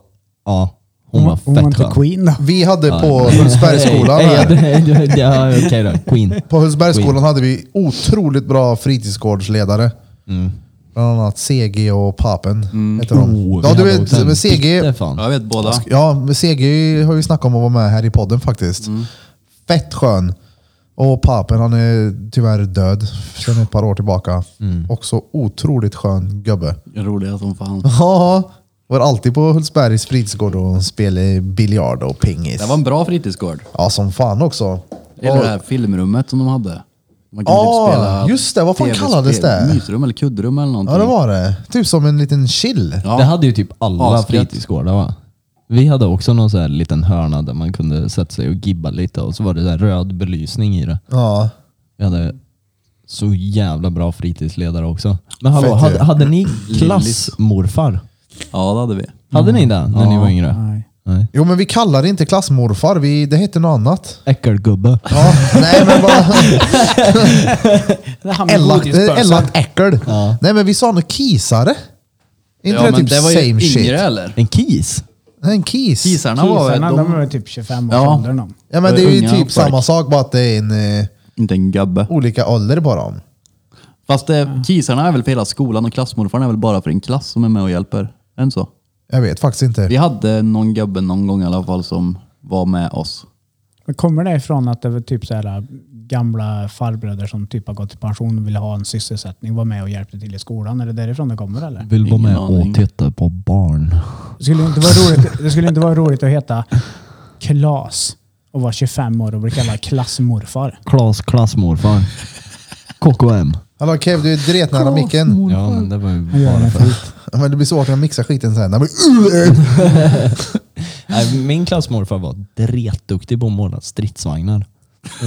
Speaker 4: ja, hon,
Speaker 3: Hon,
Speaker 4: var
Speaker 3: var-
Speaker 4: fett
Speaker 3: hon var inte
Speaker 4: skön.
Speaker 3: queen då.
Speaker 1: Vi hade på
Speaker 4: Hey,
Speaker 1: Hultsbergsskolan
Speaker 4: hey,
Speaker 1: här.
Speaker 4: det- det- det- ja, Okej då, Queen.
Speaker 1: På Hultsbergsskolan hade vi otroligt bra fritidsgårdsledare.
Speaker 4: Mm.
Speaker 1: Bland annat CG och Papen heter de.
Speaker 4: Oh, vi
Speaker 1: ja, du
Speaker 4: hade
Speaker 1: vet,
Speaker 4: också en
Speaker 1: men CG,
Speaker 4: bitter fan.
Speaker 2: Ja, Jag vet båda.
Speaker 1: ja, men CG har vi snackat om att vara med här i podden faktiskt.
Speaker 2: Mm.
Speaker 1: Fett skön. Och Papen, han är tyvärr död sedan ett par år tillbaka.
Speaker 2: Mm.
Speaker 1: Också otroligt skön gubbe.
Speaker 2: Roliga som fan.
Speaker 1: Ja, var alltid på Hultsbergs fritidsgård och spelade biljard och pingis.
Speaker 2: Det var en bra fritidsgård.
Speaker 1: Ja, som fan också.
Speaker 2: Eller det här filmrummet som de hade. Man typ
Speaker 1: Ja, Ah, just det. Vad fan
Speaker 2: TV-spel,
Speaker 1: kallades det?
Speaker 2: Mysrum eller kuddrum eller någonting.
Speaker 1: Ja, det var det. Typ som en liten chill.
Speaker 2: Mm. Ja.
Speaker 4: Det hade ju typ alla
Speaker 2: Asgött.
Speaker 4: fritidsgårdar va? Vi hade också någon sån här liten hörna där man kunde sätta sig och gibba lite och så var det så här röd belysning i det.
Speaker 1: Ja.
Speaker 4: Vi hade så jävla bra fritidsledare också. Men hallå,
Speaker 1: Fett ju.
Speaker 4: hade, hade ni klassmorfar?
Speaker 2: Ja, det hade vi.
Speaker 4: Hade ni det när ni var yngre?
Speaker 3: Nej.
Speaker 4: Nej.
Speaker 1: Jo, men vi kallar det inte klassmorfar. Vi, det heter något annat.
Speaker 4: Äckelgubbe.
Speaker 1: Ja, nej, men bara
Speaker 3: Det är han med
Speaker 1: elakt
Speaker 3: godisbössan.
Speaker 1: elakt äckel. Nej, men vi sa nog kisare. Inte det typ
Speaker 2: det var ju
Speaker 1: same
Speaker 2: yngre
Speaker 1: shit?
Speaker 2: eller?
Speaker 4: En kis?
Speaker 1: Nej, En kis.
Speaker 2: Kisarna var väl...
Speaker 3: Kisarna, de
Speaker 2: De,
Speaker 3: var typ 25 års
Speaker 2: Ja.
Speaker 3: ålder de.
Speaker 1: Ja, men det är ju
Speaker 2: Unga
Speaker 1: typ
Speaker 2: folk.
Speaker 1: samma sak, bara att det är en, eh,
Speaker 2: inte en gubbe.
Speaker 1: olika ålder på dem.
Speaker 2: Fast det, kisarna är väl för hela skolan och klassmorfarna är väl bara för en klass som är med och hjälper. Än så.
Speaker 1: Jag vet faktiskt inte.
Speaker 2: Vi hade någon gubbe någon gång i alla fall som var med oss.
Speaker 3: Men kommer det ifrån att det var typ så här gamla farbröder som typ har gått i pension och ville ha en sysselsättning, var med och hjälpte till i skolan? Är det därifrån det kommer eller?
Speaker 4: Vill vara
Speaker 2: Ingen
Speaker 4: med
Speaker 2: aning.
Speaker 4: och titta på barn.
Speaker 3: Det skulle inte vara roligt, det skulle inte vara roligt att heta Klas och vara 25 år och bli kallad klassmorfar.
Speaker 4: Klas klassmorfar. KKM.
Speaker 1: Hallå Kev, du är dretnära micken.
Speaker 4: Ja men det var ju
Speaker 3: Jag gör
Speaker 4: bara
Speaker 3: det
Speaker 4: för...
Speaker 3: fint.
Speaker 1: Ja, Men det blir svårt när jag mixar skiten sen. Nej, men,
Speaker 4: Nej, min klassmorfar var dretduktig på att måla stridsvagnar.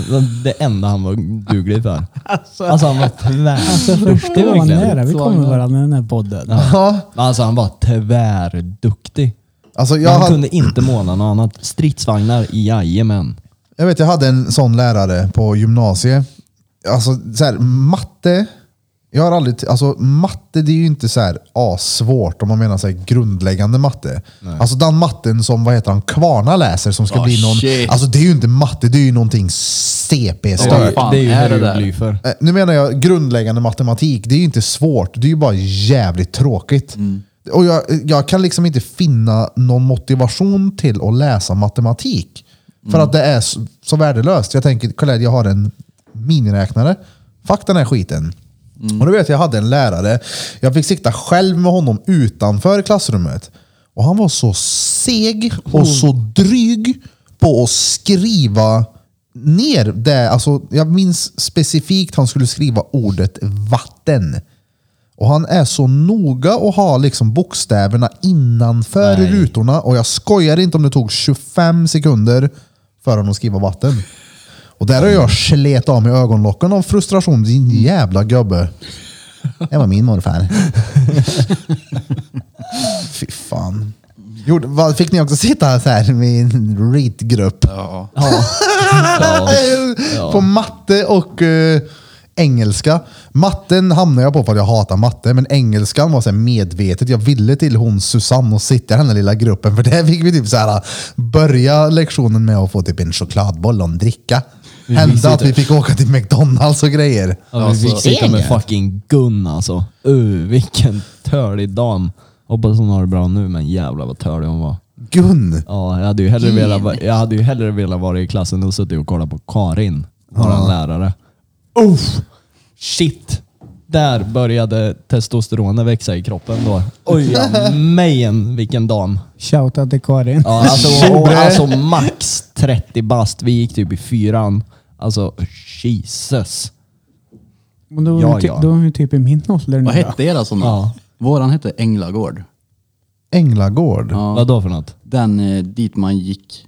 Speaker 4: Det var Det enda han var duglig för. Alltså, han var
Speaker 3: Alltså,
Speaker 4: tvärduktig
Speaker 3: Förstå vad nära
Speaker 4: verkligen.
Speaker 3: vi kommer varandra i den här podden.
Speaker 1: ja.
Speaker 4: Alltså han var tvärduktig.
Speaker 1: Alltså, jag,
Speaker 4: Han
Speaker 1: hade,
Speaker 4: kunde inte måla något annat. Stridsvagnar, jajamän.
Speaker 1: jag vet, jag hade en sån lärare på gymnasiet. Alltså, så här, matte. Jag har aldrig, alltså, matte det är ju inte så här svårt om man menar så här, grundläggande matte. Alltså den matten som vad heter han, Kvarna läser som ska
Speaker 2: Ah,
Speaker 1: bli någon...
Speaker 2: shit.
Speaker 1: Alltså det är ju inte matte, det är ju någonting CP-stört.
Speaker 2: Vad fan är det där?
Speaker 4: hieroglyfer.
Speaker 1: Eh, Nu menar jag grundläggande matematik. Det är ju inte svårt. Det är ju bara jävligt tråkigt. Och jag, jag kan liksom inte finna någon motivation till att läsa matematik. För att det är s- så värdelöst. Jag tänker, kolla här, jag har en miniräknare. Fuck den här skiten. Och du vet, jag hade en lärare. Jag fick sitta själv med honom utanför klassrummet. Och han var så seg och så dryg på att skriva ner det. Alltså, jag minns specifikt han skulle skriva ordet vatten. Och han är så noga och har liksom bokstäverna innanför rutorna. Och jag skojar inte om det tog 25 sekunder för honom att skriva vatten. Och där har jag slet av mig ögonlocken av frustration. Din jävla gubbe. Det var min morfar. Fy fan. Gjorde, vad, fick ni också sitta så här med en ritgrupp?
Speaker 2: Ja.
Speaker 1: På matte och eh, engelska. Matten hamnade jag på för att jag hatar matte, men engelskan var så här medvetet. Jag ville till hon Susanne och sitta i den här lilla gruppen, för där fick vi typ så här, börja lektionen med att få typ en chokladboll och en dricka. Hände att vi fick åka till McDonalds och grejer.
Speaker 4: Ja, vi fick
Speaker 2: Alltså.
Speaker 4: sitta med fucking Gun alltså. Uh, vilken tölig dam. Hoppas hon har det bra nu, men jävlar vad tölig hon var.
Speaker 1: Gun!
Speaker 4: Ja, jag hade ju hellre velat, va- jag hade ju hellre velat vara i klassen och suttit och kolla på Karin, våran lärare. Uff! Shit! Där började testosteronet växa i kroppen då. Oj, ja, mejen vilken dam.
Speaker 3: Shoutout till Karin.
Speaker 4: Ja, alltså, och, alltså max 30 bast. Vi gick typ i fyran. Alltså Jesus.
Speaker 3: Men då,
Speaker 4: Ja,
Speaker 3: ty-
Speaker 4: ja.
Speaker 3: då är hon typ i min ålder nu.
Speaker 2: Vad
Speaker 3: då.
Speaker 2: hette era sådana?
Speaker 4: Ja.
Speaker 2: Våran hette Änglagård.
Speaker 1: Änglagård.
Speaker 2: Ja.
Speaker 4: Vad då för något?
Speaker 2: Den eh, dit man gick,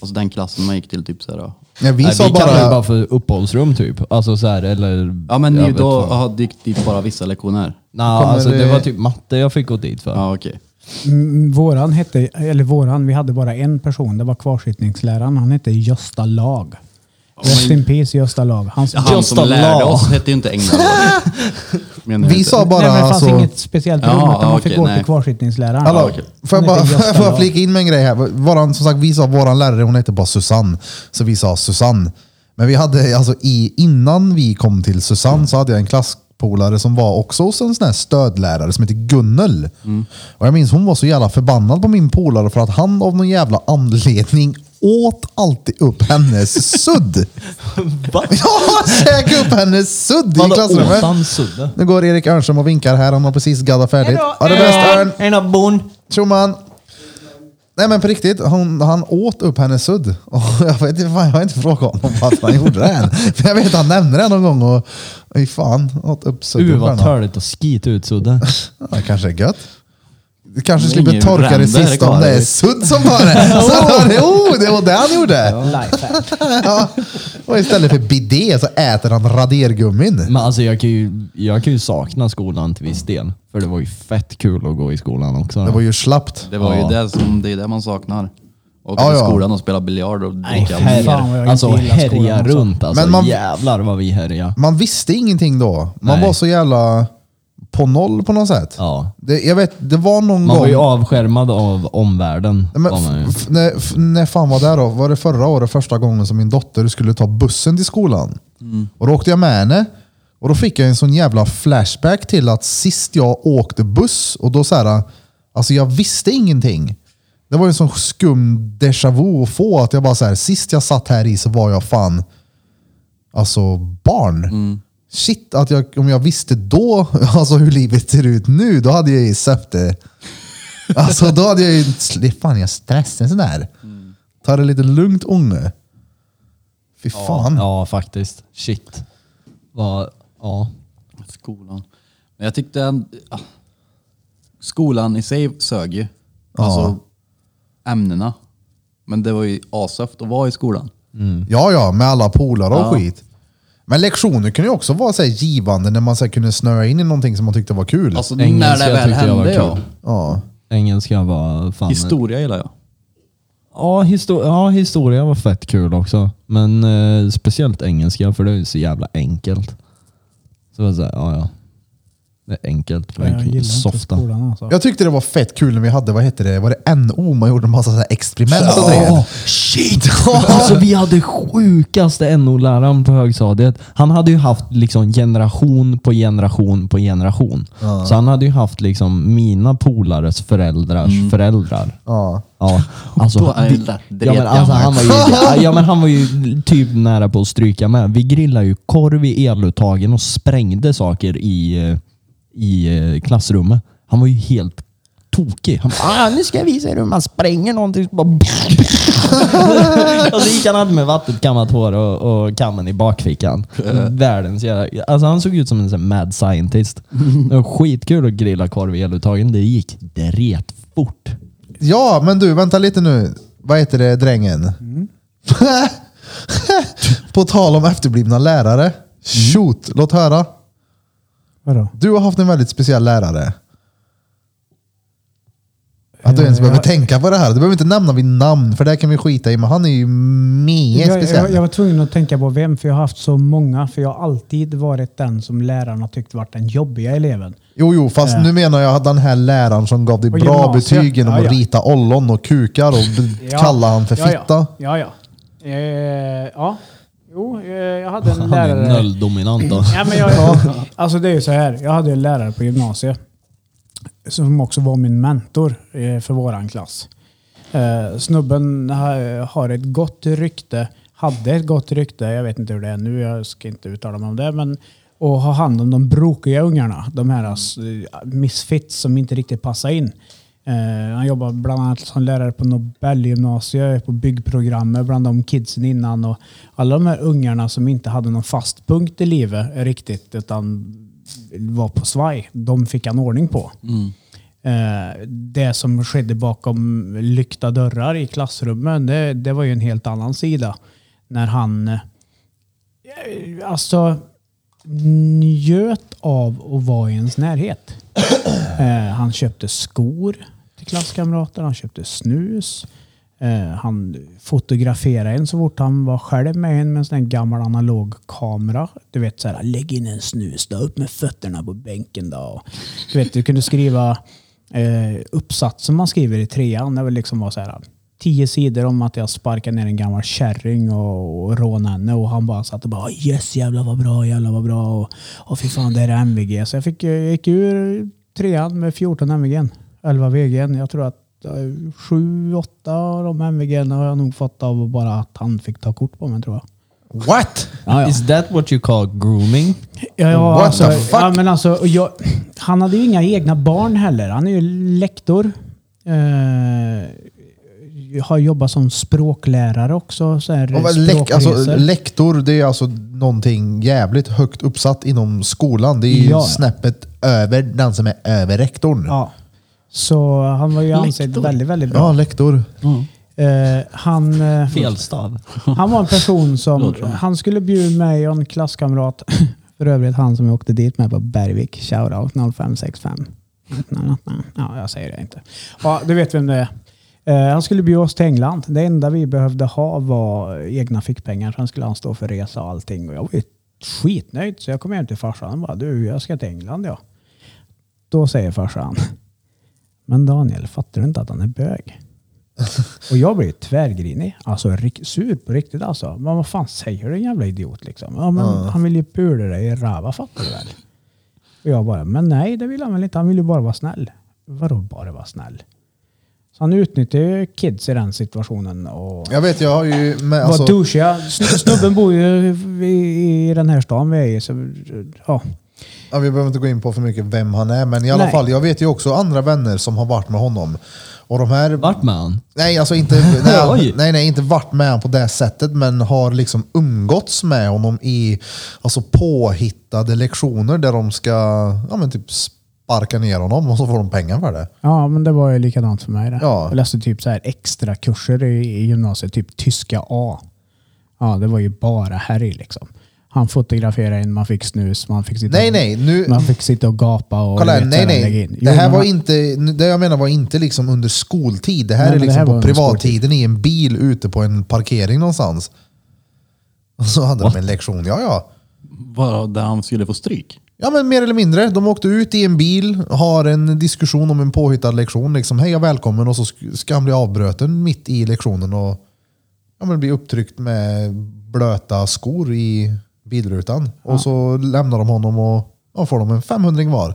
Speaker 2: alltså den klassen man gick till typ så här.
Speaker 1: Ja, vi
Speaker 4: Nej,
Speaker 1: sa
Speaker 4: vi kallar det
Speaker 1: bara...
Speaker 4: bara för uppehållsrum typ. Alltså så här, eller...
Speaker 2: Ja men
Speaker 4: jag
Speaker 2: ni,
Speaker 4: vet
Speaker 2: då
Speaker 4: fan.
Speaker 2: aha, gick dit bara vissa lektioner?
Speaker 4: Nej,
Speaker 1: kommer
Speaker 4: alltså det
Speaker 1: det-
Speaker 4: var typ matte jag fick gå dit för.
Speaker 2: Ja okej.
Speaker 3: Mm, Våran hette, eller våran, vi hade bara en person. Det var kvarsittningsläraren. Han hette Gösta Lag. Rest in peace Gösta Lag. Han,
Speaker 2: Han
Speaker 4: Just a
Speaker 2: som lärde
Speaker 4: law.
Speaker 2: oss hette ju inte Änglagård. Menar jag
Speaker 1: Vi
Speaker 2: inte.
Speaker 1: sa bara...
Speaker 3: nej, men det fanns
Speaker 1: alltså,
Speaker 3: inget speciellt rum
Speaker 2: Ja,
Speaker 3: utan man
Speaker 2: okej,
Speaker 3: fick gå
Speaker 2: nej.
Speaker 3: till kvarsittningsläraren.
Speaker 1: Hallå,
Speaker 2: okej.
Speaker 1: får jag
Speaker 3: Han
Speaker 1: bara,
Speaker 3: heter Gösta
Speaker 1: får jag
Speaker 3: Lag.
Speaker 1: flika in med en grej här? Våran, som sagt, vi sa våran lärare, hon hette bara Susanne. Så vi sa Susanne. Men vi hade, alltså, i, innan vi kom till Susanne så hade jag en klasspolare som var också hos en sån här stödlärare som heter Gunnel. Och jag minns hon var så jävla förbannad på min polare för att han av någon jävla anledning åt alltid upp hennes sudd. Va? Ja, käkade upp hennes sudd i klassrummet.
Speaker 4: Åsansudde.
Speaker 1: Nu går Erik Örnström och vinkar här. Han har precis gaddat färdigt. Ha det bäst Örn!
Speaker 4: Ena bon.
Speaker 1: Tjoman! Nej men på riktigt, hon, han åt upp hennes sudd. Och jag, vet, inte- fan, jag har inte frågat honom varför han gjorde det än. Men jag vet att han nämnde det någon gång och... Fy fan, åt upp
Speaker 4: Uh
Speaker 1: sudden. på
Speaker 4: vad
Speaker 1: henne.
Speaker 4: töligt att skita ut sudde.
Speaker 1: Ja, det kanske är gött. Du kanske
Speaker 2: Det är
Speaker 1: slipper
Speaker 2: ingen
Speaker 1: torka det
Speaker 2: bränder
Speaker 1: sista om
Speaker 2: kvar.
Speaker 1: det är sudd som var det. Så då var det, oh, det var det han gjorde!
Speaker 3: Lifehack.
Speaker 1: Ja. Och istället för bidé så äter han radergummin.
Speaker 4: Men alltså jag kan, ju, jag kan ju sakna skolan till viss del. För det var ju fett kul att gå i skolan också.
Speaker 1: Det var ju slappt.
Speaker 2: Det var
Speaker 4: Ja.
Speaker 2: ju det som, det är det man saknar. Och
Speaker 1: Ja,
Speaker 2: till
Speaker 1: ja.
Speaker 2: skolan och spela biljard och dricka
Speaker 3: herre.
Speaker 2: mer.
Speaker 3: Fan, vad jag inte
Speaker 4: alltså
Speaker 3: gillar skolan
Speaker 4: härja
Speaker 3: också.
Speaker 4: runt alltså.
Speaker 1: Men man-
Speaker 4: Jävlar vad vi härja.
Speaker 1: Man visste ingenting då. Man
Speaker 4: Nej.
Speaker 1: var så jävla på noll på något sätt.
Speaker 4: Ja.
Speaker 1: Det, jag vet, det var någon
Speaker 4: Man
Speaker 1: gång...
Speaker 4: var ju avskärmad av omvärlden.
Speaker 1: Nej, men
Speaker 4: var man ju.
Speaker 1: f- f- när, f- när fan var det då? Var det förra året första gången som min dotter skulle ta bussen till skolan? Och då åkte jag med henne. Och då fick jag en sån jävla flashback till att sist jag åkte buss och då så här, alltså jag visste ingenting. Det var ju en sån skum déjà vu att få att jag bara så här, sist jag satt här i så var jag fan alltså barn. Shit, att jag, om jag visste då alltså hur livet ser ut nu, då hade jag ju sett det. Alltså då hade jag ju... Det fan, jag stressar sådär.
Speaker 4: Mm.
Speaker 1: Ta det lite lugnt unge. Fy fan.
Speaker 4: Ja faktiskt. Shit. Vad... Ja.
Speaker 2: Skolan. Men jag tyckte... en- ah. Skolan i sig sög ju. Alltså ämnena. Men det var ju asöft att vara i skolan.
Speaker 1: Ja, ja, med alla polare och skit. Men lektioner kunde ju också vara så här givande när man så här kunde snöa in i någonting som man tyckte var kul.
Speaker 2: Alltså
Speaker 4: Engelska
Speaker 2: när det väl
Speaker 4: tyckte jag var
Speaker 2: hände ja.
Speaker 4: kul.
Speaker 1: ja.
Speaker 4: Engelska var fan...
Speaker 2: Historia gillar jag.
Speaker 4: Ja, histo- ja, historia var fett kul också. Men eh, speciellt engelska, för det är ju så jävla enkelt. Så var det såhär, ja ja. Det är enkelt.
Speaker 3: Jag gillar
Speaker 4: men
Speaker 3: inte
Speaker 4: softa.
Speaker 3: skolan alltså.
Speaker 1: Jag tyckte det var fett kul när vi hade, vad hette det, var det NO man gjorde en massa så här experiment och
Speaker 4: Ja,
Speaker 1: grejer.
Speaker 4: shit! Alltså vi hade sjukaste NO-läraren på högstadiet. Han hade ju haft liksom generation på generation på generation. Så han hade ju haft liksom mina polares föräldrars
Speaker 3: Mm.
Speaker 4: föräldrar.
Speaker 1: Ja.
Speaker 4: Ja, alltså,
Speaker 2: Då är
Speaker 4: vi-
Speaker 2: det där
Speaker 4: ja, men, alltså,
Speaker 2: jag.
Speaker 4: han var ju, ja, men han var ju typ nära på att stryka med. Vi grillade ju korv i eluttagen och sprängde saker i, eh, i eh, klassrummet. Han var ju helt tokig. Han bara, ah, nu ska jag visa er hur man spränger någonting. Så Bara, och så gick han alltid med vattnet, kammat hår och, och kammen i bakfickan. Världens jävla... Alltså han såg ut som en sån här mad scientist. Det var skitkul att grilla korv i eluttagen. Det gick dretfort.
Speaker 3: Mm.
Speaker 1: ja, men du, vänta lite nu. Vad heter det, drängen? På tal om efterblivna
Speaker 3: Mm.
Speaker 1: lärare. Shoot, låt höra.
Speaker 3: Vadå?
Speaker 1: Du har haft en väldigt speciell lärare. Att du
Speaker 3: Eh,
Speaker 1: ens behöver tänka på det här. Du behöver inte nämna vid namn, för det kan vi skita i. Men han är ju mer
Speaker 3: Jag, jag,
Speaker 1: speciell.
Speaker 3: jag var tvungen att tänka på vem, för jag har haft så många. För jag har alltid varit den som lärarna tyckt varit den jobbiga eleven.
Speaker 1: Jo, jo, fast nu menar jag den här läraren som gav dig
Speaker 3: Och
Speaker 1: bra
Speaker 3: gymnasiet.
Speaker 1: betyg genom
Speaker 3: Ja, ja.
Speaker 1: att rita ollon och kukar och b-
Speaker 3: Ja.
Speaker 1: kalla han för
Speaker 3: Ja, ja.
Speaker 1: fitta.
Speaker 3: Ja, ja. Eh, ja. Jo, eh, jag hade en
Speaker 4: Han är
Speaker 3: lärare.
Speaker 4: nolldominant då.
Speaker 3: Ja, men jag, alltså det är ju så här. Jag hade en lärare på gymnasiet som också var min mentor eh, för våran klass. Eh, Snubben ha- har ett gott rykte, hade ett gott rykte, jag vet inte hur det är nu, jag ska inte uttala mig om det, men och ha hand om de brokiga ungarna, de här alltså, misfits som inte riktigt passar in. Eh, han jobbar bland annat som lärare på Nobelgymnasiet, på byggprogrammet bland de kidsen innan. Och alla de här ungarna som inte hade någon fast punkt i livet riktigt utan var på svaj, de fick han ordning på. Eh, det som skedde bakom lyckta dörrar i klassrummen, det, det var ju en helt annan sida. När han eh, alltså njöt av att vara i ens närhet. Eh, han köpte skor till klasskamrater, han köpte snus. Eh, han fotograferade en så fort han var själv med en med en sån här gammal analog kamera. Du vet så här, lägg in en snus då, upp med fötterna på bänken då. Och, du vet, du kunde skriva eh, uppsatsen man skriver i trean. Det var liksom var så här, tio sidor om att jag sparkade ner en gammal kärring och, och rånade henne. Och han bara satt och bara yes jävlar vad bra, jävlar vad bra. Och, och fy fan det är MVG. Så jag, fick, eh, jag gick ur trean med 14 MVG. 11 VG. Jag tror att 7-8 av de MVG har jag nog fått av bara att han fick ta kort på mig tror jag.
Speaker 1: What?
Speaker 4: Is that what you call grooming?
Speaker 3: Ja, ja,
Speaker 1: What
Speaker 3: alltså,
Speaker 1: the fuck?
Speaker 3: Ja, men alltså, och jag, han hade ju inga egna barn heller. Han är ju lektor. Eh, har jobbat som språklärare också. Så här,
Speaker 1: Och vad Lek, alltså,
Speaker 3: språkresor.
Speaker 1: lektor, det är alltså någonting jävligt högt uppsatt inom skolan. Det är ju
Speaker 3: Ja.
Speaker 1: snäppet över den som är över rektorn. Ja,
Speaker 3: ja. Så han var ju ansedd
Speaker 2: Lektor.
Speaker 3: väldigt, väldigt bra.
Speaker 1: lektor.
Speaker 3: Eh, han, eh,
Speaker 4: Felstav.
Speaker 3: han var en person som... Han skulle bjuda mig och en klasskamrat, för övrigt han som jag åkte dit med på Bergvik, shoutout 0565. Ja, jag säger det inte. Ja, du vet vem det är. Eh, han skulle bjuda oss till England. Det enda vi behövde ha var egna fickpengar. Sen skulle han stå för resa och allting. Och jag var ju skitnöjd. Så jag kom hem till farsan och bara, du jag ska till England ja. Då säger farsan, men Daniel, fattar du inte att han är bög? Och jag blev tvärgrinig. Alltså rik- sur på riktigt alltså. Men vad fan säger du en jävla idiot liksom? Ja, men Han vill ju pula dig i röva fattar du väl? Och jag bara, men nej det vill han väl inte. Han vill ju bara vara snäll. Vadå bara vara snäll? Så han utnyttjar ju kids i den situationen. Och
Speaker 1: Jag vet, jag har ju... Med,
Speaker 3: var
Speaker 1: alltså,
Speaker 3: douchiga. Sn- Snubben bor ju i, i den här stan vi är i. Så, ja.
Speaker 1: ja, vi behöver inte gå in på för mycket vem han är, men i alla
Speaker 3: Nej.
Speaker 1: fall, jag vet ju också andra vänner som har varit med honom. Och de här...
Speaker 4: Vart med han?
Speaker 1: Nej, alltså inte, nej,
Speaker 4: Oj.
Speaker 1: nej, nej, inte varit med honom på det sättet, men har liksom umgåtts med honom i alltså påhittade lektioner där de ska ja, men typ sparka ner honom och så får de pengar för det.
Speaker 3: ja, men det var ju likadant för mig. Det.
Speaker 1: Ja.
Speaker 3: Jag läste typ så här extra kurser i, i gymnasiet, typ tyska A. Ja, det var ju bara härj liksom. Han fotograferade en, man fick snus, man fick sitta,
Speaker 1: Nej, nej, nu,
Speaker 3: Typ. Man fick sitta och gapa. Och
Speaker 1: kolla här,
Speaker 3: vet,
Speaker 1: nej,
Speaker 3: så här, lägga
Speaker 1: nej.
Speaker 3: in.
Speaker 1: Det
Speaker 3: Jo,
Speaker 1: här
Speaker 3: men-
Speaker 1: var inte, det jag menar var inte liksom under skoltid. Det här
Speaker 3: Nej,
Speaker 1: är
Speaker 3: men det
Speaker 1: liksom
Speaker 3: här var
Speaker 1: på
Speaker 3: under
Speaker 1: privattiden i en bil ute på en parkering någonstans. Och så hade de en lektion, ja ja.
Speaker 2: Bara där han skulle få stryk.
Speaker 1: Ja men mer eller mindre. De åkte ut i en bil, har en diskussion om en påhittad lektion. Liksom, hej och välkommen. Och så sk- ska han bli avbruten mitt i lektionen och ja, men bli upptryckt med blöta skor i bilrutan. Och så lämnar de honom och ja, får de en 500 var.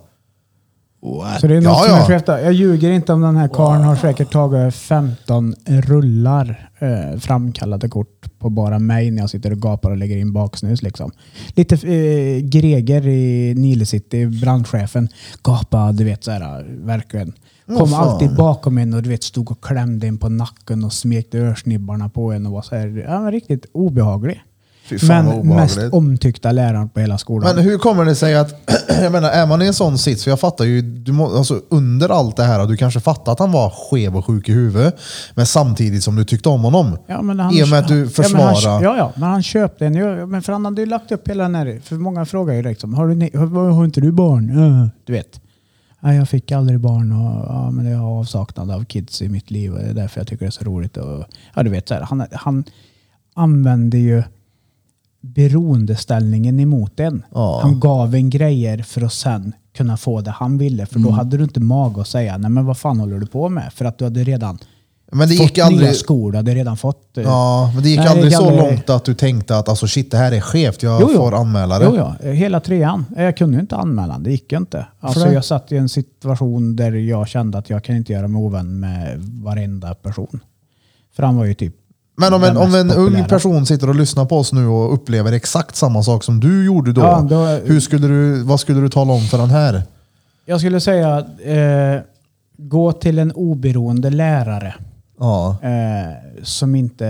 Speaker 3: Så det är något
Speaker 1: Ja,
Speaker 3: som
Speaker 1: ja.
Speaker 3: är skevt där. Jag ljuger inte om den här karln har säkert tagit 15 rullar eh, framkallade kort på bara mig när jag sitter och gapar och lägger in baksnus. Liksom. Lite eh, Greger i Nile City, brandchefen. Gapa, du vet så här, verkligen.
Speaker 1: Åh,
Speaker 3: Kom
Speaker 1: fan.
Speaker 3: alltid bakom en och du vet stod och klämde en på nacken och smekte örsnibbarna på en och var så här, ja, men riktigt obehaglig.
Speaker 1: Fy fan vad
Speaker 3: Men
Speaker 1: obehagligt.
Speaker 3: mest omtyckta läraren på hela skolan.
Speaker 1: Men hur kommer det sig att, jag menar, är man i en sån sits, för jag fattar ju, du må, alltså, under allt det här, du kanske fattar att han var skev och sjuk i huvudet, men samtidigt som du tyckte om honom.
Speaker 3: Ja, men han,
Speaker 1: I och med att du försvarar.
Speaker 3: Ja, men han, ja, ja, men han köpte en. ju- Men för han hade ju lagt upp hela den här... För många frågar ju liksom, har, du, ni- har, har inte du barn? Ja, du vet. Nej, jag fick aldrig barn och ja, men jag har avsaknad av kids i mitt liv och det är därför jag tycker det är så roligt. Och, ja, du vet, så här, han, han använde ju beroendeställningen emot en.
Speaker 1: Ja.
Speaker 3: Han gav en grejer för att sen kunna få det han ville. För då
Speaker 1: Mm.
Speaker 3: hade du inte mag att säga, nej men vad fan håller du på med? För att du hade redan
Speaker 1: Men det gick
Speaker 3: fått nya
Speaker 1: aldrig,
Speaker 3: skor, du hade redan fått... eh,
Speaker 1: ja, men det gick
Speaker 3: Nej,
Speaker 1: aldrig så
Speaker 3: aldrig-
Speaker 1: långt att du tänkte att alltså, shit, det här är skevt, jag får anmäla det.
Speaker 3: Jo, jo. Hela trean. Jag kunde ju inte anmäla den. Det gick ju inte. Alltså,
Speaker 1: det?
Speaker 3: jag satt i en situation där jag kände att jag kan inte göra mig ovän med varenda person. För han var ju typ
Speaker 1: Men om en,
Speaker 3: den
Speaker 1: om
Speaker 3: mest
Speaker 1: en ung
Speaker 3: populära.
Speaker 1: person sitter och lyssnar på oss nu och upplever exakt samma sak som du gjorde då,
Speaker 3: Ja, då-
Speaker 1: hur skulle du, vad skulle du tala om för den här?
Speaker 3: Jag skulle säga eh, gå till en oberoende lärare
Speaker 1: Ja,
Speaker 3: eh, som inte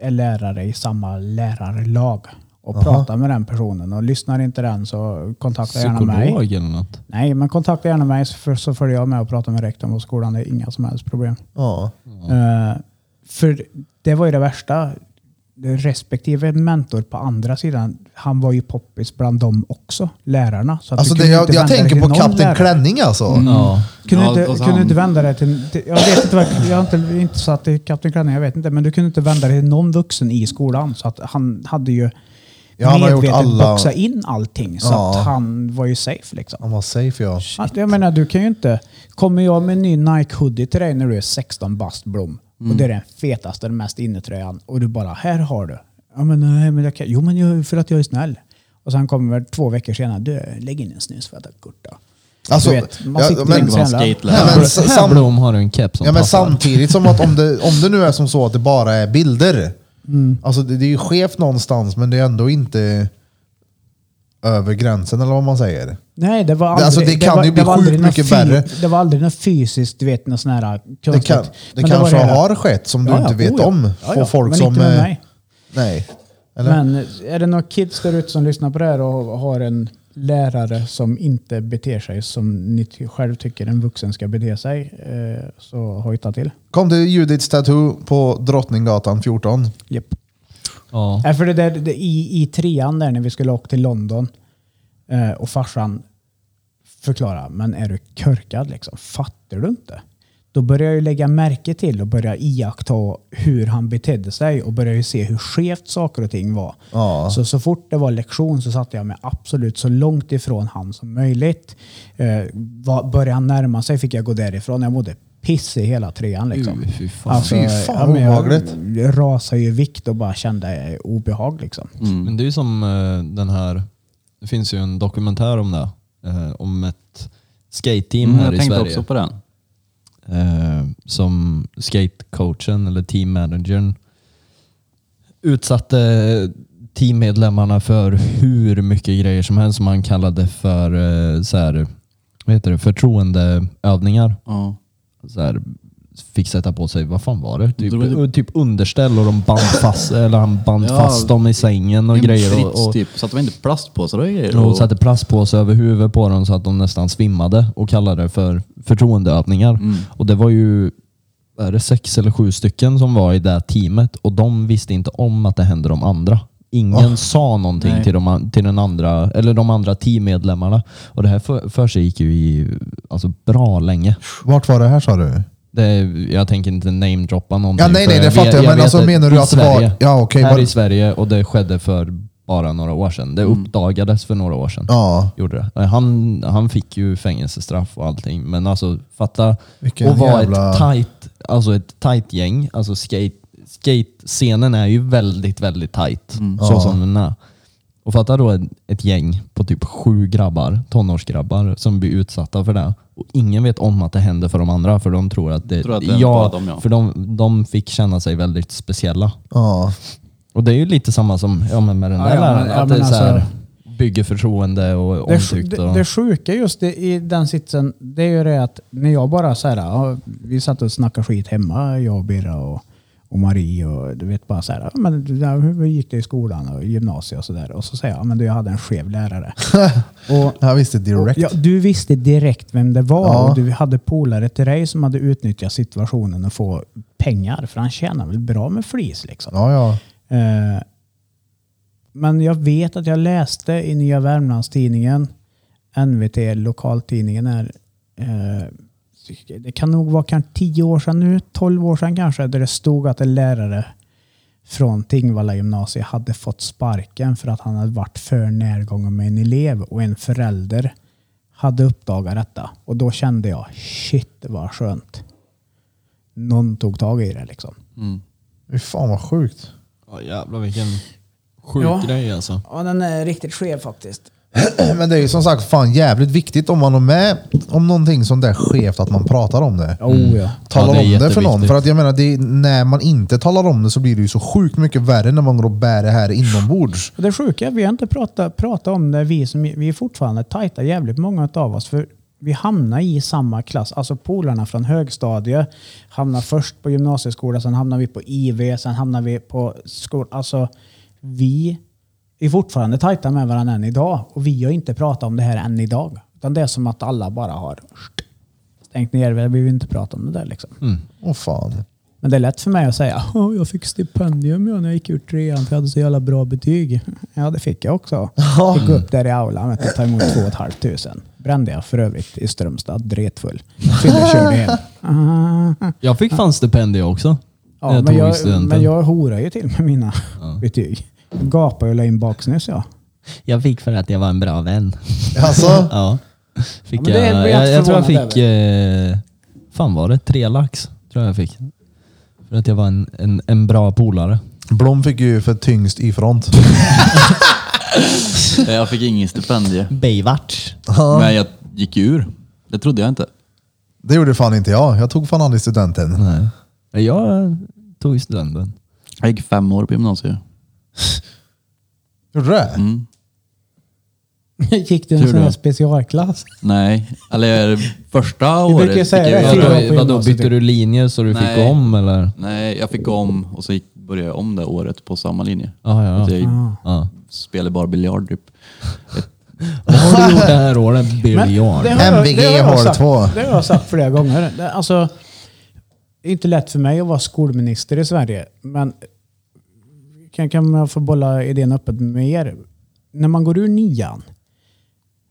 Speaker 3: är lärare i samma lärarlag och prata med den personen. Och lyssnar inte den så kontakta gärna mig.
Speaker 4: Psykolog eller något.
Speaker 3: Nej, men kontakta gärna mig så, för, så följer jag med och pratar med rektorn på skolan. Det är inga som helst problem.
Speaker 1: ja.
Speaker 3: Eh, för det var ju det värsta. Den Respektive mentor på andra sidan, han var ju poppis bland dem också, lärarna. Så att
Speaker 1: Alltså
Speaker 3: du
Speaker 1: det,
Speaker 3: kunde
Speaker 1: jag,
Speaker 3: inte
Speaker 1: jag
Speaker 3: vända dig
Speaker 1: tänker
Speaker 3: till
Speaker 1: på
Speaker 3: någon
Speaker 1: Kapten
Speaker 3: lärare. Mm.
Speaker 1: Klänning alltså.
Speaker 4: Ja.
Speaker 3: Kunde,
Speaker 2: Ja, och
Speaker 3: inte,
Speaker 2: så
Speaker 3: kunde
Speaker 2: han-
Speaker 3: inte vända dig till... till jag vet inte, vad- jag har inte, inte satt i Kapten Klänning, jag vet inte. Men du kunde inte vända dig till någon vuxen i skolan. Så att han hade ju
Speaker 1: Ja, han har gjort
Speaker 3: medvetet
Speaker 1: alla-
Speaker 3: boxat in allting. Så
Speaker 1: Ja.
Speaker 3: att han var ju safe liksom.
Speaker 1: Han var safe ja.
Speaker 3: Att, Alltså, jag menar, du kan ju inte... Kommer jag med en ny Nike-hoodie till dig när du är 16 bast Blom
Speaker 1: Mm.
Speaker 3: och det är den fetaste, den mest innetröjan och du bara, här har du. Ja, men, nej, men jag kan, jo, men jag, för att jag är snäll. Och sen kommer två veckor senare, du, lägg in en snus för att jag är kort då.
Speaker 1: Alltså,
Speaker 3: du vet, man
Speaker 1: ja,
Speaker 3: sitter
Speaker 1: men-
Speaker 3: men,
Speaker 2: Vara
Speaker 3: jävla...
Speaker 2: skatelärare.
Speaker 1: Nej, men s-
Speaker 4: Här
Speaker 1: sam-
Speaker 4: Blom har du en keps som
Speaker 1: Ja, men
Speaker 4: passar.
Speaker 1: samtidigt som att om det, om det nu är som så att det bara är bilder.
Speaker 3: Mm.
Speaker 1: Alltså det, det är ju skevt någonstans men det är ändå inte över gränsen eller vad man säger.
Speaker 3: Nej, det var aldrig...
Speaker 1: Alltså, det kan
Speaker 3: var,
Speaker 1: ju bli
Speaker 3: var
Speaker 1: sjukt
Speaker 3: aldrig något
Speaker 1: mycket
Speaker 3: fy-
Speaker 1: värre.
Speaker 3: Det var aldrig något fysiskt, du vet, något sån här
Speaker 1: Det,
Speaker 3: konstigt.
Speaker 1: kan, det
Speaker 3: Men var
Speaker 1: kanske
Speaker 3: här-
Speaker 1: har skett som du
Speaker 3: Ja, ja,
Speaker 1: inte vet
Speaker 3: oh ja.
Speaker 1: om.
Speaker 3: Ja,
Speaker 1: Få
Speaker 3: ja,
Speaker 1: folk
Speaker 3: men
Speaker 1: som...
Speaker 3: Inte med
Speaker 1: eh,
Speaker 3: mig.
Speaker 1: Nej. Eller?
Speaker 3: Men är det några kids där ute som lyssnar på det här och har en lärare som inte beter sig som ni ty- själv tycker en vuxen ska bete sig, eh, så hojta till.
Speaker 1: Kom till Judiths Tattoo på Drottninggatan 14.
Speaker 3: Yep.
Speaker 4: Ja.
Speaker 3: Äh, för det där, det, i, I trean där när vi skulle åka till London eh, och farsan förklara, men är du körkad liksom? Fattar du inte? Då började jag ju lägga märke till och börja iaktta hur han betedde sig och började ju se hur skevt saker och ting var.
Speaker 1: Ja.
Speaker 3: Så, så fort det var lektion så satte jag mig absolut så långt ifrån han som möjligt. Eh, var, började han närma sig fick jag gå därifrån. Jag mådde piss i hela trean. Liksom.
Speaker 4: Uy, fy fan.
Speaker 1: Fy fan,
Speaker 3: men
Speaker 1: obehagligt.
Speaker 3: Jag, jag rasade ju i vikt och bara kände eh, obehag. Liksom.
Speaker 4: Men det är ju som eh, den här, det finns ju en dokumentär om det. eh, om ett skate-team
Speaker 2: Mm,
Speaker 4: här
Speaker 2: jag
Speaker 4: i
Speaker 2: tänkte
Speaker 4: Sverige.
Speaker 2: också på den.
Speaker 4: eh, som skatecoachen eller teammanagern utsatte teammedlemmarna för hur mycket grejer som helst som han kallade för eh, så här, vad heter det, förtroendeövningar.
Speaker 2: Ja.
Speaker 4: Så här, fick sätta på sig, vad fan var det? Typ,
Speaker 2: Det var
Speaker 4: typ underställ och de band fast, eller han band
Speaker 2: Ja,
Speaker 4: fast dem i sängen och
Speaker 2: En
Speaker 4: grejer.
Speaker 2: frits
Speaker 4: Och, och,
Speaker 2: typ, så att de inte plastpåsar och grejer.
Speaker 4: och satte plastpåse över huvudet på dem så att de nästan svimmade och kallade det för förtroendeövningar.
Speaker 1: Mm.
Speaker 4: Och det var ju är det sex eller sju stycken som var i det här teamet och de visste inte om att det hände de andra. Ingen
Speaker 1: Ah,
Speaker 4: sa någonting
Speaker 2: Nej.
Speaker 4: till de, an- till den andra, eller de andra teammedlemmarna. Och det här för, för sig gick ju i alltså, bra länge.
Speaker 1: Vart var det här sa du?
Speaker 4: Det, jag tänker inte namedroppa någonting.
Speaker 1: Ja, nej, nej,
Speaker 4: för
Speaker 1: det fattar jag, men
Speaker 4: vet
Speaker 1: alltså, menar du
Speaker 4: i
Speaker 1: att det var-
Speaker 4: Sverige-
Speaker 1: ja, okej,
Speaker 4: här
Speaker 1: var-
Speaker 4: i Sverige och det skedde för bara några år sedan. Det
Speaker 1: Mm.
Speaker 4: uppdagades för några år sedan.
Speaker 1: Ja.
Speaker 4: Gjorde det. Eh, Han, han fick ju fängelsestraff och allting, men alltså fatta
Speaker 1: Vilken
Speaker 4: och vara
Speaker 1: jävla-
Speaker 4: ett tight, alltså ett tight gäng. Alltså skate, skate-scenen är ju väldigt, väldigt tight.
Speaker 3: Mm.
Speaker 4: Så
Speaker 1: Ja.
Speaker 4: som den är. Och fatta då ett, ett gäng på typ sju grabbar, tonårsgrabbar, som blir utsatta för det. Och ingen vet om att det händer för de andra, för de tror att det,
Speaker 2: Tror att det är bara dem, ja.
Speaker 4: För de, de fick känna sig väldigt speciella.
Speaker 1: Ja.
Speaker 4: Och det är ju lite samma som ja, men med den
Speaker 3: Ja,
Speaker 4: där
Speaker 3: ja, men-
Speaker 4: läraren,
Speaker 3: ja,
Speaker 4: att
Speaker 3: men
Speaker 4: det är så här,
Speaker 3: alltså-
Speaker 4: bygger förtroende och
Speaker 3: Det,
Speaker 4: omtyckt.
Speaker 3: det,
Speaker 4: Och,
Speaker 3: det sjuka just i, i den sitsen, det är ju det att när jag bara så här, ja, vi satt och snackade skit hemma, jag och Birra och, och och Marie och du vet bara så här, "Ja, men, ja, hur gick det i skolan och gymnasiet och sådär. Och så säger jag, "Ja, men du, jag hade en skev lärare.
Speaker 1: och, jag visste direkt.
Speaker 3: Ja, du visste direkt vem det var
Speaker 1: Ja.
Speaker 3: och du hade polare till dig som hade utnyttjat situationen och få pengar. För han tjänar väl bra med flis liksom.
Speaker 1: Ja, ja.
Speaker 3: Eh, Men jag vet att jag läste i Nya Värmlandstidningen, NVT, lokaltidningen här. eh, Det kan nog vara kanske 10 år sedan nu, 12 år sedan kanske, där det stod att en lärare från Tingvalla gymnasiet hade fått sparken för att han hade varit för närgången med en elev och en förälder hade uppdagat detta. Och då kände jag, shit vad skönt. Någon tog tag i det liksom.
Speaker 1: Fy fan vad sjukt.
Speaker 4: Ja jävlar vilken sjuk
Speaker 3: Ja.
Speaker 4: grej alltså.
Speaker 3: Ja, den är riktigt skev faktiskt.
Speaker 1: Men det är ju som sagt fan jävligt viktigt om man är med om någonting sånt där skevt att man pratar om det.
Speaker 3: Oh, ja.
Speaker 1: Talar
Speaker 4: Ja, det är
Speaker 1: om det för någon.
Speaker 4: jätteviktigt.
Speaker 1: För att jag menar, det är, när man inte talar om det så blir det ju så sjukt mycket värre när man går och bär det här inombords.
Speaker 3: Och det sjuka, vi har inte pratat, pratat om det, vi som vi är fortfarande tajta, jävligt många av oss. För vi hamnar i samma klass, alltså polarna från högstadiet hamnar först på gymnasieskolan, sen hamnar vi på IV, sen hamnar vi på skolan. Alltså vi är fortfarande tajta med varandra än idag och vi har inte pratat om det här än idag. Utan det är som att alla bara har stängt ner, vi vill inte prata om det där liksom.
Speaker 1: Åh fan.
Speaker 3: Men det är lätt för mig att säga oh, jag fick stipendium jag när jag gick ur trean för jag hade så jävla bra betyg. Ja, det fick jag också. Fick gå upp där i aulan och ta emot två och ett halvt tusen. Brände jag för övrigt i Strömstad, dretfull. Fyllekörde hem.
Speaker 4: Jag fick fan stipendium också. när
Speaker 3: Ja,
Speaker 4: jag
Speaker 3: men,
Speaker 4: tog
Speaker 3: jag,
Speaker 4: studenten.
Speaker 3: men jag horar ju till med mina betyg. Gapade och la in baksnus ja.
Speaker 4: Jag fick för att jag var en bra vän.
Speaker 1: Alltså,
Speaker 4: Ja. Fick
Speaker 3: Ja, men det
Speaker 4: jag,
Speaker 3: blir jag
Speaker 4: jag, jag tror jag
Speaker 3: förvånad
Speaker 4: fick... Eh, fan var det? Tre lax tror jag jag fick. För att jag var en, en, en bra polare.
Speaker 1: Blom fick ju för tyngst i front.
Speaker 2: Nej, Jag fick ingen stipendie.
Speaker 4: Baywatch.
Speaker 2: Men jag gick ju ur. Det trodde jag inte.
Speaker 1: Det gjorde fan inte jag. Jag tog fan aldrig studenten.
Speaker 4: Nej. Men Jag tog studenten.
Speaker 2: Jag gick fem år på gymnasiet.
Speaker 1: Gjorde du det?
Speaker 2: Mm.
Speaker 3: Gick du en
Speaker 2: Tur
Speaker 3: sån här
Speaker 2: det.
Speaker 3: specialklass?
Speaker 2: Nej, eller första
Speaker 3: Vi
Speaker 2: året.
Speaker 3: brukar ju säga
Speaker 2: fick jag
Speaker 3: det,
Speaker 2: göra-
Speaker 3: fyra år på
Speaker 4: Vadå, vadå,
Speaker 3: gymnasiet.
Speaker 4: bytte du linje så du fick
Speaker 2: Nej.
Speaker 4: om eller?
Speaker 2: Nej, jag fick gå om och så gick, började jag om det året på samma linje.
Speaker 4: Ja, Ah.
Speaker 2: Så
Speaker 4: ja, ja.
Speaker 2: jag
Speaker 4: ja.
Speaker 2: spelade bara biljard typ.
Speaker 4: Vad har du gjort det här året? Biljard.
Speaker 3: det har jag-
Speaker 1: MVG
Speaker 3: det har jag
Speaker 1: har
Speaker 3: sagt-
Speaker 1: två.
Speaker 3: Det har jag sagt flera gånger. Det, alltså, det är inte lätt för mig att vara skolminister i Sverige, men kan, kan man få bolla idén öppet med er? När man går ur nian,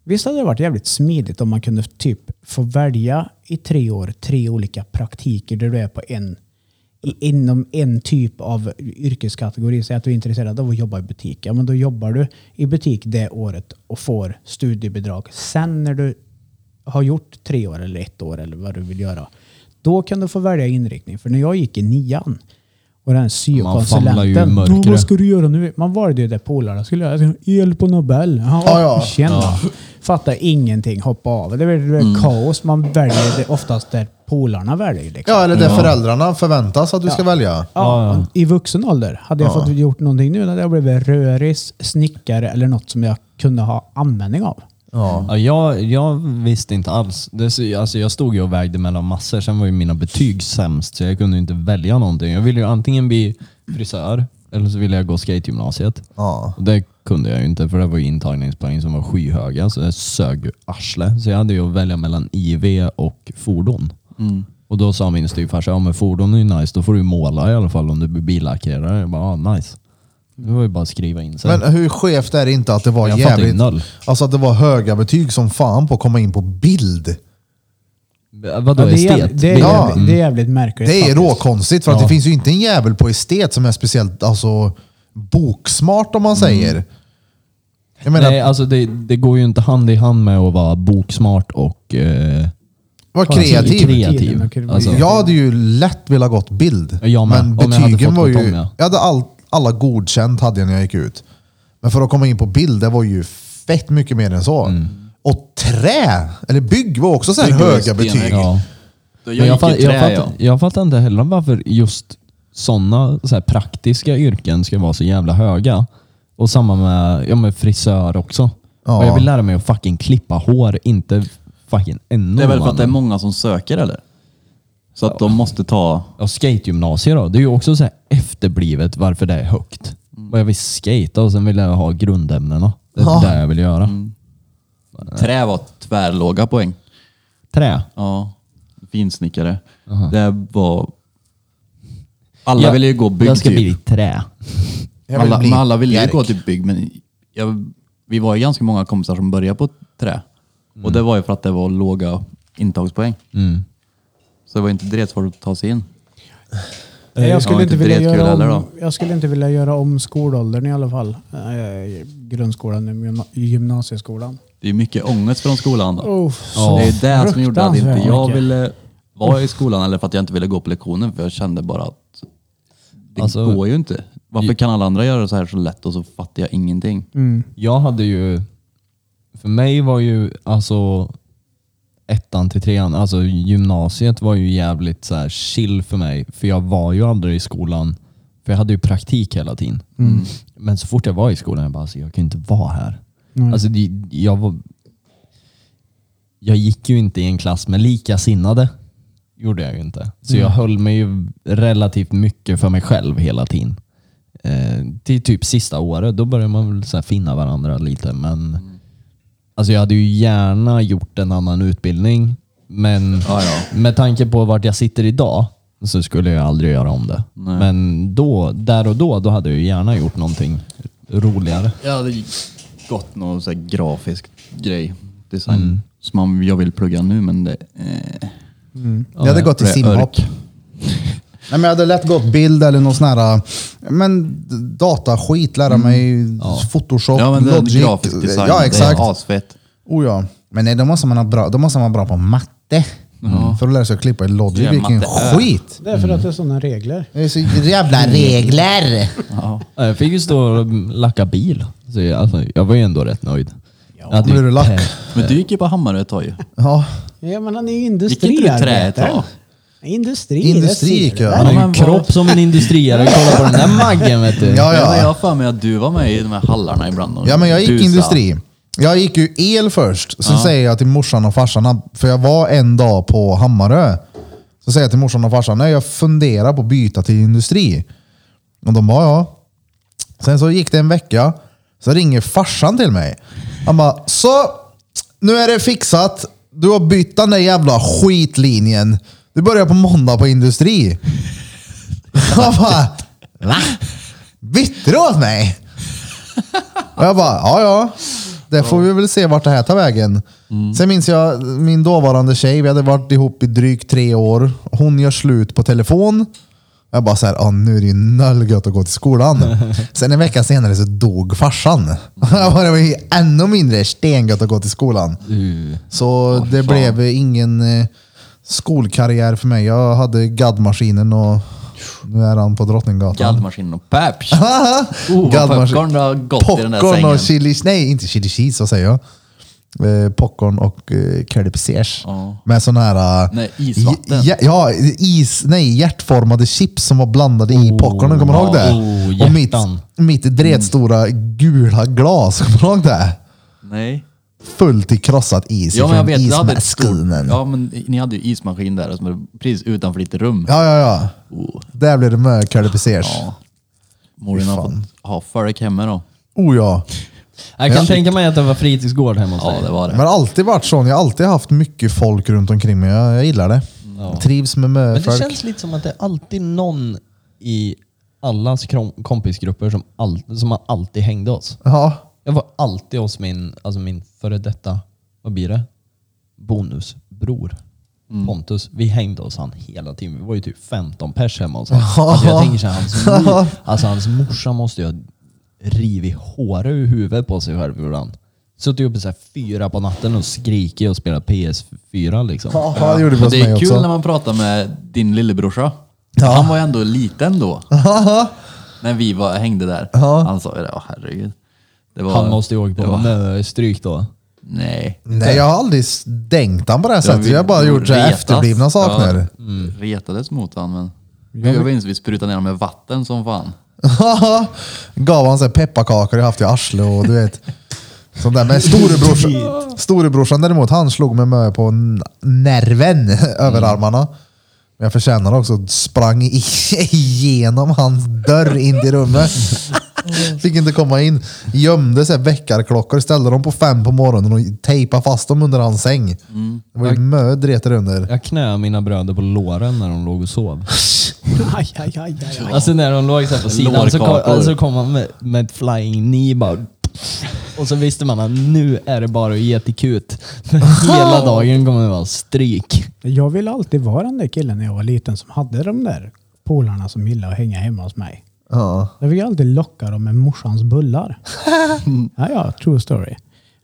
Speaker 3: visst hade det varit jävligt smidigt om man kunde typ få välja i tre år tre olika praktiker där du är på en i- inom en typ av yrkeskategori. Säg att du är intresserad av att jobba i butik. Ja, men då jobbar du i butik det året och får studiebidrag. Sen när du har gjort tre år eller ett år eller vad du vill göra, då kan du få välja inriktning. För när jag gick i nian och den
Speaker 4: famlar ju i
Speaker 3: syokonsulenten,
Speaker 4: mörkret.
Speaker 3: "Åh, vad ska du göra nu? Man valde ju det polarna skulle göra. Jag ska- El på Nobel. Ja,
Speaker 1: Ja, ja.
Speaker 3: Tjena. Fattar ingenting, hoppa av. Det blir, det blir kaos. Man väljer det oftast där polarna väljer. Liksom.
Speaker 1: Ja, eller det föräldrarna förväntas att du ska välja.
Speaker 3: Ja, I vuxen ålder. Hade jag fått gjort någonting nu när jag blev röris, snickare eller något som jag kunde ha användning av.
Speaker 1: Ja.
Speaker 4: Ja, jag, jag visste inte alls. Det, är så- alltså, jag stod ju och vägde mellan massor. Sen var ju mina betyg sämst så jag kunde ju inte välja någonting. Jag ville ju antingen bli frisör eller så ville jag gå skategymnasiet.
Speaker 1: Ja.
Speaker 4: Och det kunde jag ju inte för det var ju intagningspoäng som var skyhöga så det sög ju arsle. Så jag hade ju att välja mellan IV och fordon.
Speaker 3: Mm.
Speaker 4: Och då sa min styvfarsa, ja men fordon är ju nice, då får du ju måla i alla fall om du blir billackerare. Jag bara, ah, nice. Det var ju bara att skriva in sig.
Speaker 1: Men hur skevt är det inte att det var
Speaker 4: Jag fattar ju
Speaker 1: jävligt...
Speaker 4: noll.
Speaker 1: Alltså att det var höga betyg som fan på att komma in på bild.
Speaker 4: Vadå,
Speaker 3: Ja, det, är,
Speaker 4: estet?
Speaker 3: jävligt- det, är,
Speaker 1: Ja.
Speaker 3: jävligt- det är jävligt märkligt.
Speaker 1: Det är
Speaker 3: faktiskt.
Speaker 1: råkonstigt för att det finns ju inte en jävel på estet som är speciellt alltså, boksmart om man säger. Jag menar,
Speaker 4: Mm. Nej, alltså det, det går ju inte hand i hand med att vara boksmart och eh,
Speaker 1: var
Speaker 3: alltså,
Speaker 1: kreativ.
Speaker 4: kreativ.
Speaker 3: Tiden och
Speaker 4: Alltså,
Speaker 3: kreativ.
Speaker 1: Jag hade ju lätt velat gått bild.
Speaker 4: Jag med,
Speaker 1: men
Speaker 4: om jag hade
Speaker 1: betygen
Speaker 4: fått
Speaker 1: var ju...
Speaker 4: gått om, ja.
Speaker 1: Jag hade all, alla godkänt hade jag när jag gick ut. Men för att komma in på bild, det var ju fett mycket mer än så. Och trä, eller bygg var också så här
Speaker 2: Mm. Bygg var
Speaker 1: höga
Speaker 2: stenhögt.
Speaker 1: betyg.
Speaker 4: ja.
Speaker 2: Jag
Speaker 4: Men
Speaker 2: gick
Speaker 4: jag, fatt,
Speaker 2: i trä
Speaker 4: jag,
Speaker 2: ja.
Speaker 4: fatt, jag fattar inte heller varför just sådana så här praktiska yrken ska vara så jävla höga. Och samma med, ja, med frisör också.
Speaker 1: Ja.
Speaker 4: Och jag vill lära mig att fucking klippa hår, inte fucking ännu
Speaker 2: Det är väl för att det är många som söker eller? Så att de måste ta...
Speaker 4: Ja, skategymnasiet då. Det är ju också så här efterblivet varför det är högt.
Speaker 2: Mm.
Speaker 4: Och jag vill skata och sen vill jag ha grundämnena. Det är
Speaker 1: Ja.
Speaker 4: det jag vill göra.
Speaker 2: Mm. Trä var tvärlåga poäng.
Speaker 4: Trä.
Speaker 2: Ja, finsnickare. Det var... Alla
Speaker 4: Jag-
Speaker 2: ville ju gå bygg
Speaker 4: Jag ska
Speaker 2: typ.
Speaker 4: bli trä.
Speaker 1: Jag vill
Speaker 2: alla,
Speaker 1: bli
Speaker 2: men alla ville ju
Speaker 1: bjärk.
Speaker 2: gå till bygg, men jag, vi var ju ganska många kompisar som började på trä. Och det var ju för att det var låga intagspoäng. Så det var inte direkt svårt att ta sig in.
Speaker 7: Jag
Speaker 2: Ja,
Speaker 7: skulle, inte
Speaker 2: inte
Speaker 7: vilja
Speaker 2: dretkul
Speaker 7: göra
Speaker 2: heller
Speaker 7: om,
Speaker 2: då.
Speaker 7: jag skulle inte vilja göra om skolåldern i alla fall. Eh, grundskolan, gymna- gymnasieskolan.
Speaker 2: Det är mycket ångest från skolan. Då.
Speaker 7: Oh,
Speaker 2: det är det som gjorde att inte
Speaker 7: fruktansvärt
Speaker 2: jag
Speaker 7: mycket.
Speaker 2: ville vara i skolan eller för att jag inte ville gå på lektionen. För jag kände bara att det
Speaker 4: Alltså-
Speaker 2: går ju inte. Varför kan alla andra göra så här så lätt och så fattar jag ingenting?
Speaker 4: Mm. Jag hade ju... För mig var ju alltså ettan till trean, alltså gymnasiet var ju jävligt så här chill för mig. För jag var ju aldrig i skolan. För jag hade ju praktik hela tiden.
Speaker 2: Mm.
Speaker 4: Men så fort jag var i skolan, jag bara alltså, jag kan ju inte vara här. Alltså det, jag var... Jag gick ju inte i en klass med likasinnade. Gjorde jag ju inte. Så jag höll mig ju relativt mycket för mig själv hela tiden. Eh, till typ sista året, då börjar man väl så här finna varandra lite. Men alltså jag hade ju gärna gjort en annan utbildning. Men med tanke på vart jag sitter idag så skulle jag aldrig göra om det. Men då, där och då, då hade jag ju gärna gjort någonting roligare.
Speaker 2: Jag hade gått någon så här grafisk grej, design,
Speaker 1: Mm.
Speaker 2: som man- jag vill plugga nu men det... Eh.
Speaker 1: Jag hade gått till
Speaker 2: det är
Speaker 1: simhopp.
Speaker 2: örk.
Speaker 1: Nej, men jag hade lätt gått bild eller någon sån här äh, men, d- dataskit, lära mig photoshop,
Speaker 2: Mm. Ja men det är
Speaker 1: logic.
Speaker 2: grafisk design,
Speaker 1: ja, exakt.
Speaker 2: det är asfett.
Speaker 1: Oh, ja. Men nej, då måste man ha bra, då måste man vara bra på matte. Mm. För att lära sig att klippa i
Speaker 2: Det
Speaker 1: logic.
Speaker 2: är
Speaker 1: Vilken
Speaker 2: matte.
Speaker 1: skit!
Speaker 7: Det är för att det är sådana regler.
Speaker 1: Det är så jävla regler!
Speaker 4: Ja, Jag fick ju stå och lacka bil. Så jag, alltså, jag var ju ändå rätt nöjd. Ja, jag hade
Speaker 1: blir
Speaker 4: ju
Speaker 1: du lack?
Speaker 4: pe-
Speaker 2: Men du gick ju på Hammare ett tag ju.
Speaker 1: Ja,
Speaker 7: Ja, men han är ju
Speaker 2: Gick inte du trä ett
Speaker 7: industriarbetare.
Speaker 2: tag?
Speaker 7: Industri, det
Speaker 1: Industri gick
Speaker 7: ser
Speaker 1: jag.
Speaker 7: du.
Speaker 4: Han har ju
Speaker 2: men
Speaker 4: en
Speaker 2: vad-
Speaker 4: kropp som en industriare. Kolla på den där maggen vet du.
Speaker 1: ja,
Speaker 2: Ja, men jag
Speaker 1: ja.
Speaker 2: har för mig att du var med i de här hallarna ibland. och
Speaker 1: ja men jag gick
Speaker 2: busade.
Speaker 1: industri. Jag gick ju el först. Sen säger jag till morsan och farsan, att- för jag var en dag på Hammarö. Så säger jag till morsan och farsan, nej jag funderar på att byta till industri. Och de bara, ja. Sen så gick det en vecka. Så ringer farsan till mig. Han bara, så nu är det fixat. Du har bytt den där jävla skitlinjen. Du börjar på måndag på industri. Han bara, va? Bytte du åt mig? Och jag bara, ja ja. Det får vi väl se vart det här tar vägen. Sen minns jag min dåvarande tjej, vi hade varit ihop i drygt tre år. Hon gör slut på telefon. Jag bara såhär, ah, nu är det ju nöllgött att gå till skolan. Sen en vecka senare så dog farsan. Jag bara, det var ju ännu mindre stengött att gå till skolan. Så det blev ingen eh, skolkarriär för mig. Jag hade gaddmaskinen och nu är han på Drottninggatan.
Speaker 2: Gaddmaskinen och Paps.
Speaker 1: Oh,
Speaker 2: vad popcorn det har gått i den där sängen.
Speaker 1: och chili Nej, inte chili cheese, vad säger jag? Eh, popcorn och eh, curly pesers.
Speaker 2: Ja.
Speaker 1: Med sån här... eh,
Speaker 2: Nej, isvatten.
Speaker 1: Ja, ja, is, nej, hjärtformade chips som var blandade i
Speaker 2: Oh,
Speaker 1: popcornen. Kommer du ihåg det?
Speaker 4: oh,
Speaker 1: och mitt,
Speaker 4: hjärtan.
Speaker 1: mitt
Speaker 2: Mm.
Speaker 1: dretstora gula glas. Kommer du ihåg det?
Speaker 2: Nej.
Speaker 1: Fullt i krossat is
Speaker 2: Ja men jag
Speaker 1: från
Speaker 2: vet, ni hade ett stort,
Speaker 1: ismaskinen.
Speaker 2: Ja men ni hade ju ismaskin där som är precis utanför ditt rum.
Speaker 1: Ja, ja, ja.
Speaker 2: Oh,
Speaker 1: Där blev det med curly pesers.
Speaker 2: ja. Morin har
Speaker 1: Fan.
Speaker 2: fått ha folk hemma då.
Speaker 1: Oh ja.
Speaker 4: Jag kan
Speaker 1: Ja.
Speaker 4: tänka mig att det var fritidsgård hemma hos
Speaker 2: Ja
Speaker 4: dig.
Speaker 2: det var
Speaker 1: Men
Speaker 2: det.
Speaker 1: det har alltid varit sån. Jag har alltid haft mycket folk runt omkring mig. Jag, jag gillar det. Jag Trivs med mö
Speaker 4: Men det
Speaker 1: folk.
Speaker 4: känns lite som att det är alltid någon i allas krom- kompisgrupper som, all, som man alltid hängde hos.
Speaker 1: Ja.
Speaker 4: Jag var alltid hos min, alltså min före detta, vad blir det? Bonusbror. Pontus. Vi hängde hos han hela tiden. Vi var ju typ 15 pers hemma hos han. Alltså jag tänker så här, hans, mor, alltså hans morsa måste ju ha rivit håret ur huvudet på sig själv ibland. Suttit uppe så här fyra på natten och skrikit och spelat PS4 liksom.
Speaker 1: Ja, det gjorde vi
Speaker 2: Men
Speaker 1: hos
Speaker 2: det är
Speaker 1: mig
Speaker 2: kul
Speaker 1: också.
Speaker 2: när man pratar med din lillebrorsa.
Speaker 1: Ja.
Speaker 2: Han var ju ändå liten då. när vi var, hängde där. Han sa ju det, åh herregud. Det var,
Speaker 4: Han måste ju åkt
Speaker 2: det
Speaker 4: på
Speaker 2: var-
Speaker 4: mö- stryk då.
Speaker 2: Nej.
Speaker 1: Nej, jag har aldrig s- dängt han på det här sättet. Jag har bara gjort så här
Speaker 2: retas.
Speaker 1: efterblivna saker.
Speaker 2: Ja, retades mot han men. Jag minns vi sprutade ner honom med vatten som fan.
Speaker 1: Gav han så här pepparkakor jag haft i arsle och du vet. Sånt där. Men storebrorsan, storebrorsan däremot, han slog mig med på n- nerven över armarna. Jag förtjänar också sprang i- igenom hans dörr in till rummet. Fick inte komma in. Gömde sig väckarklockor, ställde dem på fem på morgonen och tejpade fast dem under hans säng. Det var ju mö dreter under.
Speaker 4: Jag knöade mina bröder på låren när de låg och sov.
Speaker 3: Aj, aj, aj, aj, aj.
Speaker 4: Alltså när de låg så här på sidan så kom,
Speaker 2: Lårkakor.
Speaker 4: alltså kom man med, med ett flying knee bara. Och så visste man att nu är det bara att ge till kut. Hela dagen kommer det vara stryk.
Speaker 3: Jag ville alltid vara den där killen när jag var liten som hade de där polarna som gillade att hänga hemma hos mig.
Speaker 1: Ja.
Speaker 3: Jag fick alltid locka dem med morsans bullar. ja, ja, true story.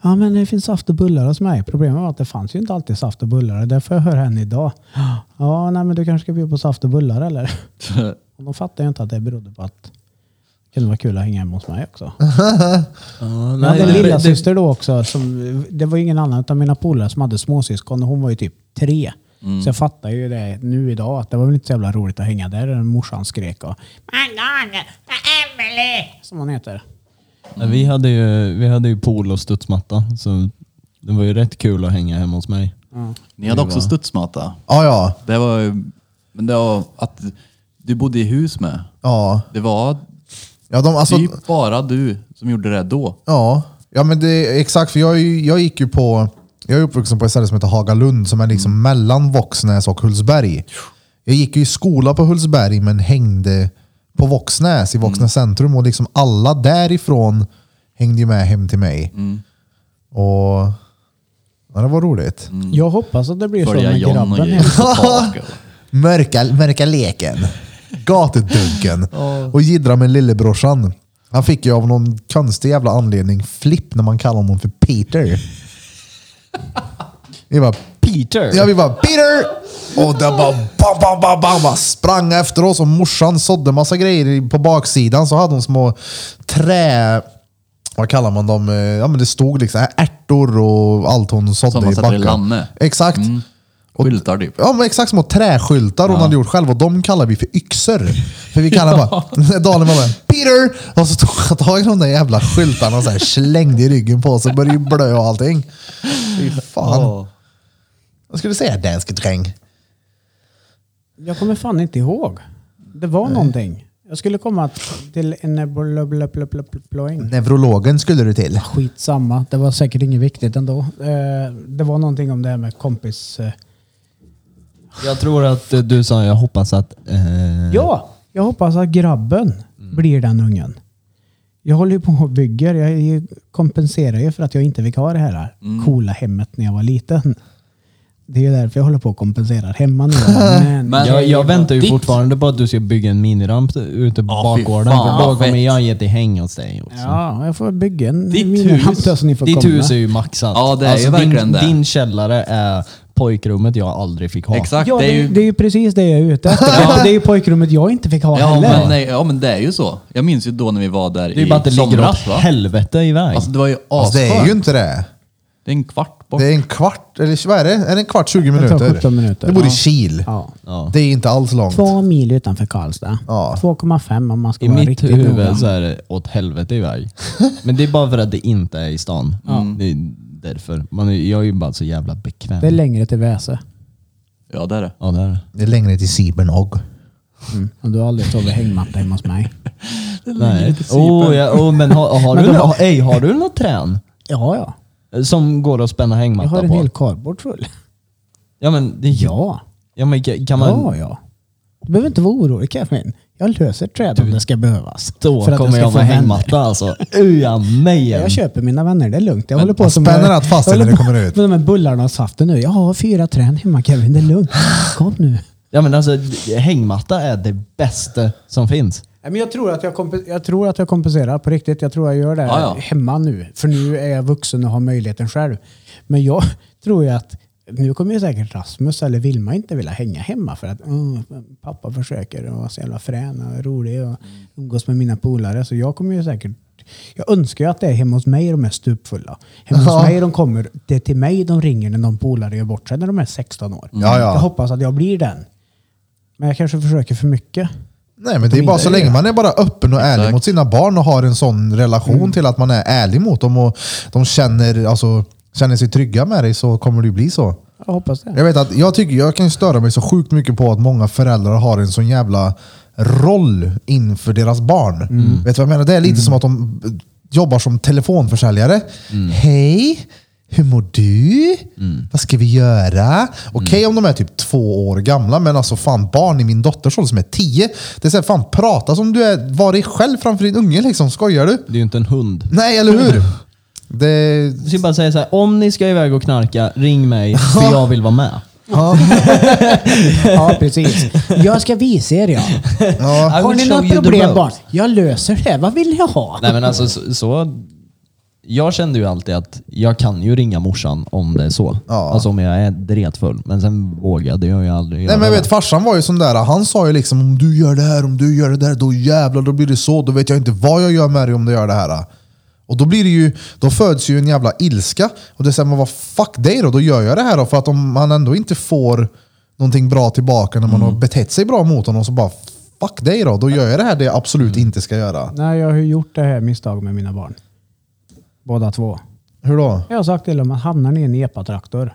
Speaker 3: Ja, men det finns saft och bullar hos mig. Problemet var att det fanns ju inte alltid saft och bullar. Det får jag höra henne idag. Ja, nej, men du kanske ska bjuda på saft och bullar eller? Och de fattar ju inte att det berodde på att det kunde vara kul att hänga hemma hos mig också. Jag hade en lilla syster då också. Som, det var ju ingen annan av mina polare som hade småsyskon och hon var ju typ tre.
Speaker 2: Mm.
Speaker 3: Så jag fattar ju det nu idag att det var väl inte så jävla roligt att hänga där. när Morsan skrek och
Speaker 5: Mannen, Emily!
Speaker 3: som hon heter.
Speaker 4: Nej, Vi hade ju, vi hade ju pool och studsmatta, så det var ju rätt kul att hänga hemma hos mig.
Speaker 2: Ni hade också studsmatta.
Speaker 1: Ja, ja.
Speaker 2: Det var ju- men det var att du bodde i hus med.
Speaker 1: Ja,
Speaker 2: Det var
Speaker 1: ja, de, alltså,
Speaker 2: typ bara du som gjorde det då.
Speaker 1: ja. ja men det är exakt. För jag, är ju- jag gick ju på... Jag är uppvuxen på ett ställe som heter Hagalund som är liksom mellan Våxnäs och Hultsberg. Jag gick ju i skola på Hultsberg men hängde på Våxnäs i Våxnäs centrum och liksom alla därifrån hängde ju med hem till mig. Och ja, det var roligt.
Speaker 3: Jag hoppas att det blir så
Speaker 2: Mm. Följa
Speaker 3: med
Speaker 2: John och
Speaker 3: grabben.
Speaker 2: grejer. på taket.
Speaker 1: Mörka, mörka leken. Gatudunken. Och jiddra med lillebrorsan. Han fick ju av någon konstig jävla anledning flipp när man kallar honom för Peter. Vi bara,
Speaker 4: Peter!
Speaker 1: ja, vi bara Peter! Och det bara bam, bam, bam, bam, bara sprang efter oss och morsan sådde massa grejer i- på baksidan. Så hade hon små trä... Vad kallar man dem? Eh, Ja, men det stod liksom ärtor och allt hon sådde
Speaker 2: Som man
Speaker 1: i
Speaker 2: sätter i Mm.
Speaker 1: backen.
Speaker 2: lanne.
Speaker 1: Exakt.
Speaker 2: Skyltar typ.
Speaker 1: Ja, men exakt små träskyltar hon hade gjort själv och de kallar vi för yxor. För vi kallar bara, Daniel bara Peter! Och så tog han tag i de där jävla skyltarna och så här slängde i ryggen på oss och började ju blöa och allting. Fy fan. Vad skulle du säga danske dräng?
Speaker 3: Jag kommer fan inte ihåg. Det var någonting. Jag skulle komma till en blablablablablaing.
Speaker 1: Neurologen skulle du till.
Speaker 3: Skitsamma, det var säkert inget viktigt ändå. Eh, Det var någonting om det här med kompis... eh,
Speaker 4: Jag tror att eh, du sa, jag hoppas att... Eh,
Speaker 3: Ja, jag hoppas att grabben
Speaker 4: Mm.
Speaker 3: blir den ungen. Jag håller ju på och bygger. Jag är ju- kompenserar ju för att jag inte fick ha det här
Speaker 4: Mm.
Speaker 3: coola hemmet när jag var liten. Det är ju därför jag håller på och kompenserar hemma nu. Men,
Speaker 2: Men-
Speaker 4: jag, jag väntar ju
Speaker 2: Ditt-
Speaker 4: fortfarande på att du ska bygga en miniramp ute på
Speaker 2: Ja, fy
Speaker 4: bakgården.
Speaker 2: fan,
Speaker 4: För då
Speaker 2: vad
Speaker 4: kommer
Speaker 2: fett.
Speaker 4: jag ge till häng hos dig också.
Speaker 3: ja, jag får bygga en
Speaker 4: Ditt
Speaker 3: miniramp
Speaker 4: hus-
Speaker 3: då så ni får
Speaker 4: Ditt
Speaker 3: komma.
Speaker 4: hus är ju maxat. Alltså,
Speaker 2: Ja, det är ju verkligen
Speaker 4: din,
Speaker 2: det.
Speaker 4: Din källare är pojkrummet jag aldrig fick ha.
Speaker 2: Exakt,
Speaker 3: Ja,
Speaker 2: det är ju...
Speaker 3: precis det jag är ute efter. Det är ju pojkrummet jag inte fick ha
Speaker 2: ja,
Speaker 3: heller.
Speaker 2: men, nej, ja men det är ju så. Jag minns ju då när vi var där
Speaker 4: Det är ju
Speaker 2: i
Speaker 4: bara att det ligger åt
Speaker 2: somras va?
Speaker 4: helvete iväg.
Speaker 2: Alltså det var ju
Speaker 1: Alltså,
Speaker 2: asskönt.
Speaker 1: det är ju inte det.
Speaker 2: Det är en kvart bort.
Speaker 1: Det är en kvart, eller vad är det? Är det en kvart, 20
Speaker 3: tar
Speaker 1: minuter?
Speaker 3: 17 minuter.
Speaker 1: Du bor i
Speaker 3: Ja.
Speaker 1: Kil.
Speaker 3: Ja.
Speaker 4: ja.
Speaker 1: Det är inte alls långt.
Speaker 3: Två mil utanför Karlstad.
Speaker 1: Ja.
Speaker 3: 2,5 om man ska
Speaker 4: I
Speaker 3: vara
Speaker 4: mitt
Speaker 3: riktigt
Speaker 4: huvud
Speaker 3: noga.
Speaker 4: så är det åt helvete iväg. Men det är bara för att det inte är i stan. Mm. Det är därför. Man är, jag är ju bara så jävla bekväm.
Speaker 3: Det är längre till Väse.
Speaker 2: Ja det är det.
Speaker 4: ja, det är det.
Speaker 1: Det är längre till Sibern och.
Speaker 3: Mm. Och du har aldrig sovit hängmatta hemma hos mig.
Speaker 4: Nej. Oh, ja, oh, men har, har, du, nå- ej, har du något trän
Speaker 3: Ja, ja.
Speaker 4: som går att spänna
Speaker 3: Jag
Speaker 4: hängmatta
Speaker 3: har en
Speaker 4: på?
Speaker 3: hel kardborr full.
Speaker 4: Ja men det
Speaker 3: Ja.
Speaker 4: ja, men, ka- kan man...
Speaker 3: Ja, ja. Du behöver inte vara orolig Kevin. Jag löser träd om det ska behövas.
Speaker 4: Då
Speaker 3: För att
Speaker 4: kommer
Speaker 3: ska
Speaker 4: jag
Speaker 3: få
Speaker 4: med
Speaker 3: vänner.
Speaker 4: hängmatta alltså. Uja mig!
Speaker 3: Jag köper mina vänner, det är lugnt. Jag håller på
Speaker 1: jag
Speaker 3: som
Speaker 1: spänner allt fast
Speaker 3: jag
Speaker 1: innan
Speaker 3: håller
Speaker 1: det kommer
Speaker 3: på
Speaker 1: ut.
Speaker 3: Med de här bullarna och saften nu. Jag har fyra trän hemma Kevin, det är lugnt. Kom nu.
Speaker 4: Ja men alltså hängmatta är det bästa som finns.
Speaker 3: Nej, Men jag, tror att jag, kompe- jag tror att jag kompenserar på riktigt. Jag tror jag gör det
Speaker 2: Ja, ja.
Speaker 3: hemma nu. För nu är jag vuxen och har möjligheten själv. Men jag tror ju att nu kommer ju säkert Rasmus eller Vilma inte vilja hänga hemma för att "Mm, pappa försöker och vara så jävla frän och rolig och umgås med mina polare. Så jag kommer ju säkert... Jag önskar ju att det är hemma hos mig de är stupfulla. Hemma hos mig de kommer... Det är till mig de ringer när någon polare gör bort sig när de är 16 år.
Speaker 1: Ja, ja.
Speaker 3: Jag hoppas att jag blir den. Men jag kanske försöker för mycket.
Speaker 1: Nej, men det är bara så länge man är bara öppen och ärlig mot sina barn och har en sån relation till att man är ärlig mot dem och de känner, alltså, känner sig trygga med dig så kommer det ju bli så.
Speaker 3: Jag hoppas det.
Speaker 1: Jag vet att jag tycker jag kan ju störa mig så sjukt mycket på att många föräldrar har en sån jävla roll inför deras barn. Vet du vad jag menar? Det är lite som att de jobbar som telefonförsäljare. Hej! Hur mår du? Vad ska vi göra? Okej om de är typ två år gamla, men alltså fan barn i min dotters ålder som är tio. Det är såhär, fan prata som du är, var dig själv framför din unge liksom. Skojar du?
Speaker 4: Det är ju inte en hund.
Speaker 1: Nej, eller hur? Det...
Speaker 4: Jag skulle bara säga så här, om ni ska iväg och knarka, ring mig för jag vill vara med.
Speaker 1: Ja,
Speaker 3: Ja, precis.
Speaker 8: Jag ska visa er ja.
Speaker 1: ja.
Speaker 4: I
Speaker 8: Har
Speaker 4: will
Speaker 8: ni
Speaker 4: show
Speaker 8: något
Speaker 4: you the
Speaker 8: problem
Speaker 4: ropes.
Speaker 8: barn? Jag löser det. Vad vill ni ha?
Speaker 4: Nej men alltså så, så... Jag kände ju alltid att jag kan ju ringa morsan om det är så.
Speaker 1: Ja.
Speaker 4: Alltså om jag är dretfull. Men sen vågade jag ju aldrig
Speaker 1: Nej
Speaker 4: göra
Speaker 1: men jag
Speaker 4: det.
Speaker 1: vet farsan var ju sån där, han sa ju liksom om du gör det här, om du gör det där, då jävlar då blir det så, då vet jag inte vad jag gör med dig om du gör det här. Och då blir det ju, då föds ju en jävla ilska. Och det säger man, vad fuck dig då, då gör jag det här då. För att om man ändå inte får någonting bra tillbaka när
Speaker 3: Mm.
Speaker 1: man har betett sig bra mot honom, så bara fuck dig då, då gör jag det här det jag absolut
Speaker 3: Mm.
Speaker 1: inte ska göra.
Speaker 3: Nej, jag har ju gjort det här misstaget med mina barn. Båda två.
Speaker 1: Hur då?
Speaker 3: Jag har sagt till dem att hamnar ni i en epatraktor,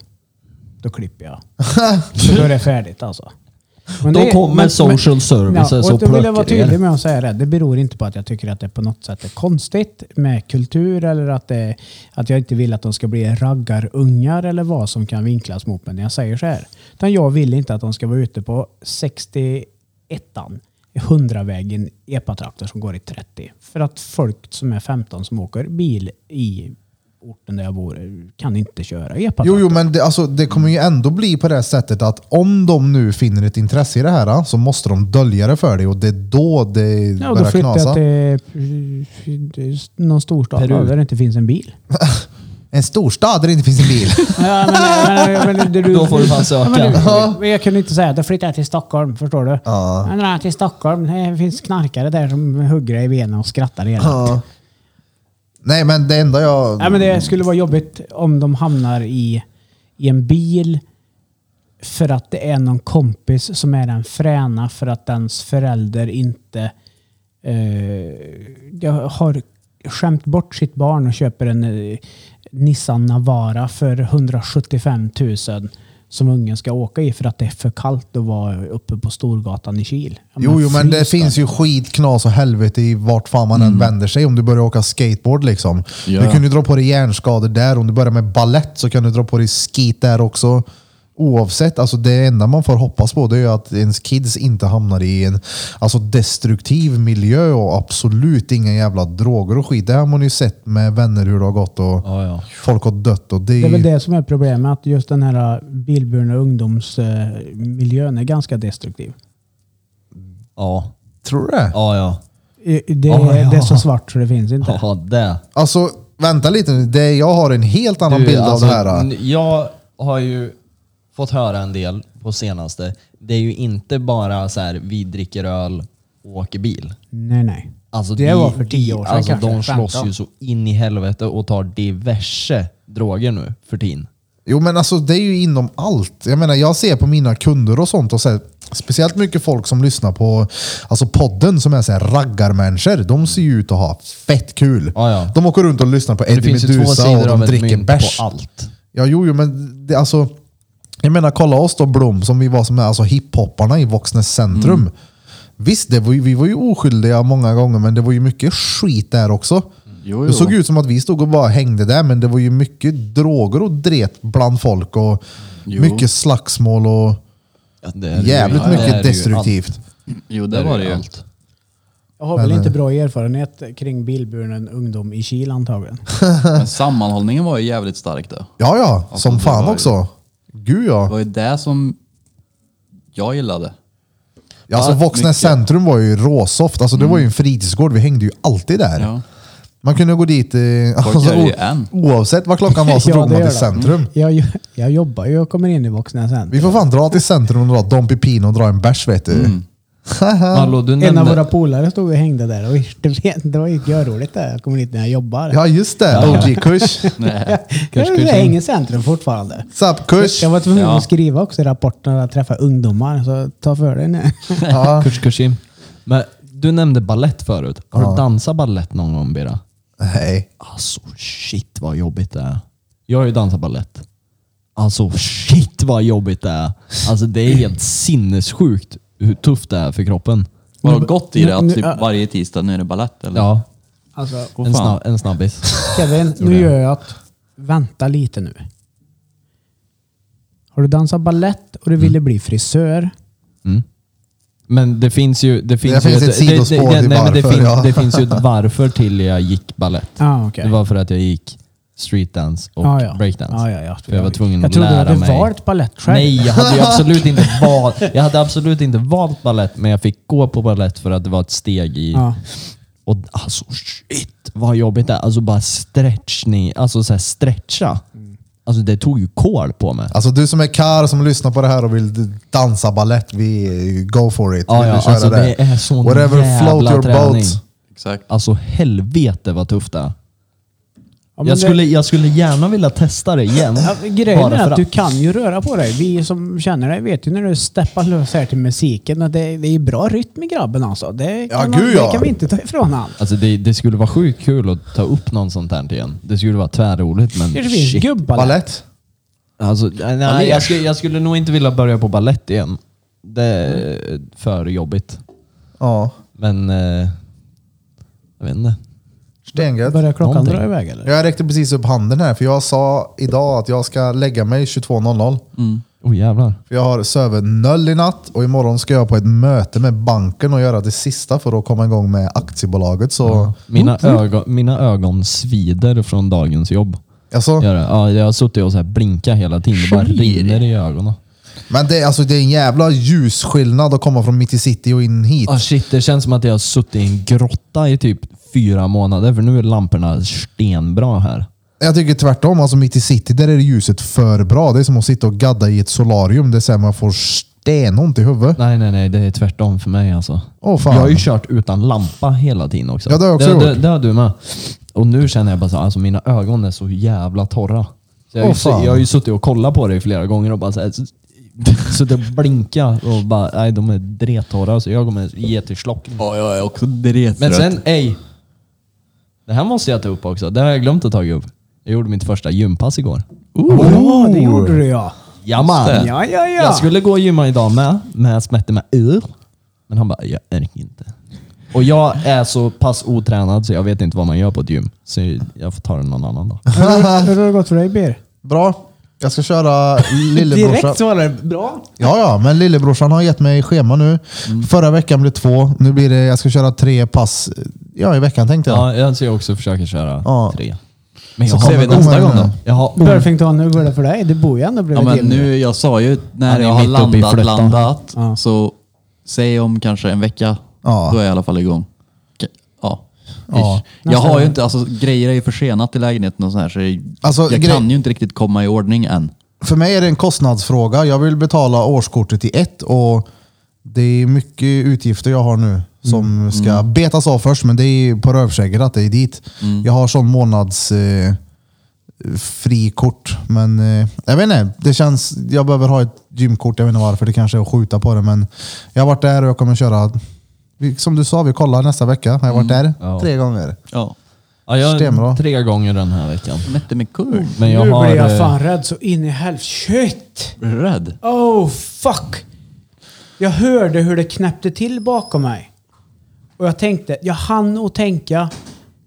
Speaker 3: då klipper jag. Så då är det färdigt alltså. Men
Speaker 4: Då
Speaker 3: det-
Speaker 4: kommer social services och
Speaker 3: Då vill jag vara
Speaker 4: plockar er.
Speaker 3: tydlig med att säga det. Det beror inte på att jag tycker att det på något sätt är konstigt med kultur eller att, det, att jag inte vill att de ska bli raggarungar eller vad som kan vinklas mot mig när jag säger så här. Utan jag vill inte att de ska vara ute på 61 100-vägen epatraktor som går i 30. För att folk som är 15 som åker bil i orten där jag bor kan inte köra epatraktor.
Speaker 1: Jo, jo, men det, alltså, det kommer ju ändå bli på det sättet att om de nu finner ett intresse i det här så måste de dölja det för dig och det är då det
Speaker 3: Ja, och då
Speaker 1: börjar
Speaker 3: flyttar
Speaker 1: knasa.
Speaker 3: jag till eh, någon storstad
Speaker 4: Peru.
Speaker 3: där det inte finns en bil.
Speaker 1: En storstad där det inte finns en bil.
Speaker 3: Ja, men, men, men, det du,
Speaker 4: Då får du fan söka.
Speaker 3: Ja, men du- men jag kunde inte säga att jag flyttade till Stockholm, förstår du?
Speaker 1: Ja.
Speaker 3: Jag drar till Stockholm, det finns knarkare där som hugger dig i benen och skrattar hela tiden.
Speaker 1: Ja. Nej, men det enda jag...
Speaker 3: Nej, men Det skulle vara jobbigt om de hamnar i, i en bil för att det är någon kompis som är den fräna för att ens förälder inte eh, jag har skämt bort sitt barn och köper en eh, Nissan Navara för 175 000 som ungen ska åka i för att det är för kallt att vara uppe på Storgatan i Kil. Ja,
Speaker 1: Jo, jo, men det
Speaker 3: frys då.
Speaker 1: finns ju skit, knas och helvete i vart fan man
Speaker 3: Mm.
Speaker 1: än vänder sig om du börjar åka skateboard. liksom.
Speaker 2: Ja.
Speaker 1: Du kan ju dra på dig hjärnskador där. Om du börjar med ballett så kan du dra på dig skit där också. Oavsett, alltså det enda man får hoppas på det är ju att ens kids inte hamnar i en alltså destruktiv miljö och absolut inga jävla droger och skit. Det har man ju sett med vänner hur det har gått och
Speaker 4: Ja, ja.
Speaker 1: folk har dött. Och det, är
Speaker 3: Det är väl
Speaker 1: ju-
Speaker 3: det som är problemet, att just den här äh, bilburna ungdomsmiljön är ganska destruktiv.
Speaker 4: Ja,
Speaker 1: Tror du det?
Speaker 4: ja, ja.
Speaker 3: I- Det,
Speaker 4: Ja, ja.
Speaker 3: det är så svart så det finns inte.
Speaker 4: Ja, det.
Speaker 1: Alltså, vänta lite nu. Det, jag har en helt annan bild
Speaker 4: alltså,
Speaker 1: av det här.
Speaker 4: n- Jag har ju fått höra en del på senaste. Det är ju inte bara så här, vi dricker öl och åker bil.
Speaker 3: Nej, nej.
Speaker 4: Alltså,
Speaker 3: Det
Speaker 4: vi-
Speaker 3: var för tio år sedan
Speaker 4: alltså,
Speaker 3: kanske,
Speaker 4: De slåss
Speaker 3: 15.
Speaker 4: ju så in i helvete och tar diverse droger nu för tiden.
Speaker 1: Jo men alltså det är ju inom allt. Jag menar jag ser på mina kunder och sånt och så här, speciellt mycket folk som lyssnar på alltså podden som är så här raggarmänniskor. De ser ju ut att ha fett kul.
Speaker 4: Ja, ja.
Speaker 1: De åker runt och lyssnar på
Speaker 4: Det
Speaker 1: Eddie
Speaker 4: finns ju två
Speaker 1: Meduza och
Speaker 4: sidor av
Speaker 1: de
Speaker 4: ett
Speaker 1: dricker
Speaker 4: mynt
Speaker 1: bärs.
Speaker 4: på allt.
Speaker 1: Ja jo, jo men det, alltså. Jag menar kolla oss då Blom som vi var som är alltså hiphopparna i Voxnäs centrum.
Speaker 4: Mm.
Speaker 1: Visst, det var ju, vi var ju oskyldiga många gånger men det var ju mycket skit där också.
Speaker 2: Jo,
Speaker 1: Det
Speaker 2: jo.
Speaker 1: såg ut som att vi stod och bara hängde där, men det var ju mycket droger och dret bland folk och
Speaker 2: Jo.
Speaker 1: mycket slagsmål och
Speaker 4: Ja, det är det ju.
Speaker 1: jävligt
Speaker 4: Ja, det är
Speaker 1: mycket
Speaker 4: det ju
Speaker 1: destruktivt.
Speaker 4: allt.
Speaker 2: Jo, det var det ju.
Speaker 4: allt.
Speaker 3: Jag har väl inte bra erfarenhet kring bilburen ungdom i Kil antagligen.
Speaker 2: Men sammanhållningen var ju jävligt stark där.
Speaker 1: Ja, ja,
Speaker 2: Alltså,
Speaker 1: som
Speaker 2: det
Speaker 1: fan
Speaker 2: var ju-
Speaker 1: också. Gud
Speaker 2: Det
Speaker 1: ja.
Speaker 2: var ju det som jag gillade.
Speaker 1: ja alltså,
Speaker 2: Ja,
Speaker 1: Voxnäs
Speaker 2: mycket.
Speaker 1: centrum var ju råsoft. Alltså, det var ju en fritidsgård. Vi hängde ju alltid där.
Speaker 2: Ja.
Speaker 1: Man kunde gå dit eh,
Speaker 2: Folk
Speaker 1: alltså,
Speaker 2: gör det
Speaker 1: o-
Speaker 2: ju än.
Speaker 1: oavsett vad klockan var så
Speaker 3: Ja,
Speaker 1: drog
Speaker 3: det
Speaker 1: man
Speaker 3: gör
Speaker 1: till
Speaker 3: det.
Speaker 1: centrum.
Speaker 3: Jag, jag jobbar ju och kommer in i vuxna sen.
Speaker 1: Vi får fan dra till centrum och dra Don Pepino och dra en bärs vet du.
Speaker 4: Hallå, du
Speaker 3: En
Speaker 4: nämnde...
Speaker 3: av våra polare stod och hängde där. Och det, vet- det var ju görroligt där. Jag kommer dit när jag jobbar.
Speaker 1: Ja just det, OG-kurs.
Speaker 3: jag jag hänger i centrum fortfarande.
Speaker 1: Zapp-kurs.
Speaker 3: Jag var tvungen
Speaker 2: Ja.
Speaker 3: att skriva också i rapporten att träffa ungdomar, så ta för dig nu.
Speaker 1: Ja.
Speaker 4: Kurs, kursim. Men du nämnde ballett förut. Har du dansat ballett någon gång Bira?
Speaker 1: Nej.
Speaker 4: Alltså shit vad jobbigt det är. Jag har ju dansat ballett. Alltså shit vad jobbigt det är. Alltså det är helt sinnessjukt hur tufft det är för kroppen.
Speaker 2: Var det gott i det att
Speaker 3: nu-
Speaker 2: typ
Speaker 3: äh.
Speaker 2: varje tisdag nu är det ballett eller?
Speaker 4: Ja,
Speaker 3: Alltså,
Speaker 2: Åh,
Speaker 4: en,
Speaker 2: fan.
Speaker 4: snab en snabbis.
Speaker 3: Kevin, nu gör jag att... Vänta lite nu. Har du dansat ballett
Speaker 4: Mm.
Speaker 3: och du ville bli frisör?
Speaker 4: Men det finns ju... Det finns,
Speaker 1: finns
Speaker 4: ju
Speaker 1: ett sidospår till
Speaker 4: nej, men det,
Speaker 1: varför,
Speaker 4: finns,
Speaker 1: ja.
Speaker 4: det finns ju ett varför till jag gick ballett.
Speaker 3: Ah, okay.
Speaker 4: Det var för att jag gick streetdance och
Speaker 3: Ah, ja.
Speaker 4: breakdance.
Speaker 3: Ah, ja, ja.
Speaker 4: För jag var tvungen
Speaker 3: Jag
Speaker 4: att
Speaker 3: trodde du
Speaker 4: lära
Speaker 3: hade
Speaker 4: mig.
Speaker 3: valt balett själv.
Speaker 4: Nej, jag hade, ju absolut inte valt, jag hade absolut inte valt ballett men jag fick gå på ballett för att det var ett steg i...
Speaker 3: Ja.
Speaker 4: Och alltså shit vad jobbigt det är. Alltså bara stretchning, alltså så här stretcha.
Speaker 3: Mm.
Speaker 4: Alltså det tog ju kol på mig.
Speaker 1: Alltså du som är kar som lyssnar på det här och vill d- dansa ballett, vi go for it.
Speaker 4: Ja,
Speaker 1: Vill du
Speaker 4: ja,
Speaker 1: köra
Speaker 4: alltså det är sån
Speaker 1: Whatever, float
Speaker 4: jävla
Speaker 1: your
Speaker 4: träning.
Speaker 1: boat.
Speaker 2: Exakt.
Speaker 4: Alltså helvete vad tufft det är.
Speaker 3: Ja, men
Speaker 4: jag,
Speaker 3: det-
Speaker 4: skulle, jag skulle gärna vilja testa det igen.
Speaker 3: Ja, grejen
Speaker 4: Bara
Speaker 3: är
Speaker 4: för
Speaker 3: att du kan ju röra på dig. Vi som känner dig vet ju när du steppar loss här till musiken att det, det är bra rytm i grabben alltså. Det kan,
Speaker 1: Ja,
Speaker 3: man,
Speaker 1: gud,
Speaker 3: det
Speaker 1: ja.
Speaker 3: kan vi inte ta ifrån han.
Speaker 4: Alltså det, det skulle vara sjukt kul att ta upp någon sånt här igen. Det skulle vara tvärroligt men
Speaker 3: Det finns
Speaker 4: shit.
Speaker 3: gubbar.
Speaker 1: Ballett?
Speaker 4: Alltså, nej, jag, skulle, jag skulle nog inte vilja börja på ballett igen. Det är för jobbigt.
Speaker 1: Ja.
Speaker 4: Men... Eh, jag vet inte.
Speaker 1: Stengött.
Speaker 3: Börjar klockan
Speaker 4: Någonting.
Speaker 3: dra iväg eller?
Speaker 1: Jag räckte precis upp handen här, för jag sa idag att jag ska lägga mig 22.00.
Speaker 4: Oh jävlar.
Speaker 1: För jag har sovit noll i natt och imorgon ska jag på ett möte med banken och göra det sista för att komma igång med aktiebolaget. Så,
Speaker 4: Mina ögon, mina ögon svider från dagens jobb.
Speaker 1: alltså,
Speaker 4: Gör det. Ja, jag har suttit och så här blinkat hela tiden. Det bara rinner i ögonen.
Speaker 1: Men det, är- alltså, det är en jävla ljusskillnad att komma från mitt i city och in hit.
Speaker 4: Ah, shit, det känns som att jag har suttit i en grotta i typ fyra månader för nu är lamporna stenbra här.
Speaker 1: Jag tycker tvärtom. Alltså mitt i city, där är ljuset för bra. Det är som att sitta och gadda i ett solarium. Det är så här man får stenont i huvudet.
Speaker 4: Nej, nej, nej. Det är tvärtom för mig alltså.
Speaker 1: Åh fan.
Speaker 4: Jag har ju kört utan lampa hela tiden också.
Speaker 1: Ja, det har jag också
Speaker 4: det,
Speaker 1: gjort.
Speaker 4: det, det har du med. Och nu känner jag bara så här, alltså mina ögon är så jävla torra. Så jag, har
Speaker 1: Åh,
Speaker 4: ju, su-
Speaker 1: fan.
Speaker 4: jag har ju suttit och kollat på dig flera gånger och bara så här, s- suttit och blinkat och bara, nej de är dretorra så jag kommer ge till slock.
Speaker 2: Ja, jag är också drettrött.
Speaker 4: Men sen, ej. Det här måste jag ta upp också. Det har jag glömt att ta upp. Jag gjorde mitt första gympass igår.
Speaker 3: Ja, det Oh, gjorde du ja.
Speaker 4: Jamman!
Speaker 2: Just det.
Speaker 3: Ja, ja, ja.
Speaker 4: Jag skulle gå och gymma idag med, men jag smätte mig ur. Men han bara, jag orkar inte. Och jag är så pass otränad så jag vet inte vad man gör på ett gym. Så jag får ta det någon annan dag.
Speaker 3: Hur har det gått för dig Bir?
Speaker 1: Bra. Jag ska köra lillebrorsan.
Speaker 3: Direkt svarade du bra.
Speaker 1: Ja, ja, men lillebrorsan har gett mig schema nu. Förra veckan blev två. Nu blir det, jag ska köra tre pass ja, i veckan tänkte jag.
Speaker 4: Ja, jag ska också försöka köra
Speaker 1: Ja.
Speaker 4: tre. Men jag
Speaker 1: Så ser vi
Speaker 4: ont-
Speaker 1: nästa gång då.
Speaker 4: Jag har ont.
Speaker 3: Mm. Burfington, hur går det för dig? Du bor ju ändå
Speaker 2: Ja,
Speaker 3: bredvid
Speaker 2: men
Speaker 3: Jimmy.
Speaker 2: nu, jag sa ju när
Speaker 4: Han är
Speaker 2: jag har
Speaker 4: mitt uppe i
Speaker 2: landat,
Speaker 4: flyttan.
Speaker 2: landat,
Speaker 3: Ja.
Speaker 2: så säg om kanske en vecka.
Speaker 1: Ja.
Speaker 2: Då är jag i alla fall igång. K- Ja.
Speaker 1: Ja.
Speaker 2: Ish. Jag har ju inte, alltså grejer är ju försenat i lägenheten och så här, så jag,
Speaker 1: Alltså,
Speaker 2: jag
Speaker 1: grej-
Speaker 2: kan ju inte riktigt komma i ordning än.
Speaker 1: För mig är det en kostnadsfråga. Jag vill betala årskortet i ett och det är mycket utgifter jag har nu
Speaker 3: Mm,
Speaker 1: som ska betas av först, men det är på rövskägget att det är dit.
Speaker 3: Mm.
Speaker 1: Jag har sån månads eh, frikort, men eh, jag vet inte. Det känns, jag behöver ha ett gymkort, jag vet inte varför. Det kanske är att skjuta på det, men jag har varit där och jag kommer köra. vi- Som du sa, vi kollar nästa vecka. Har jag varit
Speaker 3: Mm.
Speaker 1: där
Speaker 4: Ja.
Speaker 1: tre gånger?
Speaker 2: Ja.
Speaker 4: Ja, jag
Speaker 1: Stenbra.
Speaker 4: har tre gånger den här veckan.
Speaker 2: Mätte mig kul.
Speaker 4: Men jag
Speaker 3: nu
Speaker 4: har...
Speaker 3: blir jag
Speaker 4: eh,
Speaker 3: fan rädd så in i helvete. Shit!
Speaker 2: Blir du rädd?
Speaker 3: Oh fuck! Jag hörde hur det knäppte till bakom mig. Och jag tänkte, jag hann att tänka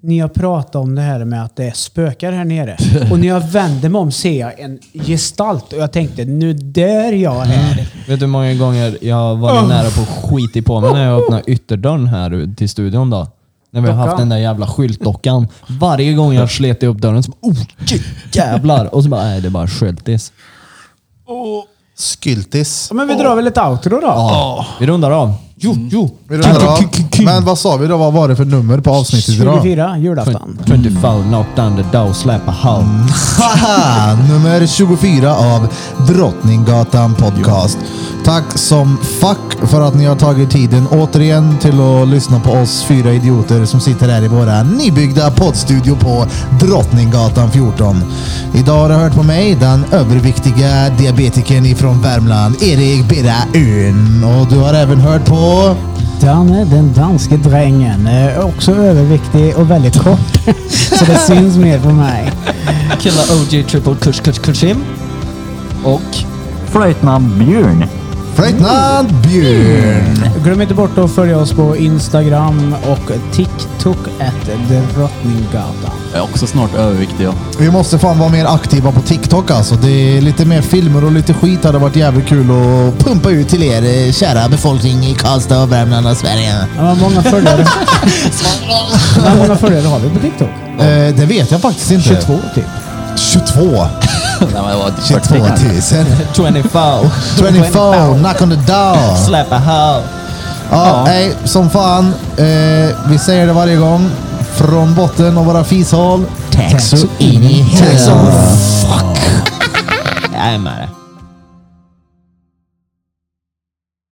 Speaker 3: när jag pratade om det här med att det är spökar här nere. Och när jag vände mig om ser jag en gestalt och jag tänkte, nu där jag är.
Speaker 4: Vet du hur många gånger jag var nära på att skita på mig när jag öppnade ytterdörren här till studion då? När vi har haft
Speaker 3: Dockan.
Speaker 4: den där jävla skyltdockan. Varje gång jag slet upp dörren så bara, oh shit, jävlar! Och så bara, nej det är bara skyltis.
Speaker 1: Skyltis.
Speaker 3: Ja, men vi drar väl ett outro då?
Speaker 4: Ja. Vi rundar av. Jo, jo.
Speaker 1: Vi rundar av. Men vad sa vi då? Vad var det för nummer på avsnittet idag?
Speaker 3: 24, julafton.
Speaker 4: 24 knock down the door, slap a hole.
Speaker 1: Haha, nummer 24 av Drottninggatan Podcast. Tack som fuck för att ni har tagit tiden återigen till att lyssna på oss fyra idioter som sitter här i våra nybyggda poddstudio på Drottninggatan 14. Idag har du hört på mig, den överviktiga diabetikern ifrån Värmland, Erik Birra Ön. Och du har även hört på...
Speaker 3: Danne, den danske drängen, är också överviktig och väldigt kort. Så det syns mer på mig.
Speaker 4: Killa OG triple kush kush kushim. Och
Speaker 9: Flöjtnant Björn.
Speaker 1: Flöjtnant Björn!
Speaker 3: Glöm inte bort att följa oss på Instagram och TikTok at Drottninggatan.
Speaker 2: Jag är också snart överviktig. Ja.
Speaker 1: Vi måste fan vara mer aktiva på TikTok alltså. Det är lite mer filmer och lite skit hade varit jävligt kul att pumpa ut till er eh, kära befolkning i Karlstad och Värmland och Sverige.
Speaker 3: Ja, men många följare. Hur många följare har vi på TikTok?
Speaker 1: Eh, det vet jag faktiskt inte.
Speaker 3: 22 typ.
Speaker 1: 22.
Speaker 2: Nej, men det var
Speaker 1: 22
Speaker 2: 40.
Speaker 1: 000.
Speaker 4: 24.
Speaker 1: 24, knock on the door.
Speaker 4: Släppa här.
Speaker 1: Ja, nej, som fan. Eh, vi säger det varje gång. Från botten av våra fishål. Tack så in i helvete.
Speaker 4: Jag är med det.